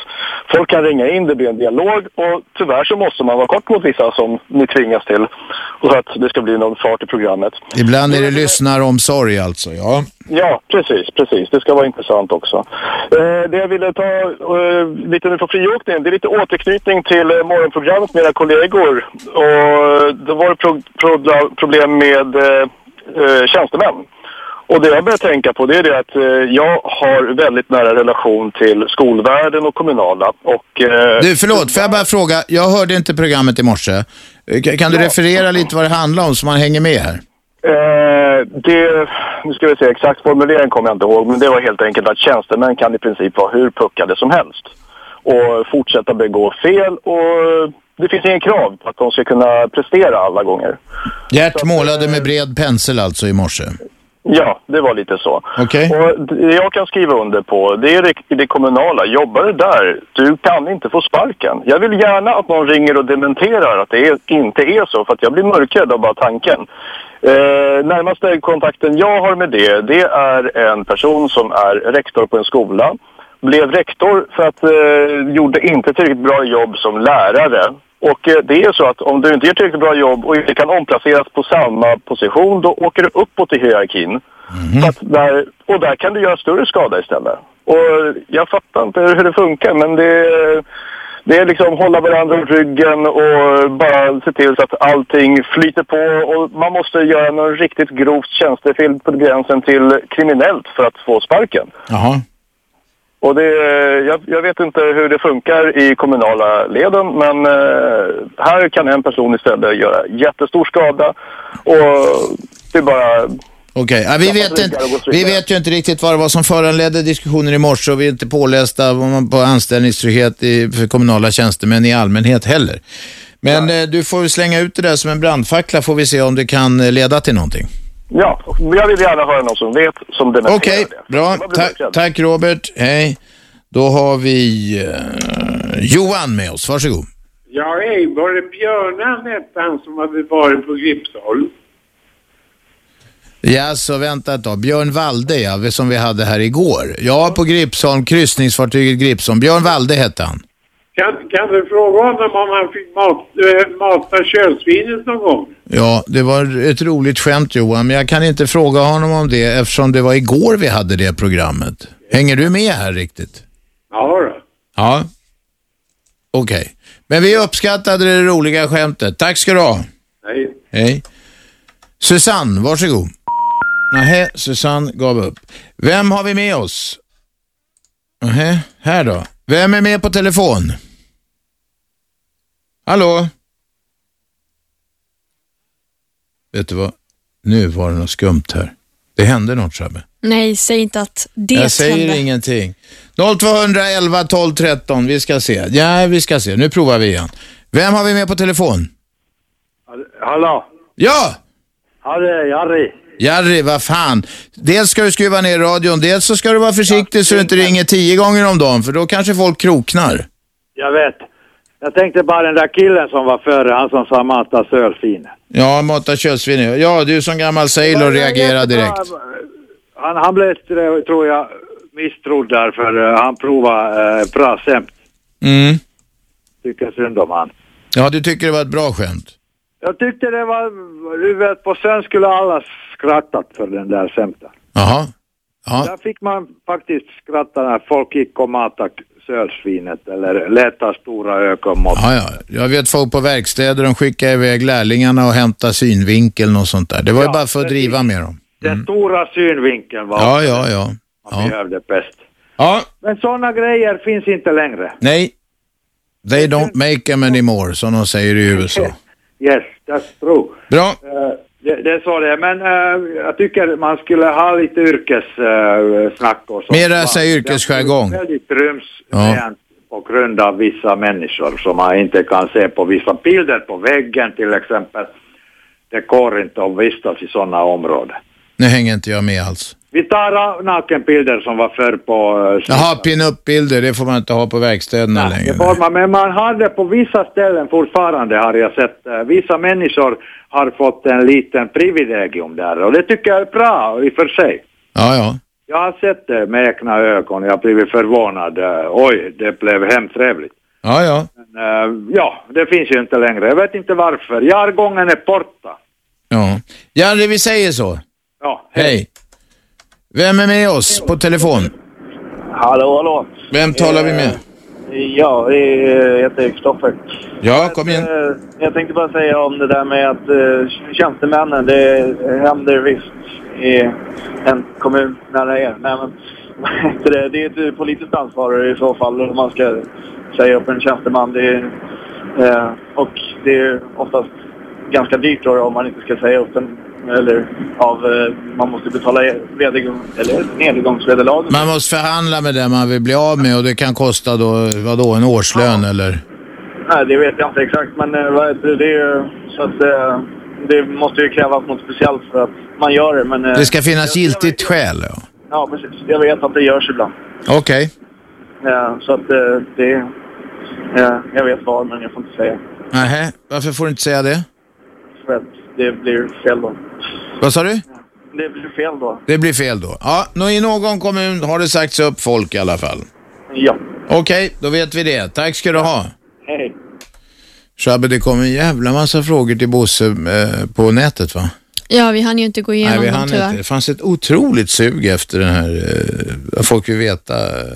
folk kan ringa in, det blir en dialog och tyvärr så måste man vara kort mot vissa som ni tvingas till. Och så att det ska bli någon fart i programmet. Ibland är det lyssnaromsorg alltså, ja. Ja, precis, precis. Det ska vara intressant också. Eh, det jag ville ta eh, lite nu på friåkningen, det är lite återknytning till eh, morgonprogrammet med era kollegor. Och eh, det var det pro- pro- problem med eh, eh, tjänstemän. Och det jag börjar tänka på det är det att eh, jag har väldigt nära relation till skolvärlden och kommunala. Och, eh, Du, förlåt, får jag bara fråga? Jag hörde inte programmet i morse. Eh, Kan, kan du referera lite vad det handlar om så man hänger med här? Eh, det, nu ska vi se, exakt formulering kommer jag inte ihåg, men det var helt enkelt att tjänstemän kan i princip vara hur puckade som helst och fortsätta begå fel och det finns ingen krav på att de ska kunna prestera alla gånger. Gert målade med bred pensel alltså i morse. Ja, det var lite så. Okej. Och det jag kan skriva under på, det är det, det kommunala. Jobbar du där, du kan inte få sparken. Jag vill gärna att någon ringer och dementerar att det är, inte är så, för att jag blir mörkrädd av bara tanken. Eh, närmaste kontakten jag har med det, det är en person som är rektor på en skola. Blev rektor för att eh, gjorde inte tillräckligt bra jobb som lärare. Och eh, det är så att om du inte gör tillräckligt bra jobb och inte kan omplaceras på samma position, då åker du uppåt i hierarkin. mhm. Så att där, och där kan du göra större skada istället. Och jag fattar inte hur det funkar, men det, det är liksom hålla varandra om ryggen och bara se till så att allting flyter på. Och man måste göra någon riktigt grovt tjänstefel på gränsen till kriminellt för att få sparken. Jaha. Och det, jag, jag vet inte hur det funkar i kommunala leden, men eh, här kan en person istället göra jättestor skada. Och det är bara... Okej, ja, vi, vet inte, vi vet ju inte riktigt vad det var som föranledde diskussionen i morse och vi är inte pålästa på anställningstrygghet i, för kommunala tjänstemän i allmänhet heller. Men eh, du får slänga ut det där som en brandfackla får vi se om det kan eh, leda till någonting. Ja, men jag vill gärna höra någon som vet, som dementerar Okej, det. bra. Jag blir Ta mörkrädd. tack Robert. Hej. Då har vi eh, Johan med oss. Varsågod. Ja, hej. Var det Björnan hette han som hade varit på Gripsholm? Ja, så vänta ett tag. Björn Walde, ja, som vi hade här igår. Ja, på Gripsholm, kryssningsfartyget Gripsholm. Björn Walde hette han. Kan, kan du fråga honom om han fick mat, äh, mata kölsvinet någon gång? Ja, det var ett roligt skämt Johan, men jag kan inte fråga honom om det eftersom det var igår vi hade det programmet. Hänger du med här riktigt? Ja, då. Ja. Okej. Men vi uppskattade det roliga skämtet. Tack ska du ha. Nej. Hej. Susanne, varsågod. Nähä, Susanne gav upp. Vem har vi med oss? Nähä, här då. Vem är med på telefon? Hallå? Vet du vad? Nu var det något skumt här. Det hände något, Shabbe. Nej, säg inte att det Jag säger hände. ingenting. 0211 12 13. Vi ska se. Ja, vi ska se. Nu provar vi igen. Vem har vi med på telefon? Hallå? Ja! Harry, Harry. Jerry, vad fan. Dels ska du skruva ner radion, dels så ska du vara försiktig så du inte ringer tio gånger om dagen, för då kanske folk kroknar. Jag vet. Jag tänkte bara den där killen som var före, han som sa Matas ölfin. Ja, mata köldsvin. Ja, du som gammal sailor reagerar direkt. Han, han blev, eh, tror jag, misstrodd där för eh, han provade eh, bra skämt. Mm. Tycker synd om han. Ja, du tycker det var ett bra skämt? Jag tyckte det var, du vet, på sen skulle alla skrattat för den där skämten. Jaha. Ja. Där fick man faktiskt skratta när folk gick och matade sölsvinet eller letade stora ögonmått. Ja, ja. Jag vet folk på verkstäder, de skickar iväg lärlingarna och hämtar synvinkeln och sånt där. Det var ju Ja, bara för att precis. driva med dem. Den stora synvinkeln var Mm. Ja, ja, ja. man behövde bäst. Ja. Men sådana grejer finns inte längre. Nej. They don't make them anymore, som de säger i USA. Yes, that's true. Bra. Eh, det, det är så det är. Men eh, jag tycker man skulle ha lite yrkessnack och sånt. Mera va? så här yrkesjargong. Det är väldigt ryms Ja. på grund av vissa människor som man inte kan se på vissa bilder på väggen till exempel. Det går inte att vistas i sådana områden. Nu hänger inte jag med alls. Vi tar av nakenbilder som var förr på... eh, Jaha, pin-up-bilder, det får man inte ha på verkstäderna längre. Får man- Men man har det på vissa ställen fortfarande har jag sett. Eh, Vissa människor har fått en liten privilegium där och det tycker jag är bra i och för sig. Ja, ja. Jag har sett det med egna ögon, jag har blivit förvånad. Eh, Oj, det blev hemskt trevligt. Ja, ja. Men, eh, ja, det finns ju inte längre. Jag vet inte varför. Jargongen är borta. Ja, Janne, vi säger så. Ja, Hej. Vem är med oss på telefon? Hallå, hallå. Eh, Vem talar vi med? Ja, det är- jag heter Kristoffer. Ja, kom igen. Eh, Jag tänkte bara säga om det där med att eh, tjänstemännen, det händer visst i en kommun nära er. Nej, men, *laughs* vad heter det? det är ett politiskt ansvar i så fall om man ska säga upp en tjänsteman. Det är, eh, och det är oftast ganska dyrt då, om man inte ska säga upp den. Eller av, eh, man måste betala vedergång, eller nedgångsvederlag. Man måste förhandla med den man vill bli av med och det kan kosta då, vadå, en årslön eller? Nej, det vet jag inte exakt, men eh, vad heter det, det är ju så att eh, det måste ju krävas något speciellt för att man gör det. Men eh, Det ska finnas giltigt skäl, ja. ja, precis. Jag vet att det görs ibland. Okej. Eh, så att eh, det, eh, jag vet var, men jag får inte säga. Nähä, varför får du inte säga det? För att det blir fel då. Vad sa du? Det blir fel då. Det blir fel då. Ja, nå- i någon kommun har det sagts upp folk i alla fall. Ja. Okej, då vet vi det. Tack ska du ha. Hej. Shabbe, det kom en jävla massa frågor till Bosse eh, på nätet va? Ja, vi hann ju inte gå igenom Nej, vi dem hann tyvärr. inte. Det fanns ett otroligt sug efter den här, eh, folk vill veta, eh,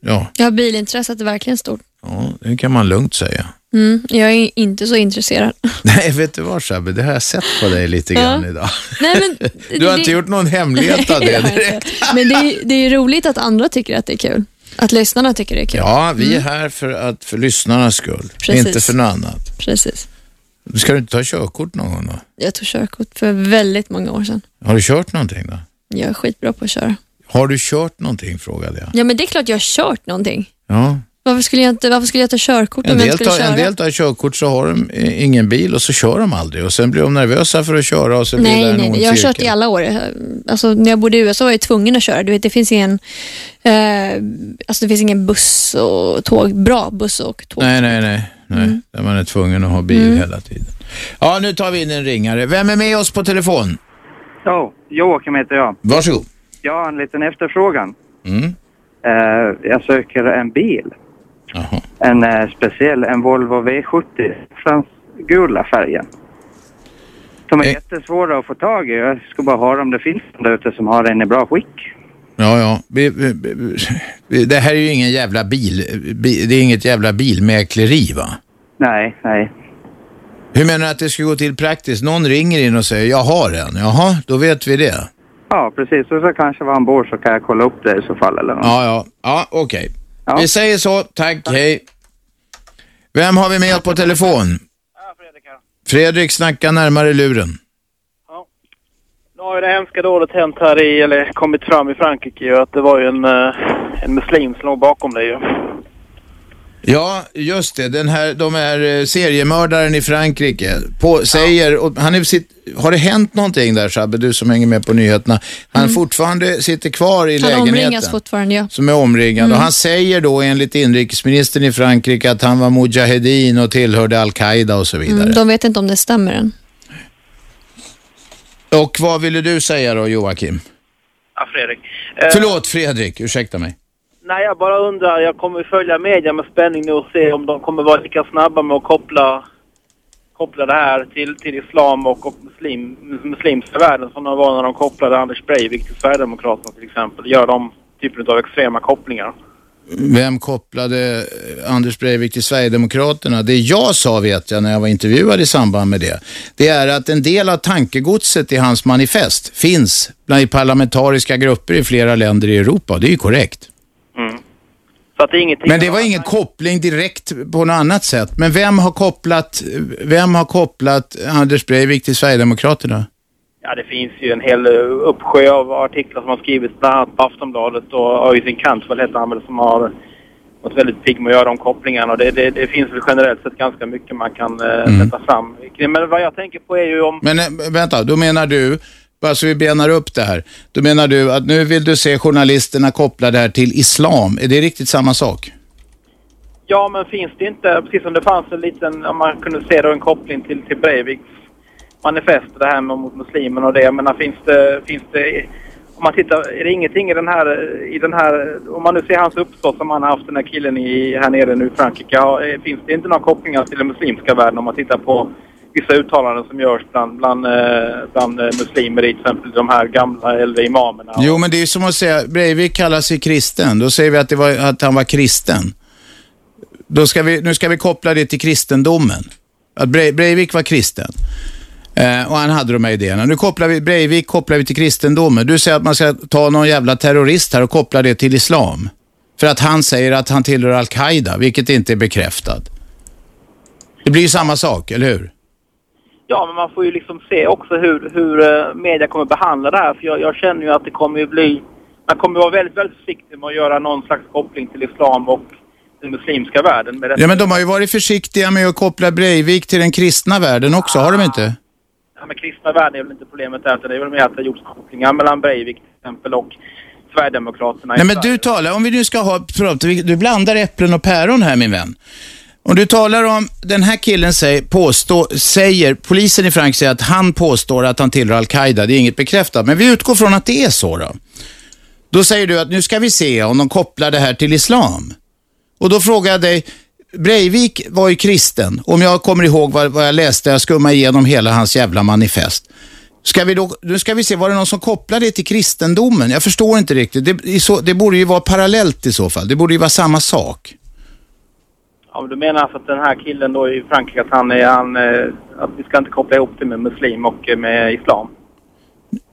ja, Ja, bilintresset är verkligen stort. ja, det kan man lugnt säga. *laughs* Mm, jag är inte så intresserad. Nej, vet du vad Shabbe, det har jag sett på dig lite Ja. grann idag. *laughs* Nej, men, Du har inte gjort någon hemlighet *laughs* av Nej, jag det har inte. *laughs* direkt. Men det är, det är roligt att andra tycker att det är kul. Att lyssnarna tycker det är kul. Ja, vi är Mm, här för, att, för lyssnarnas skull, Precis. inte för något annat. Precis. Ska du inte ta körkort någon gång då? Jag tog körkort för väldigt många år sedan. Har du kört någonting då? Jag är skitbra på att köra. Har du kört någonting frågade jag. Ja, men det är klart jag har kört någonting. Ja. Varför skulle jag, inte, varför skulle jag ta körkort En om jag inte del, skulle tar, köra? en del tar körkort så har de eh, ingen bil och så kör de aldrig och sen blir de nervösa för att köra och så blir det nej, en nej, ond nej, jag har cirkel. kört i alla år. Alltså, när jag bodde i USA var jag tvungen att köra. Du vet, det finns ingen, eh, alltså, det finns ingen buss och tåg, bra buss och tåg. Nej, nej, nej. nej. Mm. Där man är tvungen att ha bil hela tiden. Ja, nu tar vi in en ringare. Vem är med oss på telefon? Ja, Joakim heter jag. Varsågod. Jag har en liten efterfrågan. Mm. Eh, jag söker en bil. En eh, speciell, en Volvo V70. Frans gula färgen. De är Eh. jättesvåra att få tag i. Jag ska bara höra om det finns någon där ute som har den i bra skick. Ja, ja. Vi- vi- vi- vi- Det här är ju ingen jävla bil... bi- Det är inget jävla bilmäkleri, va? Nej, nej. Hur menar du att det ska gå till praktiskt? Någon ringer in och säger jag har en. Jaha, då vet vi det. Ja, precis. Och så kanske var han bor så kan jag kolla upp det i så fall. Eller något. Ja, ja. Ja, okej. Vi säger så. Tack, hej. Vem har vi med oss på telefon? Fredrik snacka närmare luren. Nu har ju det hemska dådet hänt här i, eller kommit fram i Frankrike ju, att det var ju en, eh, en muslim som låg bakom det ju. Ja, just det. Den här, de här eh, seriemördaren i Frankrike på, säger, och han är sitt, har det hänt någonting där Shabbe, du som hänger med på nyheterna? Han fortfarande sitter kvar i Mm. Han lägenheten omringas fortfarande, ja. som är omringad Mm. och han säger då enligt inrikesministern i Frankrike att han var mujahedin och tillhörde al-Qaida och så vidare. Mm, de vet inte om det stämmer än. Och vad ville du säga då, Joakim? Ja, Fredrik. Eh, Förlåt, Fredrik. Ursäkta mig. Nej, jag bara undrar. Jag kommer följa media med spänning nu och se om de kommer vara lika snabba med att koppla, koppla det här till, till islam och, och muslim, muslimska världen som de var när de kopplade Anders Breivik till Sverigedemokraterna till exempel. Gör de typen av extrema kopplingar. Vem kopplade eh, Anders Breivik till Sverigedemokraterna? Det jag sa vet jag när jag var intervjuad i samband med det. Det är att en del av tankegodset i hans manifest finns bland parlamentariska grupper i flera länder i Europa. Det är ju korrekt. Mm. Så att det är ingenting... Men det var ingen koppling direkt på något annat sätt. Men vem har kopplat, vem har kopplat Anders Breivik till Sverigedemokraterna? Ja, det finns ju en hel eh, uppsjö av artiklar som har skrivits bland annat på Aftonbladet och Öyvind Cantwell heter han väl som har varit väldigt pigg med att göra de kopplingarna. Och det, det, det finns väl generellt sett ganska mycket man kan eh, Mm. sätta fram. Men vad jag tänker på är ju om... Men eh, vänta, då menar du, bara så vi benar upp det här, då menar du att nu vill du se journalisterna koppla det här till islam. Är det riktigt samma sak? Ja, men finns det inte, precis som det fanns en liten, om man kunde se då en koppling till, till Breiviks manifest, det här med mot muslimerna och det. Men finns det, finns det, om man tittar, är det ingenting i den här, i den här om man nu ser hans uppsåt som han har haft den här killen i, här nere nu i Frankrike, ja, eh, finns det inte några kopplingar till den muslimska världen om man tittar på vissa uttalanden som görs bland, bland, eh, bland eh, muslimer i till exempel de här gamla äldre imamerna? Jo, men det är ju som att säga, Breivik kallar sig kristen. Då säger vi att, det var, att han var kristen. Då ska vi, nu ska vi koppla det till kristendomen. Att Brei- Breivik var kristen. Eh, och han hade de här idéerna. Nu kopplar vi, Breivik kopplar vi till kristendomen. Du säger att man ska ta någon jävla terrorist här och koppla det till islam. För att han säger att han tillhör Al-Qaida, vilket inte är bekräftat. Det blir ju samma sak, eller hur? Ja, men man får ju liksom se också hur, hur eh, media kommer behandla det här. För jag, jag känner ju att det kommer ju bli... Man kommer vara väldigt, väldigt försiktig med att göra någon slags koppling till islam och den muslimska världen. Med det. Ja, men de har ju varit försiktiga med att koppla Breivik till den kristna världen också, har de inte? det här med kristna världen är väl inte problemet där, utan det är väl mer att det har gjorts kopplingar mellan Breivik till exempel och Sverigedemokraterna. i Nej, men Sverige. du talar, om vi nu ska ha, förlåt, vi- du blandar äpplen och päron här min vän. Om du talar om, den här killen säger, påstå, säger, polisen i Frankrike säger att han påstår att han tillhör Al-Qaida, det är inget bekräftat, men vi utgår från att det är så då. Då säger du att nu ska vi se om de kopplar det här till islam. Och då frågar jag dig, Breivik var ju kristen, om jag kommer ihåg vad, vad jag läste, jag skummade igenom hela hans jävla manifest. Ska vi då, nu ska vi se, var det någon som kopplade det till kristendomen? Jag förstår inte riktigt. Det, i så, det borde ju vara parallellt i så fall. Det borde ju vara samma sak. Ja, men du menar alltså att den här killen då i Frankrike, att han är... Han, eh, att vi ska inte koppla ihop det med muslim och eh, med islam?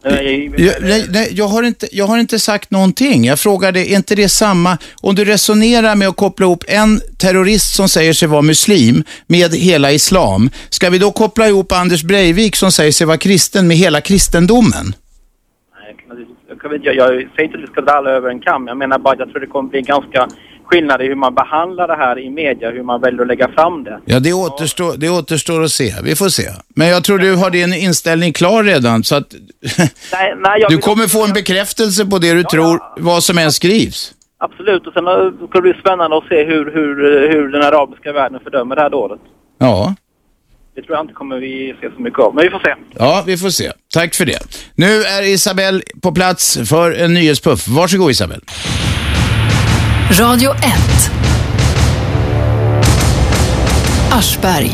Eh, Nej, Jag, nej, nej, jag, har inte, jag har inte sagt någonting. Jag frågade, är inte det samma? Om du resonerar med att koppla ihop en terrorist som säger sig vara muslim med hela islam, ska vi då koppla ihop Anders Breivik som säger sig vara kristen med hela kristendomen? Jag, kan inte- jag, jag säger inte att vi ska dra alla över en kam. Jag menar bara att jag tror det kommer bli ganska skillnad i hur man behandlar det här i media, hur man väljer att lägga fram det. Ja, det återstår, det återstår att se. Vi får se. Men jag tror du har din inställning klar redan, så att Nej, nej, jag du vill- kommer få en bekräftelse på det du tror, vad som än skrivs. Absolut, och sen eh, ska det bli spännande att se hur, hur, eh, hur den arabiska världen fördömer det här dådet. Ja. Det tror jag inte kommer vi se så mycket av, men vi får se. ja, vi får se. Tack för det. Nu är Isabelle på plats för en nyhetspuff. Varsågod Isabelle. Radio 1. Aschberg.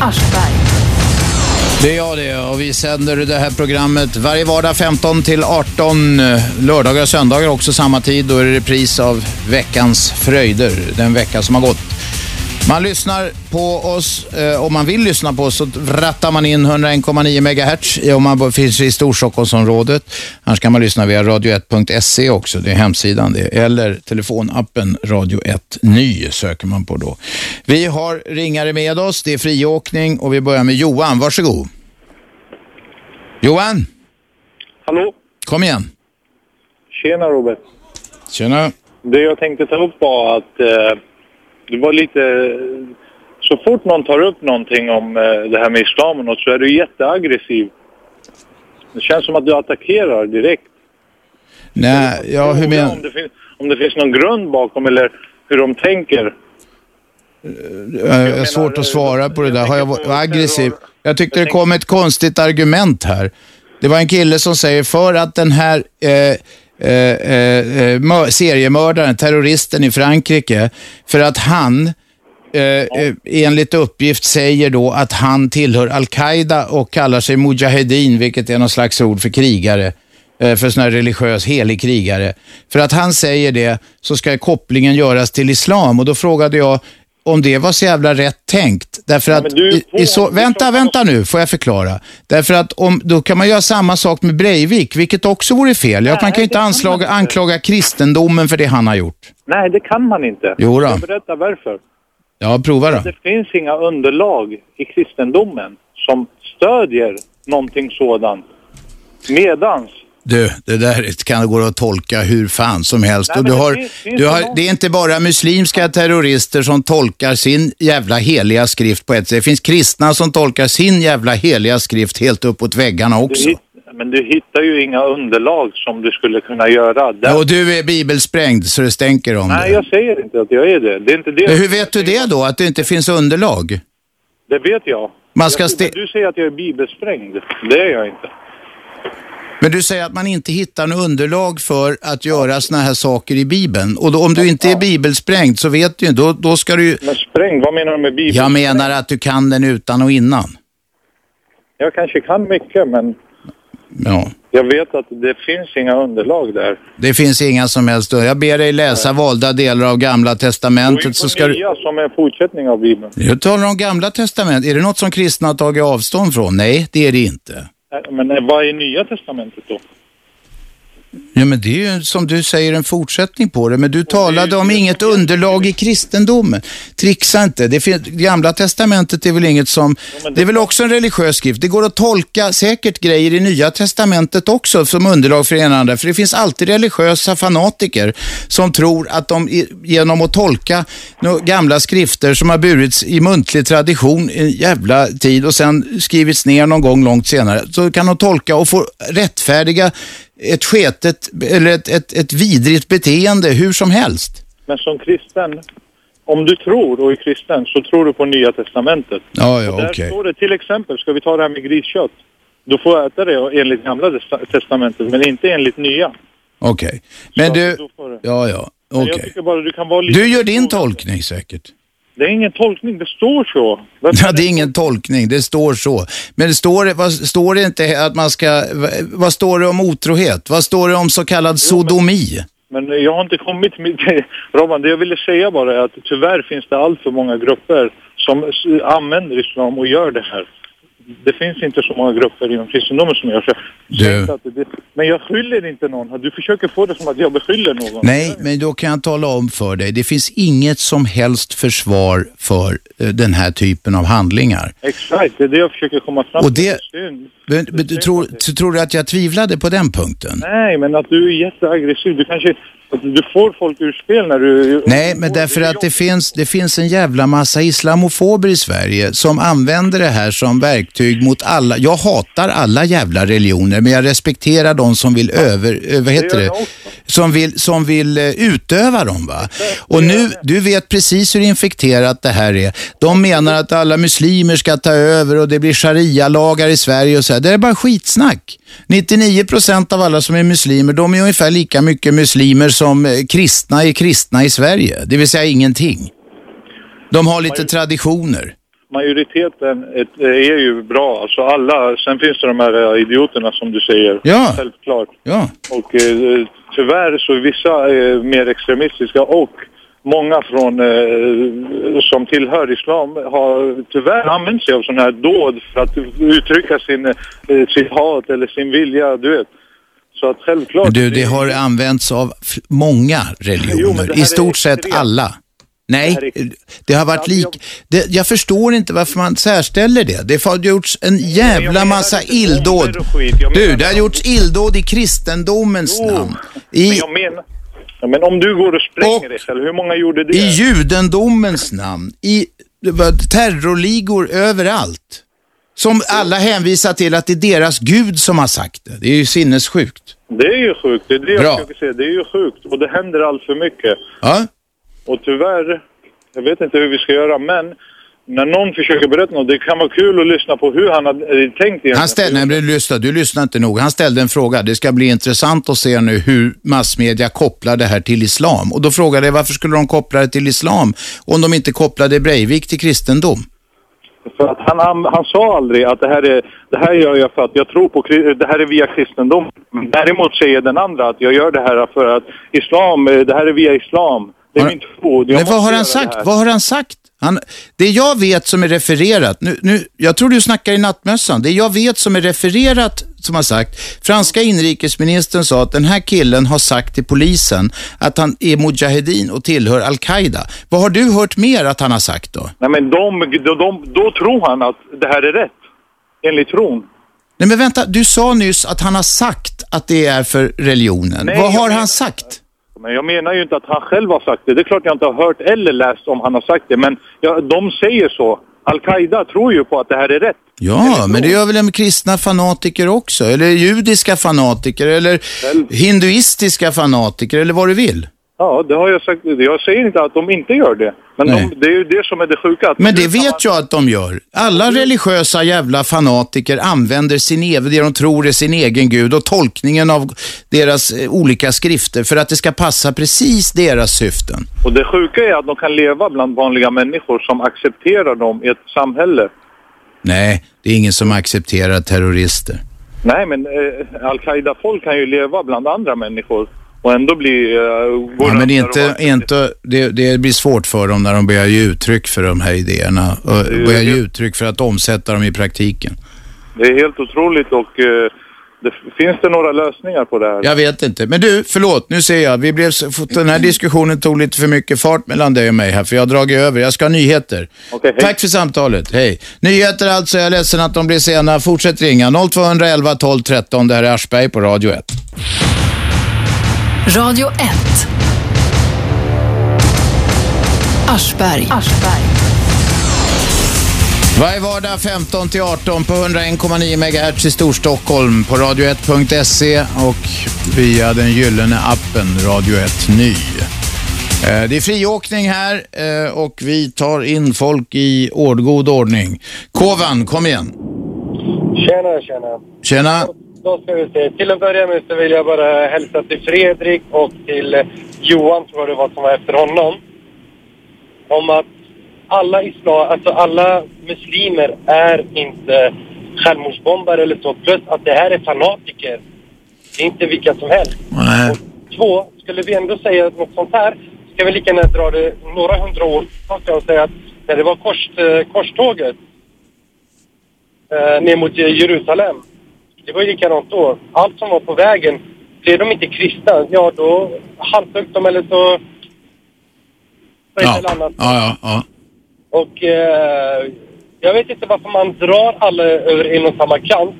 Det är jag det och vi sänder det här programmet varje vardag 15 till 18. eh, Lördagar och söndagar också samma tid. Då är det repris av veckans fröjder, den vecka som har gått. Man lyssnar på oss, eh, om man vill lyssna på oss så rattar man in 101,9 MHz eh, om man b- finns i Storstockholmsområdet. Annars kan man lyssna via radio1.se också, det är hemsidan det. Eller telefonappen Radio 1 Ny söker man på då. Vi har ringare med oss, det är friåkning och vi börjar med Johan, varsågod. Johan, Hallå? kom igen. Tjena Robert. Tjena. Det jag tänkte ta upp var att eh, det var lite... Så fort någon tar upp någonting om eh, det här med islam och något så är du jätteaggressiv. Det känns som att du attackerar direkt. Nej, ja, hur menar Om det, finns, om det finns någon grund bakom eller hur de tänker. Jag har svårt att svara på det där. Har jag varit aggressiv? Jag tyckte det kom ett konstigt argument här. Det var en kille som säger för att den här eh, eh, eh, mör- seriemördaren, terroristen i Frankrike, för att han eh, eh, enligt uppgift säger då att han tillhör Al-Qaida och kallar sig Mujahedin, vilket är någon slags ord för krigare, eh, för sån här religiös helig krigare. För att han säger det så ska kopplingen göras till islam och då frågade jag om det var så jävla rätt tänkt. Därför att i, i så, vänta, vänta nu, får jag förklara. Därför att om, då kan man göra samma sak med Breivik, vilket också vore fel. Jag, man kan ju inte anklaga, anklaga kristendomen för det han har gjort. Nej, det kan man inte. Jo då. Jag berättar varför. Ja, prova då. Det finns inga underlag i kristendomen som stödjer någonting sådant. Medans Du, det där kan gå att tolka hur fan som helst. Nej, och men du det har, finns- finns du det har, någon- det är inte bara muslimska terrorister som tolkar sin jävla heliga skrift på ett sätt. Det finns kristna som tolkar sin jävla heliga skrift helt uppåt väggarna också. Du hitt- men du hittar ju inga underlag som du skulle kunna göra. Där... Och du är bibelsprängd så det stänker om Nej, jag säger inte att jag är det. Det är inte det. det. Men hur vet du det då, att det inte finns underlag? Det vet jag. Man ska jag ste- Du säger att jag är bibelsprängd. Det är jag inte. Men du säger att man inte hittar något underlag för att göra sådana här saker i Bibeln. Och då, om du inte är bibelsprängd så vet du ju, då, då ska du ju... Men sprängd, vad menar du med bibelsprängd? Jag menar att du kan den utan och innan. Jag kanske kan mycket, men Ja. jag vet att det finns inga underlag där. Det finns inga som helst Jag ber dig läsa valda delar av Gamla Testamentet så ska du... Nya som är en fortsättning av Bibeln. Du talar om Gamla Testamentet. Är det något som kristna har tagit avstånd från? Nej, det är det inte. Äh, Men eh, vad är Nya Testamentet då? Ja, men det är ju som du säger en fortsättning på det. Men du talade om inget underlag i kristendomen. Trixa inte. Det finns, Gamla Testamentet är väl inget som... Det är väl också en religiös skrift. Det går att tolka säkert grejer i Nya Testamentet också som underlag för det ena och andra. För det finns alltid religiösa fanatiker som tror att de i- genom att tolka nå- gamla skrifter som har burits i muntlig tradition en jävla tid och sen skrivits ner någon gång långt senare så kan de tolka och få rättfärdiga ett sketet eller ett, ett, ett vidrigt beteende hur som helst. Men som kristen, om du tror och är kristen så tror du på Nya Testamentet. Ja, ja, Och där okej. står det till exempel, ska vi ta det här med griskött? Du får äta det enligt Gamla testa- Testamentet, men inte enligt Nya. Okej. Men du... Då får du- Ja, ja. Men Okej. Jag tycker bara du kan vara lite... Du gör din tolkning säkert. Det är ingen tolkning, det står så. Ja, det är ingen tolkning, det står så. Men det står, vad, står det inte att man ska, vad står det om otrohet? Vad står det om så kallad sodomi? Men jag har inte kommit med det. *laughs* Robban, det jag ville säga bara är att tyvärr finns det allt för många grupper som s- använder islam och gör det här. Det finns inte så många grupper inom kristendomen som gör så. Du. Så att det- Men jag skyller inte någon. Du försöker få det som att jag beskyller någon. Nej, men då kan jag tala om för dig, det finns inget som helst försvar för eh, den här typen av handlingar. Exakt, det är det jag försöker komma fram Och till. det- Synd. Men, men, du tror, t- tror du att jag tvivlade på den punkten? Nej, men att du är jätteaggressiv. Du kanske... att Du får folk ur spel när du... Nej, men därför att det finns, det finns en jävla massa islamofober i Sverige som använder det här som verktyg mot alla. Jag hatar alla jävla religioner, men jag respekterar de som vill över, eh, vad heter det? *laughs* Som vill, som vill eh, utöva dem va? Och nu, du vet precis hur infekterat det här är. De menar att alla muslimer ska ta över och det blir sharia-lagar i Sverige och så här. Det är bara skitsnack. 99% av alla som är muslimer, de är ungefär lika mycket muslimer som eh, kristna är kristna i Sverige. Det vill säga ingenting. De har lite traditioner. majoriteten ett- är ju bra, alltså alla. Sen finns det de här eh, idioterna som du säger. Ja. Självklart. Ja. Och eh, tyvärr så är vissa eh, mer extremistiska och många från, eh, som tillhör islam har tyvärr använt sig av sådana här dåd för att uttrycka sin, eh, sitt hat eller sin vilja, du vet. Så att självklart. Men du, det har använts av f- många religioner. I stort sett alla. Nej, det har varit lik... Det, jag förstår inte varför man särställer det. Det har gjorts en jävla massa illdåd. Du, det har gjorts illdåd i kristendomens namn. Men I jag menar, ja, men om du går och spränger dig själv, hur många gjorde det? I judendomens namn, i det var terrorligor överallt. Som alla hänvisar till att det är deras gud som har sagt det. Det är ju sinnessjukt. Det är ju sjukt, det är det Bra. jag försöker säga. Det är ju sjukt och det händer allt för mycket. Ja. Och tyvärr, jag vet inte hur vi ska göra men när någon försöker berätta något, det kan vara kul att lyssna på hur han har eh, tänkt Han ställde, nej, men lyssna, du lyssnar inte nog. Han ställde en fråga. Det ska bli intressant att se nu hur massmedia kopplar det här till islam. Och då frågade jag varför skulle de koppla det till islam om de inte kopplade Breivik till kristendom? För att han, han, han sa aldrig att det här, är, det här gör jag för att jag tror på kri- det här är via kristendom. Däremot säger den andra att jag gör det här för att islam, eh, det här är via islam. Det är min tro. Jag Men vad måste har göra det han sagt? här. Vad har han sagt? Han, det jag vet som är refererat, nu, nu, jag tror du snackar i nattmössan, det jag vet som är refererat som har sagt, franska inrikesministern sa att den här killen har sagt till polisen att han är mujahedin och tillhör al-Qaida. Vad har du hört mer att han har sagt då? Nej men de, de, de, då tror han att det här är rätt. Enligt tron. Nej men vänta, du sa nyss att han har sagt att det är för religionen. Nej, Vad jag har menar- han sagt? Men jag menar ju inte att han själv har sagt det. Det är klart jag inte har hört eller läst om han har sagt det. Men ja, de säger så. Al-Qaida tror ju på att det här är rätt. Ja, men det gör väl en kristna fanatiker också? Eller judiska fanatiker? Eller hinduistiska fanatiker? Eller vad du vill? Ja, det har jag sagt. Jag säger inte att de inte gör det. Men de, det är ju det som är det sjuka. Att Men det vet jag att de gör. Alla religiösa jävla fanatiker använder sin egen, det de tror är sin egen gud och tolkningen av deras eh, olika skrifter för att det ska passa precis deras syften. Och det sjuka är att de kan leva bland vanliga människor som accepterar dem i ett samhälle. Nej, det är ingen som accepterar terrorister. Nej, men eh, Al-Qaida-folk kan ju leva bland andra människor och ändå bli... Eh, gå Ja, men inte, inte, det, det blir svårt för dem när de börjar ge uttryck för de här idéerna och börjar ge uttryck för att omsätta dem i praktiken. Det är helt otroligt och eh, det, finns det några lösningar på det här? Jag vet inte. Men du, förlåt, nu ser jag. Vi blev, så- den här diskussionen tog lite för mycket fart mellan dig och mig här, för jag har dragit över. Jag ska ha nyheter. Tack för samtalet. Hej. Nyheter alltså, jag är ledsen att de blir sena. Fortsätt ringa. 0211 12 13. Det här är Aschberg på Radio 1. Radio 1. Aschberg. Varje vardag 15-18 på 101,9 MHz i Storstockholm på radio1.se och via den gyllene appen Radio 1 Ny. Eh, Det är friåkning här eh, och vi tar in folk i ordgod ordning. Kovan, kom igen. Tjena, tjena. Tjena. Då ska vi se. Till att börja med så vill jag bara hälsa till Fredrik och till eh, Johan, tror jag det var, som var efter honom. Om att alla islam, alltså alla muslimer är inte självmordsbombare eller så. Plus att det här är fanatiker. Det är inte vilka som helst. Och två, skulle vi ändå säga något sånt här ska vi lika gärna dra det några hundra år tillbaka och säga att när det var kors, eh, korståget eh, ner mot Jerusalem. Det var ju likadant då. Allt som var på vägen, blev de inte kristna, ja då halshögg de eller så... på ett Ja. eller annat. Ja, ja, ja. Och eh, jag vet inte varför man drar alla över en och samma kant.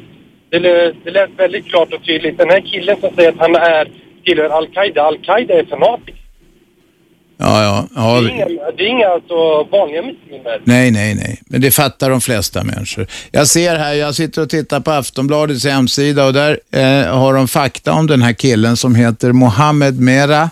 Det, lä- det lät väldigt klart och tydligt. Den här killen som säger att han är, tillhör Al-Qaida, Al-Qaida är fanatiker. Ja, ja, ja. Det är inga, det är inga alltså, vanliga muslimer. Nej, nej, nej. Men det fattar de flesta människor. Jag ser här, jag sitter och tittar på Aftonbladets hemsida och där eh, har de fakta om den här killen som heter Mohammed Mera.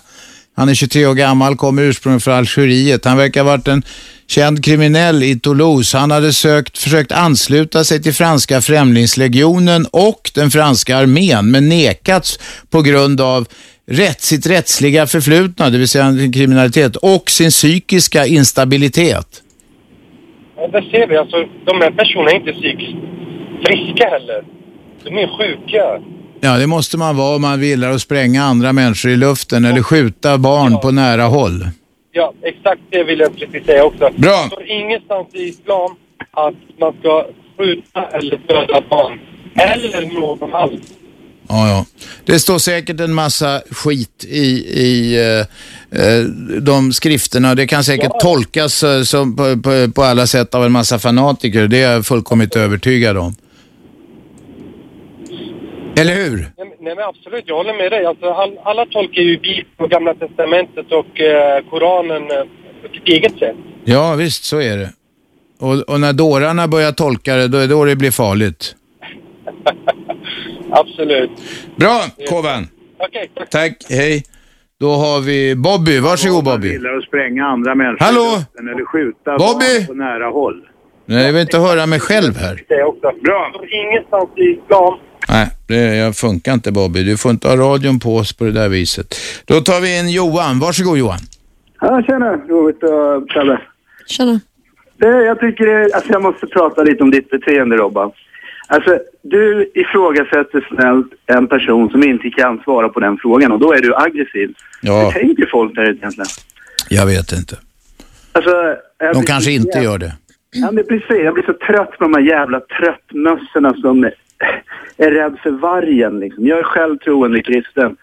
Han är 23 år gammal, kommer ursprungligen från Algeriet. Han verkar ha varit en känd kriminell i Toulouse. Han hade sökt, försökt ansluta sig till franska främlingslegionen och den franska armén, men nekats på grund av rätt, sitt rättsliga förflutna, det vill säga kriminalitet, och sin psykiska instabilitet. Ja, där ser vi alltså, de här personerna är inte psykiskt friska heller. De är sjuka. Ja, det måste man vara om man gillar att spränga andra människor i luften eller skjuta barn på nära håll. Ja, exakt det vill jag precis säga också. Bra. Det står ingenstans i islam att man ska skjuta eller döda barn. Eller någon alls. Ja, ja. Det står säkert en massa skit i, i eh, eh, de skrifterna. Det kan säkert tolkas eh, som på, på, på alla sätt av en massa fanatiker. Det är jag fullkomligt övertygad om. Eller hur? Nej, men- nej men absolut, jag håller med dig. Alltså, all, alla tolkar ju Bibeln och Gamla Testamentet och eh, Koranen eh, på sitt eget sätt. Ja, visst så är det. Och, och när dårarna börjar tolka det, då är det då det blir farligt. Absolut. Bra, Kovan. Okej, Tack, hej. Då har vi Bobby. Varsågod Bobby. gillar att spränga andra människor Hallå? i luften eller skjuta Bobby? barn på nära håll. Nej, jag vill inte höra mig själv här. Det är också bra. Ingenstans i plan. Nej, det jag funkar inte Bobby. Du får inte ha radion på oss på det där viset. Då tar vi in Johan. Varsågod Johan. Ja, tjena Robert och Kalle. Tjena. Det, jag tycker det, alltså jag måste prata lite om ditt beteende Robban. Alltså, du ifrågasätter snällt en person som inte kan svara på den frågan och då är du aggressiv. Ja, Hur tänker folk där ute egentligen? jag vet inte. Alltså, jag De blir- kanske inte gör det. Ja, men precis. Jag blir så trött på de här jävla tröttmössorna som är rädd för vargen. Liksom. Jag är själv troende kristen.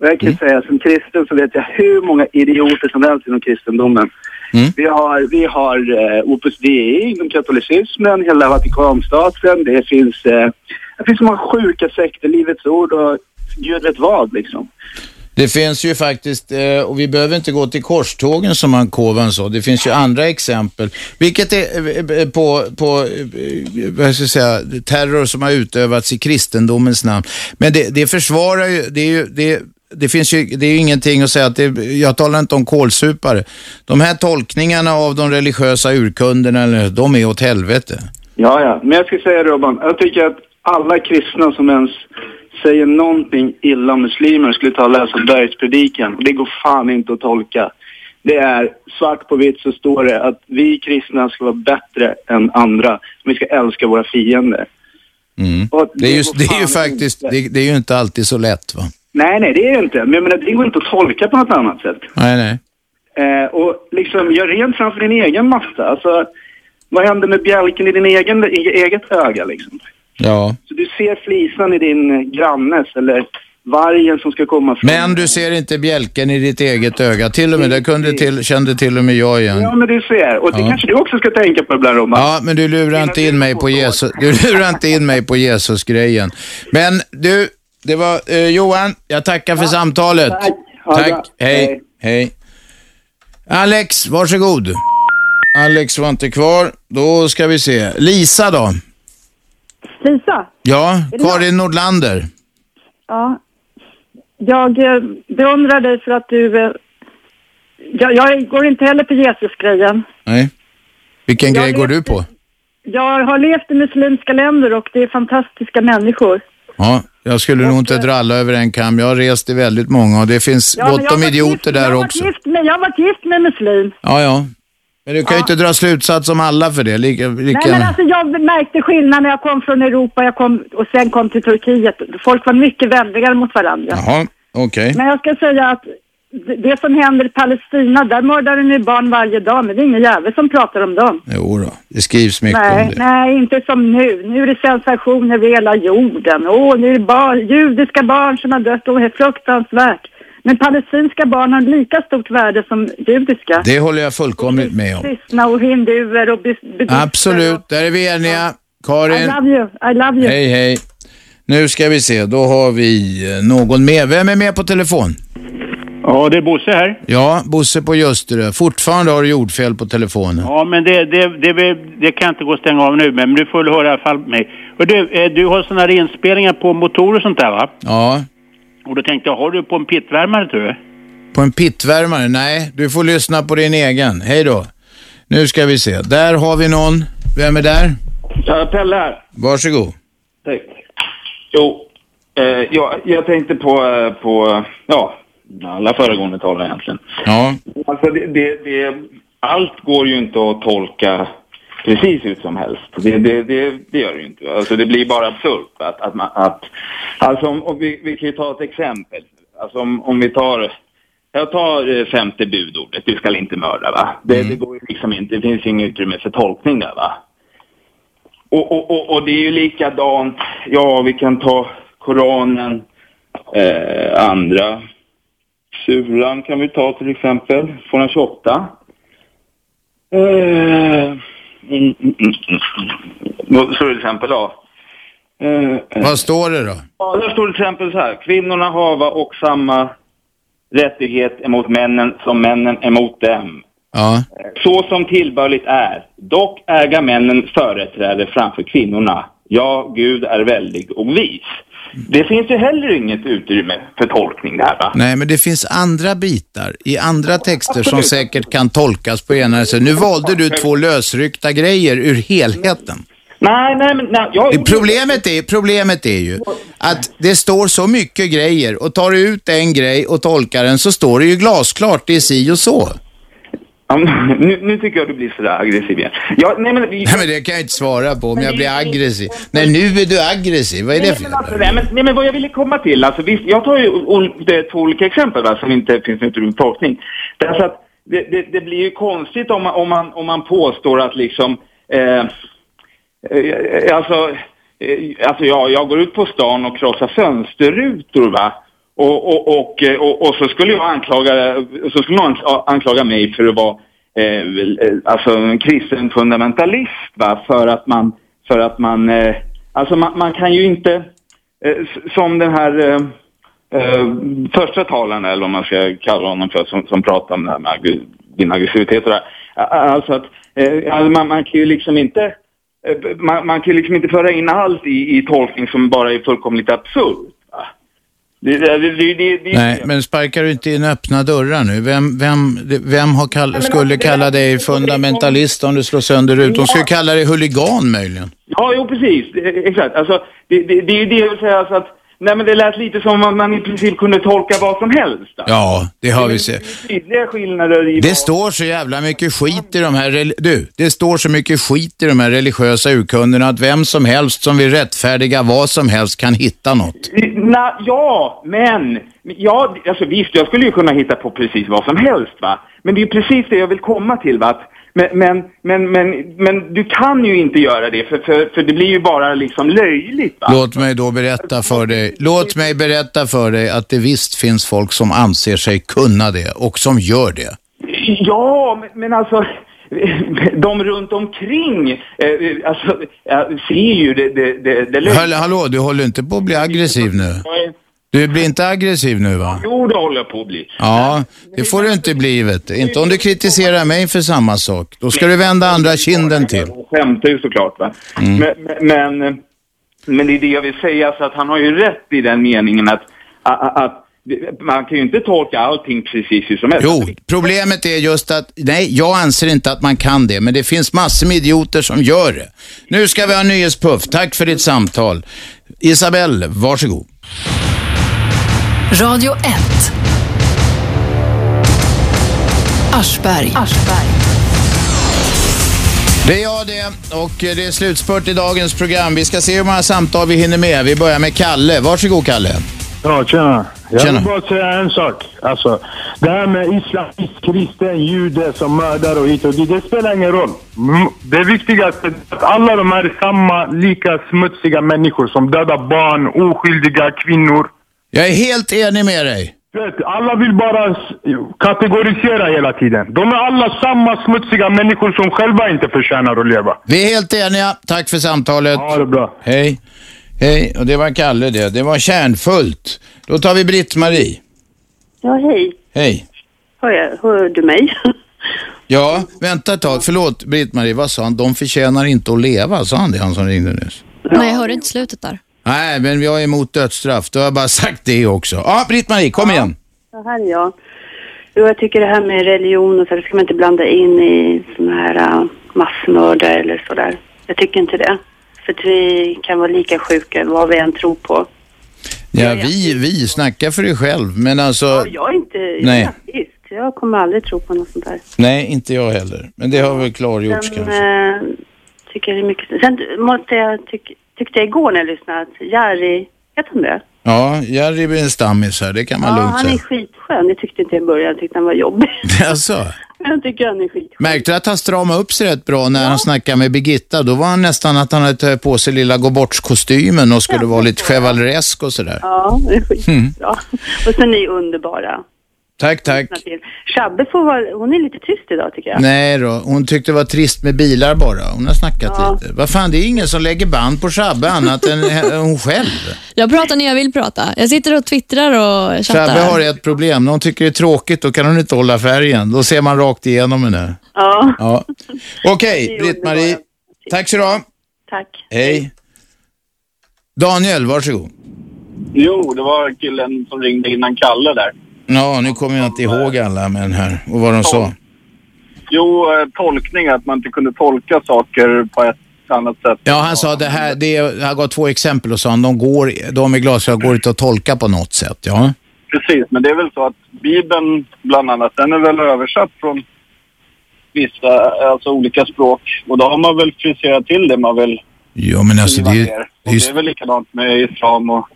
Och jag kan Mm. säga som kristen så vet jag hur många idioter som helst inom kristendomen. Mm. Vi har, vi har eh, Opus Dei inom katolicismen, hela Vatikanstaten. Det finns, eh, det finns så många sjuka sekter, Livets Ord och Gud vet vad liksom. Det finns ju faktiskt, eh, och vi behöver inte gå till korstågen som Ankovan sa, det finns ju andra exempel. Vilket är eh, eh, på, på eh, vad ska jag säga, terror som har utövats i kristendomens namn. Men det, det försvarar ju, det är ju, det, det finns ju, det är ju ingenting att säga att det, jag talar inte om kålsupare. De här tolkningarna av de religiösa urkunderna, eller- de är åt helvete. Ja, ja. Men jag ska säga Robban, jag tycker att alla kristna som ens säger någonting illa om muslimer skulle ta och läsa bergspredikan. Det går fan inte att tolka. Det är svart på vitt så står det att vi kristna ska vara bättre än andra. Vi ska älska våra fiender. Och Mm. Det är ju, går det är fan ju faktiskt, det, det är ju inte alltid så lätt va? Nej, nej, det är det inte. Men jag menar, det går inte att tolka på något annat sätt. Nej, nej. Eh, och liksom, gör rent framför din egen matta. Alltså, vad händer med bjälken i din egen, i eget öga liksom? Ja. Så du ser flisan i din grannes eller vargen som ska komma från... Men du ser inte bjälken i ditt eget öga. Till och med, det kunde till, kände till och med jag igen. Ja, men du ser. Och det Ja. kanske du också ska tänka på ibland, Robban. Ja, men du lurar inte in mig på Jesus, du lurar inte in mig på Jesus-grejen. Men du, det var eh, Johan, jag tackar för samtalet. tack. Ha det bra. Tack, hej, hej. Alex, varsågod. Alex var inte kvar. Då ska vi se. Lisa då? Lisa? Ja, Är det Karin Nordlander. Ja. Jag eh, beundrar dig för att du... eh, Jag, jag går inte heller på Jesus-grejen. Nej. Vilken grej går du på? Jag har levt i muslimska länder och det är fantastiska människor. Ja, jag skulle nog inte dra alla över en kam. Jag har rest i väldigt många och det finns eh, Ja, men jag gott om var idioter jag där har också. varit gift med, jag har varit gift med muslim. Ja, ja. Men du kan ju inte dra slutsats om alla för det. Lika, lika... Nej, men alltså jag märkte skillnad när jag kom från Europa jag kom, och sen kom till Turkiet. Folk var mycket vänligare mot varandra. Jaha, okej. alltså- Men jag ska säga att det- det som händer i Palestina, där mördar de ju barn varje dag, men det är ingen jävel som pratar om dem. Jo då, det skrivs mycket om nej, det. nej, inte som nu. Nu är det sensation över hela jorden. Åh, nu är det barn, judiska barn som har dött. Åh, det är fruktansvärt. Men palestinska barn har lika stort värde som judiska. Det håller jag fullkomligt med om. Kristna och hinduer och bus- Ah, buddister. Absolut, där är vi eniga. I Karin, love you, I love you. hej hej. Nu ska vi se, då har vi eh, någon med. Vem är med på telefon? Ja, det är Bosse här. Ja, Bosse på Ljusterö. Fortfarande har du jordfel på telefonen. Ja, men det, det, det, det, kan inte gå att stänga av nu, men du får väl höra i alla fall mig. Och du, eh, du har sådana här inspelningar på motorer och sånt där va? Ja, Och då tänkte jag, har du på en pittvärmare tror jag? på en pittvärmare? Nej, du får lyssna på din egen. Hej då. Nu ska vi se, där har vi någon. Vem är där? Ja, Pelle här. Varsågod. Tack. Jo, eh, jag, jag tänkte på, eh, på, ja, alla föregående talare egentligen. Ja, Alltså det, det, det, allt går ju inte att tolka precis ut som helst. Det, det, det, det gör det ju inte. Alltså det blir bara absurt. Att, att man, att, alltså om, om vi, vi kan ju ta ett exempel. Alltså om, om vi tar, jag tar eh, femte budordet, du skall inte mörda va. Det, det går ju liksom inte, det finns inget utrymme för tolkning där va. Och, och, och, och det är ju likadant, ja vi kan ta Koranen, eh, andra suran kan vi ta till exempel, 228. Eh, mm, mm, mm, mm. Så till exempel då. Eh, vad står det då? Ja, där står till exempel så här. Kvinnorna hava och samma rättighet emot männen som männen emot dem. Ja, Så som tillbörligt är. Dock äga männen företräde framför kvinnorna. Ja, Gud är väldig och vis. Det finns ju heller inget utrymme för tolkning där va? Nej, men det finns andra bitar i andra texter som säkert kan tolkas på ena sätt. Nu valde du två lösryckta grejer ur helheten. Nej, nej, men nej, jag... Det Problemet är, problemet är ju att det står så mycket grejer och tar du ut en grej och tolkar den så står det ju glasklart, det är si och så. Ja, men nu, nu tycker jag du blir sådär aggressiv igen. Ja, nej, men, nej, men det kan jag inte svara på om jag blir aggressiv. Nej, nu är du aggressiv. Vad är det för men alltså, nej, men, nej, men vad jag ville komma till, alltså visst, jag tar ju ol- det är två olika exempel va, som inte finns utrymme för tolkning. Därför att det, det, det blir ju konstigt om man, om man, om man påstår att liksom, eh, eh, alltså, eh, alltså ja, jag går ut på stan och krossar fönsterrutor va. Och, och, och, eh, och, och så skulle jag anklaga, så skulle någon anklaga mig för att vara eh, eh, alltså en kristen fundamentalist va? för att man, för att man, eh, alltså man, man kan ju inte, eh, s- som den här eh, eh, första talaren eller vad man ska kalla honom för, som, som pratar om det här med agg- din aggressivitet och det här. A- a- Alltså att eh, alltså man, man kan ju liksom inte, eh, man, man kan ju liksom inte föra in allt i, i tolkning som bara är fullkomligt absurt. va? Det, det, det, det, det, Nej, men sparkar du inte in öppna dörrar nu? Vem, vem, vem har kall- alltså, skulle kalla dig fundamentalist om du slår sönder ut? De skulle kalla dig huligan möjligen. Ja, jo precis. Eh, Exakt. Alltså, det, det, det är ju det jag vill säga. Alltså att, nej, men det lät lite som att man i princip kunde tolka vad som helst. Ja, det har vi sett. Tydliga skillnader i... Det står så jävla mycket skit i de här, rel- du, det står så mycket skit i de här religiösa urkunderna att vem som helst som vill rättfärdiga vad som helst kan hitta något. Na, ja, men... Ja, alltså visst, jag skulle ju kunna hitta på precis vad som helst va. Men det är ju precis det jag vill komma till va. Att, men, men, men, men, men du kan ju inte göra det för, för, för det blir ju bara liksom löjligt va. Låt mig då berätta för dig, låt mig berätta för dig att det visst finns folk som anser sig kunna det och som gör det. Ja, men, men alltså *laughs* de runt omkring eh, eh, alltså, eh, ser ju det, det, det, det löjliga. Hallå, hallå, du håller inte på att bli aggressiv nu? Du blir inte aggressiv nu va? Jo, det håller jag på att bli. Ja, det får du inte bli vet du. Inte om du kritiserar mig för samma sak. Då ska du vända andra kinden till. Jag skämtar ju såklart. Va? Men, men, men, men det är det jag vill säga, så att han har ju rätt i den meningen att, att, att man kan ju inte tolka allting precis hur som helst. Jo, problemet är just att, nej, jag anser inte att man kan det, men det finns massor med idioter som gör det. Nu ska vi ha nyhetspuff. Tack för ditt samtal. Isabelle, varsågod. Radio 1. Aschberg. Det är jag det och det är slutspurt i dagens program. Vi ska se hur många samtal vi hinner med. Vi börjar med Kalle. Varsågod Kalle. Ja, tjena. Jag Tjena. vill bara säga en sak. Alltså, det här med islamist, kristen, jude som mördar och hit och dit, det spelar ingen roll. Mm, Det viktigaste är att alla de här är samma, lika smutsiga människor som dödar barn, oskyldiga kvinnor. Jag är helt enig med dig. Vet, alla vill bara s- kategorisera hela tiden. De är alla samma smutsiga människor som själva inte förtjänar att leva. Vi är helt eniga. Tack för samtalet. Ja, det är bra. Hej. Hej, och det var Kalle det. Det var kärnfullt. Då tar vi Britt-Marie. Ja, hej. Hej. Hör, jag, hör du mig? Ja, vänta ett tag. Förlåt Britt-Marie, vad sa han? De förtjänar inte att leva, sa han det, han som ringde nyss? Nej, jag hörde inte slutet där. Nej, men jag är emot dödsstraff. Då har jag bara *laughs* sagt det också. Ja, Britt-Marie, kom igen. Så här är jag. Jo, jag tycker det här med religion och så, det ska man inte blanda in i sådana här äh, massmördare eller sådär. Jag tycker inte det. För att vi kan vara lika sjuka vad vi än tror på. Ja, vi, vi, snacka för dig själv. Men alltså... Jag är inte jag är Nej. ateist. Jag kommer aldrig tro på något sånt där. Nej, inte jag heller. Men det har väl klargjorts Sen, kanske. eh, tycker jag det är mycket... Sen måste jag tyck, tyckte jag igår när jag lyssnade att Jari, heter han det? Ja, Jerry blir en stammis här, det kan Ja, man lugnt han är säga. skitskön. Det tyckte inte jag i början. Jag tyckte han var jobbig. *laughs* *laughs* Alltså, Men jag tycker han är skit. märkte du att han stramade upp sig rätt bra när han snackade med Birgitta? Då var han nästan att han hade tagit på sig lilla gå-bort-kostymen och skulle vara lite chevaleresk och sådär. Ja, det är skitbra. Mm. Och sen är ni underbara. Tack, tack. Lyssna till. Shabbe får vara, hon är lite tyst idag tycker jag. Nej då, hon tyckte det var trist med bilar bara. Hon har snackat Ja. lite. Vad fan, det är ingen som lägger band på Shabbe *laughs* annat än he- hon själv. Jag pratar när jag vill prata. Jag sitter och twittrar och chattar. Shabbe har ett problem. När hon tycker det är tråkigt, då kan hon inte hålla färgen. Då ser man rakt igenom henne. Ja, Ja. Okej, Britt-Marie. Tack så du ha. tack. Hej. Daniel, varsågod. Jo, det var killen som ringde innan Kalle där. Ja, nu kommer jag inte ihåg alla men här och vad de sa. Jo, eh, tolkning, att man inte kunde tolka saker på ett annat sätt. Ja, han sa det här, det är, han gav två exempel och sa han, de, går, de i glasögon går inte att tolka på något sätt. Ja. Precis, men det är väl så att Bibeln bland annat, den är väl översatt från vissa, alltså olika språk. Och då har man väl friserat till det man vill Ja, men alltså det är ju... ner. Och det är väl likadant med islam och...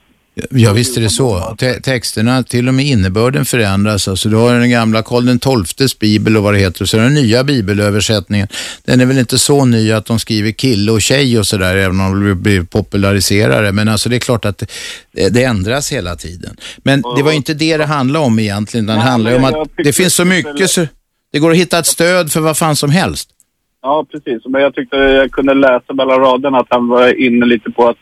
Ja, visst är det så. Te texterna, till och med innebörden förändras. Alltså, du har den gamla Karl XIIs bibel och vad det heter och så den nya bibelöversättningen. Den är väl inte så ny att de skriver kille och tjej och sådär, även om de blir populariserare. Men alltså det är klart att det, det ändras hela tiden. Men det var ju inte det det handlade om egentligen, utan det handlar ju om att det finns så mycket så det går att hitta ett stöd för vad fan som helst. Ja, precis. Men jag tyckte jag kunde läsa mellan raderna att han var inne lite på att,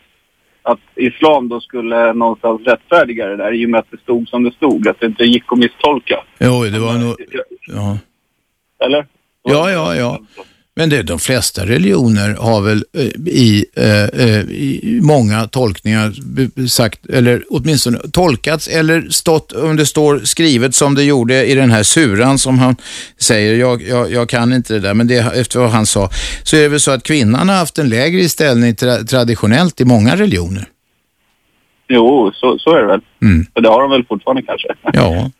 att islam då skulle någonstans rättfärdiga det där i och med att det stod som det stod. Att det inte gick att misstolka. Jo, det var nog... Ja. Eller? Ja, ja, ja. Men det, de flesta religioner har väl eh, i, eh, eh, i många tolkningar b- sagt, eller åtminstone tolkats eller stått, om det står skrivet som det gjorde i den här suran som han säger, jag, jag, jag kan inte det där, men det, efter vad han sa, så är det väl så att kvinnan har haft en lägre ställning tra- traditionellt i många religioner. Jo, så, så är det väl. Mm. Och det har de väl fortfarande kanske. *laughs* Ja,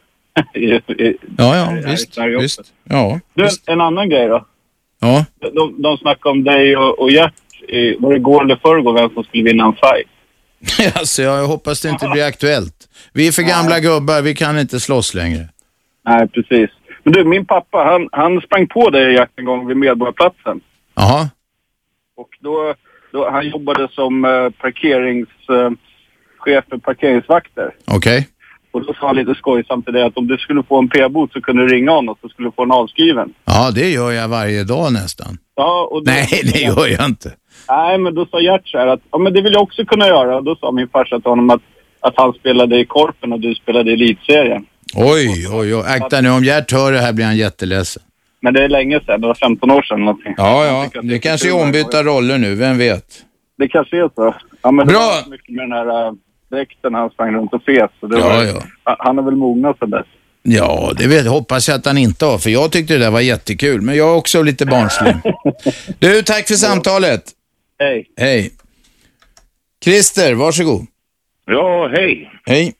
I, i, ja, ja, här i visst, Sverige också. visst, ja, Du, en annan grej då. ja. De, de snackade om dig och, och Gert. i- Var det igår eller förrgår vem som skulle vinna en fight? *laughs* Alltså jag hoppas det inte blir aktuellt. Vi är för gamla gubbar, vi kan inte slåss längre. Nej, precis. Men du, min pappa han, han sprang på dig Gert en gång vid Medborgarplatsen. Jaha, Och då, då, han jobbade som eh, parkeringschef eh, chef för parkeringsvakter. okej. Och då sa han lite skojsamt till dig att om du skulle få en p-bot så kunde du ringa honom så skulle du få en avskriven. Ja, det gör jag varje dag nästan. Ja, och då, Nej, det gör jag inte. Nej, men då sa Gert så här att ja, men det vill jag också kunna göra. Och då sa min farsa till honom att, att han spelade i Korpen och du spelade i Elitserien. Oj, oj, oj. Akta nu, om Gert hör det här blir han jätteledsen. Men det är länge sedan, det var 15 år sedan någonting. Ja, ja, det kanske är ombytta roller nu, vem vet? Det kanske är så. Ja, men Det Bra. var inte mycket med den här äh, dräkten han sprang runt och fes. Så det Ja, var, ja. a- Han har väl mognat sedan dess. Ja, det vet, hoppas jag att han inte har, för jag tyckte det där var jättekul, men jag är också *laughs* lite barnslig. Du, tack för samtalet. Hej. Hej. Christer, varsågod. Ja, hej. Hej.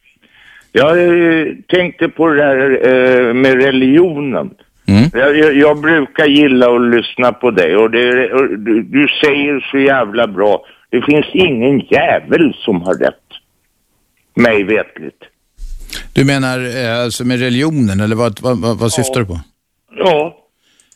Jag eh, tänkte på det här eh, med religionen. Mm. Jag, jag, jag brukar gilla att lyssna på dig och, det, och du, du säger så jävla bra. Det finns ingen jävel som har rätt. Mig vetligt. Du menar eh, alltså med religionen, eller vad, vad, vad, vad syftar du på? Ja.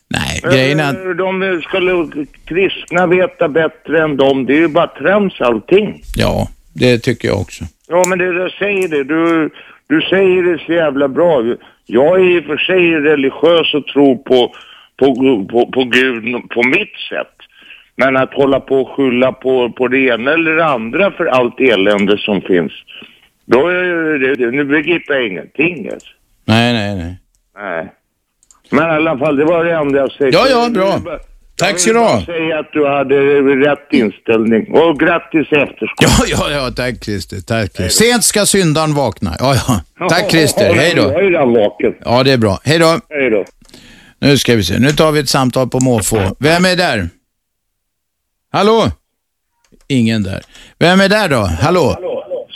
Nej, grejen är... Eh, De skulle kristna veta bättre än dem. Det är ju bara trams allting. Ja, det tycker jag också. Ja, men det, jag säger det. Du, du säger det så jävla bra. Jag är i och för sig religiös och tror på, på, på, på Gud på mitt sätt. Men att hålla på och skylla på, på det ena eller det andra för allt elände som finns. Då är det, det, nu begriper jag ingenting. Alltså. Nej, nej, nej. Nej. Men i alla fall, det var det enda jag säger. Ja, ja, bra. Tack ska du ha. Säg att du hade rätt inställning. Och grattis i efterskott. Ja, *laughs* ja, ja, tack Christer. Tack Christer. Sent ska syndaren vakna. Ja, ja. Tack *laughs* Christer. Hej då. Jag är redan vaken. Ja, det är bra. Hej då. Hej då. Nu ska vi se. Nu tar vi ett samtal på måfå. Vem är där? Hallå? Ingen där. Vem är där då? Hallå?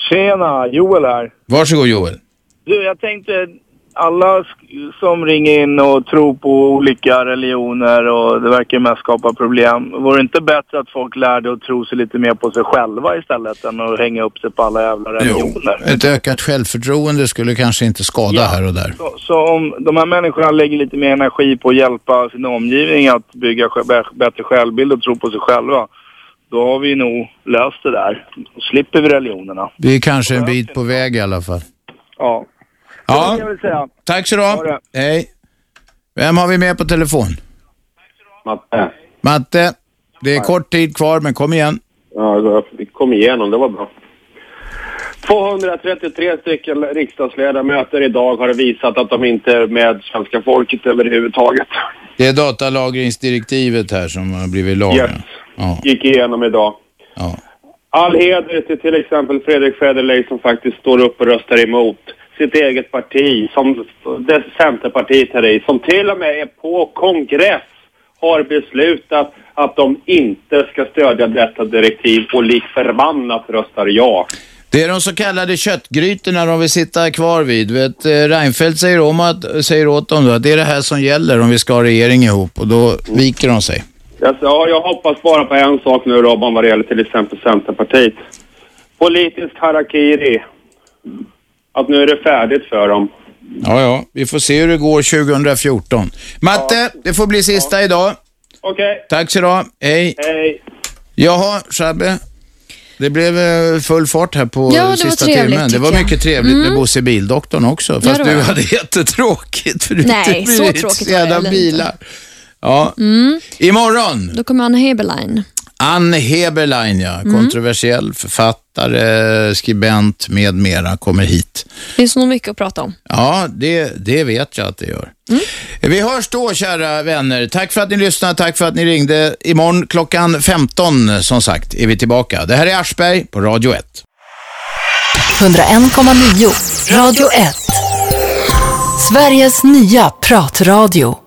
Tjena, Joel här. Varsågod Joel. Du, jag tänkte alla sk- som ringer in och tror på olika religioner och det verkar mest skapa problem. Vore det inte bättre att folk lärde att tro sig lite mer på sig själva istället än att hänga upp sig på alla jävla religioner? Ett ökat självförtroende skulle kanske inte skada här och där. Så, så om de här människorna lägger lite mer energi på att hjälpa sin omgivning att bygga sj- bä- bättre självbild och tro på sig själva, då har vi nog löst det där. Då slipper vi religionerna. Vi är kanske en bit på väg i alla fall. Ja. Ja, Jag vill säga. tack så du ha. Hej. Vem har vi med på telefon? Matte. Matte. Det är kort tid kvar, men kom igen. Ja, jag kom igenom. Det var bra. 233 stycken riksdagsledamöter idag har visat att de inte är med svenska folket överhuvudtaget. Det är datalagringsdirektivet här som har blivit lag. Yes. Ja. Gick igenom idag. All heder till till exempel Fredrik Federley som faktiskt står upp och röstar emot sitt eget parti, som det Centerpartiet här i, som till och med är på kongress har beslutat att de inte ska stödja detta direktiv och lik förbannat röstar ja. Det är de så kallade köttgrytorna de vill sitta kvar vid. Vet, eh, Reinfeldt säger, om att, säger åt dem då att det är det här som gäller om vi ska ha regering ihop och då viker de sig. Jag, Alltså, ja, jag hoppas bara på en sak nu Robban vad det gäller till exempel Centerpartiet. Politisk harakiri. Att nu är det färdigt för dem. Ja, ja, vi får se hur det går 2014. Matte, det får bli sista idag. Okej. Tack så du Hej. Hej. Jaha, Shabbe. Det blev eh, full fart här på Ja, eh, det var sista trevligt, timmen. Det tycker var jag. mycket trevligt med Mm. Bosse Bildoktorn också. Ja, Fast det var du det. hade *laughs* jättetråkigt för du Nej, inte så blivit tråkigt var det jävla väl bilar. Ja. Mm. Imorgon, Då kommer Anna Heberlein. Anne Heberlein, ja. Mm. kontroversiell författare, skribent med mera, kommer hit. Finns nog mycket att prata om. Ja, det, det vet jag att det gör. Vi hörs då, kära vänner. Tack för att ni lyssnade, tack för att ni ringde. Imorgon klockan 15, som sagt, är vi tillbaka. Det här är Aschberg på Radio 1. 101,9 Radio 1. Sveriges nya pratradio.